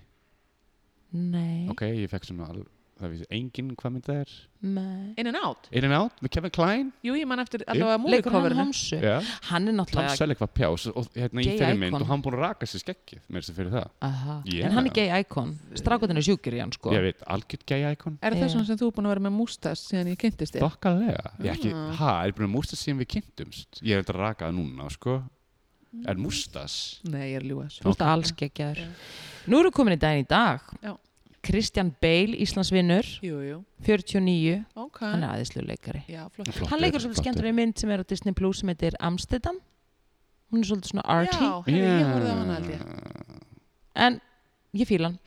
Speaker 1: nei,
Speaker 2: Ok, ég fekk svona al- Það vissi enginn hvað mynd það er
Speaker 1: nei
Speaker 3: In and out.
Speaker 2: In and Out með Kevin Klein
Speaker 3: Jú, ég man eftir allavega
Speaker 1: leikur hann
Speaker 3: múlikoverinu.
Speaker 1: homsu
Speaker 2: Já
Speaker 1: hann er
Speaker 2: Tom
Speaker 1: náttúrulega
Speaker 2: Selleck var pjás og hérna í
Speaker 1: Gay
Speaker 2: þeirri
Speaker 1: icon.
Speaker 2: mynd og hann búinn að raka sér skeggið með þessi fyrir það
Speaker 1: Aha.
Speaker 2: Yeah.
Speaker 1: en hann er gay icon, strákotinn er sjúkir í hann sko
Speaker 2: Ég veit, algjörd gæja íkon
Speaker 3: Er
Speaker 1: Já.
Speaker 3: það svona sem þú er búin að vera með mústas síðan ég kynntist þér?
Speaker 2: Þokkalega Ég ekki,
Speaker 3: Ah.
Speaker 2: ha, er búin að mústast síðan við kynntumst Ég er þetta rakað núna, sko Er mústast?
Speaker 3: Nei, ég er ljúas.
Speaker 1: þú veist að alls geggjaður nú eru komin í daginn í dag
Speaker 3: Já.
Speaker 1: Christian Bale, Íslandsvinnur
Speaker 3: Jú, jú,
Speaker 1: 49,
Speaker 3: ok.
Speaker 1: hann er aðeinslu leikari
Speaker 3: Já, flott.
Speaker 1: Mm. hann leikur svolítið skemmtur í mynd sem er á Disney Plus sem heitir Amsterdam hún er svolítið svona arty
Speaker 3: Já, heyrðu, ég horfði á hana held ég.
Speaker 1: en ég fíla hann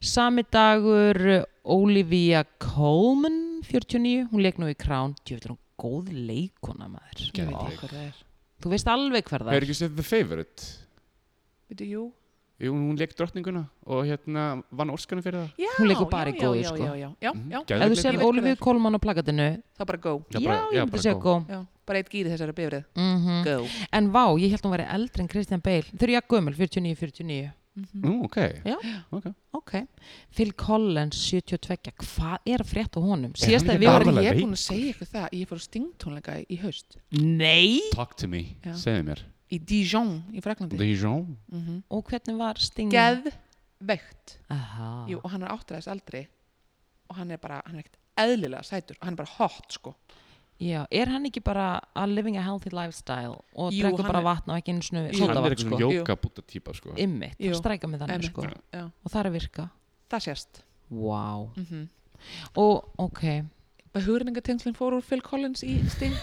Speaker 1: sami dagur uh, Olivia Colman 49, hún leik nú í Crown djöfnir hún góð leikona maður
Speaker 3: Ég veit
Speaker 2: Geðveik.
Speaker 3: ekki hvað það er.
Speaker 1: þú veist alveg hver það
Speaker 2: Hefur
Speaker 1: er
Speaker 2: ekki séð The Favourite?
Speaker 3: Veitu, jú.
Speaker 2: Jú, Hún leik drottninguna og hérna vann Óskarna fyrir það
Speaker 3: Já,
Speaker 1: Hún leikur bara í
Speaker 3: já,
Speaker 1: góðu,
Speaker 3: já,
Speaker 1: sko.
Speaker 3: Já, já, já,
Speaker 2: Mhm.
Speaker 3: já,
Speaker 1: ef þú
Speaker 2: Geðveik leikur.
Speaker 3: Ég
Speaker 1: sér
Speaker 3: veit hver
Speaker 1: Olivia
Speaker 3: það er.
Speaker 1: Colman á plakatinu
Speaker 3: það er bara go.
Speaker 1: já,
Speaker 2: Já, bara-
Speaker 1: ég
Speaker 2: já,
Speaker 1: myndi
Speaker 2: bara
Speaker 1: segja
Speaker 2: góð.
Speaker 1: góð
Speaker 3: Já, bara eitt gýri þessari bifrið.
Speaker 1: Mhm.
Speaker 3: Go.
Speaker 1: en vá, ég held hún væri eldri en Christian Bale þau eru jakkumul, 49-49
Speaker 2: Nú, ok
Speaker 1: Já.
Speaker 2: Ok.
Speaker 1: ok, Phil Collins 72, hvað er að frétta af honum
Speaker 2: hann
Speaker 1: síðast
Speaker 2: ekki
Speaker 1: að við
Speaker 2: bara-
Speaker 1: vorum
Speaker 3: Var
Speaker 2: alvarlega
Speaker 3: ég
Speaker 2: veik.
Speaker 3: búin að segja ykkur það? Ég fór á stingtónleika í haust.
Speaker 1: nei
Speaker 2: Talk to me,
Speaker 3: Já.
Speaker 2: segðu mér
Speaker 3: Í Dijon í Mhm. Fraklandi.
Speaker 2: Dijon
Speaker 1: og hvernig var Sting
Speaker 3: Geð veikt.
Speaker 1: Aha.
Speaker 3: Jú, og hann er áttræðis aldri og hann er bara, hann er ekkert eðlilega sætur og hann er bara hot, sko.
Speaker 1: Já, er hann ekki bara að living a healthy lifestyle og
Speaker 3: Jú,
Speaker 1: drekkur
Speaker 3: hann
Speaker 1: bara
Speaker 3: er-
Speaker 1: vatn og ekki einu svona
Speaker 3: Jú.
Speaker 2: Hann er
Speaker 1: sódavatn
Speaker 2: eitthvað
Speaker 1: sko,
Speaker 2: svona jóka búta típa, sko
Speaker 1: ymmit,
Speaker 3: Jú.
Speaker 1: það strækja með þannig
Speaker 3: Einmitt.
Speaker 1: sko
Speaker 3: Já.
Speaker 1: og það er að virka,
Speaker 3: Það sést.
Speaker 1: vá
Speaker 3: Mhm.
Speaker 1: og ok,
Speaker 3: Bara hugreiningatengslinn fór úr Phil Collins í sting.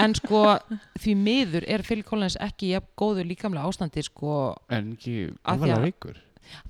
Speaker 1: en sko því miður er Phil Collins ekki jafn góður líkamlega ástandi sko
Speaker 2: En ekki,
Speaker 1: Af
Speaker 2: hann
Speaker 1: því
Speaker 2: var
Speaker 1: að-
Speaker 2: veikur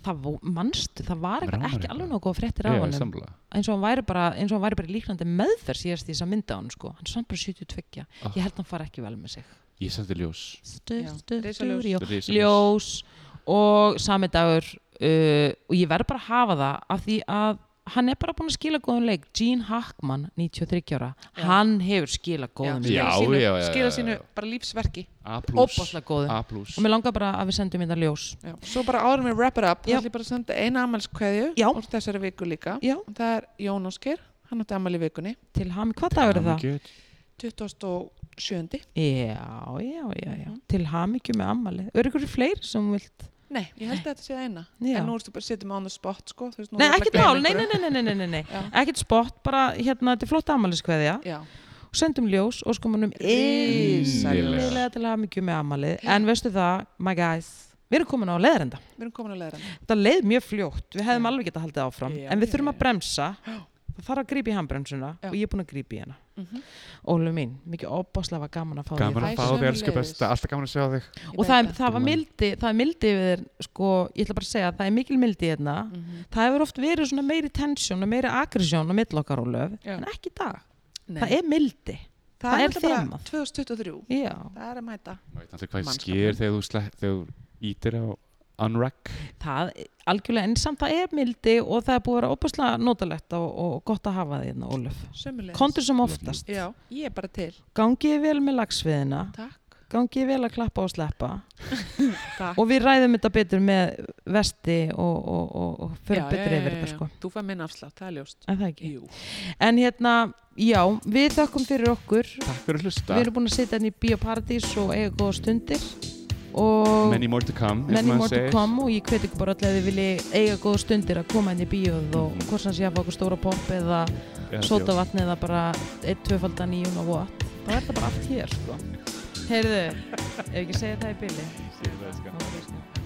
Speaker 1: það vo- manstu, það var
Speaker 2: Rámar
Speaker 1: eitthvað ekki
Speaker 2: eitthvað.
Speaker 1: alveg nógu góð fréttir
Speaker 2: Já,
Speaker 1: af
Speaker 2: ég
Speaker 1: honum
Speaker 2: samla
Speaker 1: eins og hann væri bara, eins og hann væri bara í líknandi meðferð síðast því þess að mynda hann sko hann er samt bara 72,
Speaker 2: Ah.
Speaker 1: ég held hann fara ekki vel með sig
Speaker 2: Ég sendi ljós
Speaker 1: stuð,
Speaker 3: Já,
Speaker 1: stuð,
Speaker 3: risaljós.
Speaker 1: stuð,
Speaker 2: Risaljós.
Speaker 1: ljós og sami dagur uh, og ég verð bara að hafa það af því að hann er bara búin að skila góðum leik Gene Hackman, 93 ára
Speaker 3: Já.
Speaker 1: hann hefur skila góðum leik
Speaker 2: Já,
Speaker 3: skila sínu,
Speaker 2: já, já, já,
Speaker 3: skila
Speaker 2: já,
Speaker 3: sínu
Speaker 2: já.
Speaker 3: bara lífsverki
Speaker 2: A plus
Speaker 1: óbáslega góðum
Speaker 2: A
Speaker 1: og
Speaker 2: plus
Speaker 1: mér langar bara að við sendum þetta ljós
Speaker 3: já. svo bara áður með wrap it up þá
Speaker 1: Já.
Speaker 3: ætlum ég bara að senda eina amalskveðju
Speaker 1: Já.
Speaker 3: úr þessari viku líka
Speaker 1: Já.
Speaker 3: Og það er Jón Ósker, hann átti amal í vikunni
Speaker 1: til ham, hvað dagur er það?
Speaker 2: Hamingju.
Speaker 3: 27.
Speaker 1: Já, já, já, já
Speaker 3: Mhm.
Speaker 1: til ham ekki með ammali eru ykkur fleiri sem þú vilt
Speaker 3: Nei, ég held að þetta sé það eina
Speaker 1: Já.
Speaker 3: en nú erstu bara að setja mig on the spot sko. Þú veist, nú
Speaker 1: Nei,
Speaker 3: er ég
Speaker 1: ekkert
Speaker 3: bara að
Speaker 1: mál,
Speaker 3: gleyma
Speaker 1: nei, nei,
Speaker 3: einhverju.
Speaker 1: nei, nei, nei, nei, nei.
Speaker 3: Já.
Speaker 1: ekkert spott, bara hérna, þetta er flott ammaliðskveðja
Speaker 3: Já.
Speaker 1: sendum ljós og skomanum
Speaker 3: Risalega.
Speaker 1: yfirlega til að mikið með ammalið en veistu það, my guys við erum komin á leðrenda,
Speaker 3: Við erum komin að leiðra
Speaker 1: þetta leið mjög fljótt við hefðum
Speaker 3: Já.
Speaker 1: alveg getað haldið áfram,
Speaker 3: Já,
Speaker 1: en við
Speaker 3: já,
Speaker 1: þurfum
Speaker 3: já.
Speaker 1: að bremsa það þarf að grípa í handbremsuna
Speaker 3: Já.
Speaker 1: og ég er búin að grípa í hana
Speaker 3: Mhm.
Speaker 1: Ólu mín, mikið opbáslega var gaman að fá
Speaker 2: Gaman að
Speaker 3: Æ,
Speaker 2: fá þig, elsku
Speaker 3: sömuleiðis.
Speaker 2: besta Alltaf gaman að sjá þig
Speaker 1: þig og það, er- það var mildi, það er mildi við þér sko, ég ætla bara að segja, það er mikil mildi hérna
Speaker 3: Mm.
Speaker 1: það hefur oft verið svona meiri tensjón og meiri aggresjón á milli okkar og löf
Speaker 3: Já.
Speaker 1: en ekki í dag,
Speaker 3: Nei.
Speaker 1: það er mildi það er
Speaker 3: náttúrulega bara
Speaker 1: þemað.
Speaker 3: 2023
Speaker 1: Já.
Speaker 3: Það er að mæta
Speaker 2: Veit alltaf hvað
Speaker 3: Mannskapur.
Speaker 2: sker þegar þú slepp Þegar þú ítir á unrack
Speaker 1: það algjörlega en samt það er mildi og það er búið að vera opaslega notalegt og, og gott að hafa þérna, Ólöf
Speaker 3: Sömmulegis
Speaker 1: kontur sem oftast,
Speaker 3: Já, ég er bara til
Speaker 1: gangi vel með lagsviðina
Speaker 3: Takk,
Speaker 1: gangi vel að klappa og sleppa
Speaker 3: takk
Speaker 1: og við ræðum þetta betur með vesti og, og, og, og
Speaker 3: Já,
Speaker 1: förum betur
Speaker 3: já,
Speaker 1: yfir
Speaker 3: já,
Speaker 1: þetta
Speaker 3: já.
Speaker 1: sko
Speaker 3: Þú fær minn afslátt, það er ljóst
Speaker 1: en það ekki,
Speaker 3: Jú,
Speaker 1: en hérna já, við þökkum fyrir okkur
Speaker 2: Takk fyrir að hlusta
Speaker 1: við erum búin að sitja hérna í Bíóparadís og eiga góða stundir og
Speaker 2: Many more to come eins og
Speaker 1: many
Speaker 2: maður
Speaker 1: more to
Speaker 2: segir.
Speaker 1: come og ég hveti ykkur bara alltaf að þið vilji eiga góða stundir að koma inn í bíóð og hvort sem sé að fá okkur stóra popp eða
Speaker 2: Já,
Speaker 1: sótavatn eða bara 1-2-faldan í og watt þá er það bara allt hér sko heyrðu, ef ekki segja það í bili
Speaker 2: já. Segðu það, elskan.
Speaker 1: þá er það sko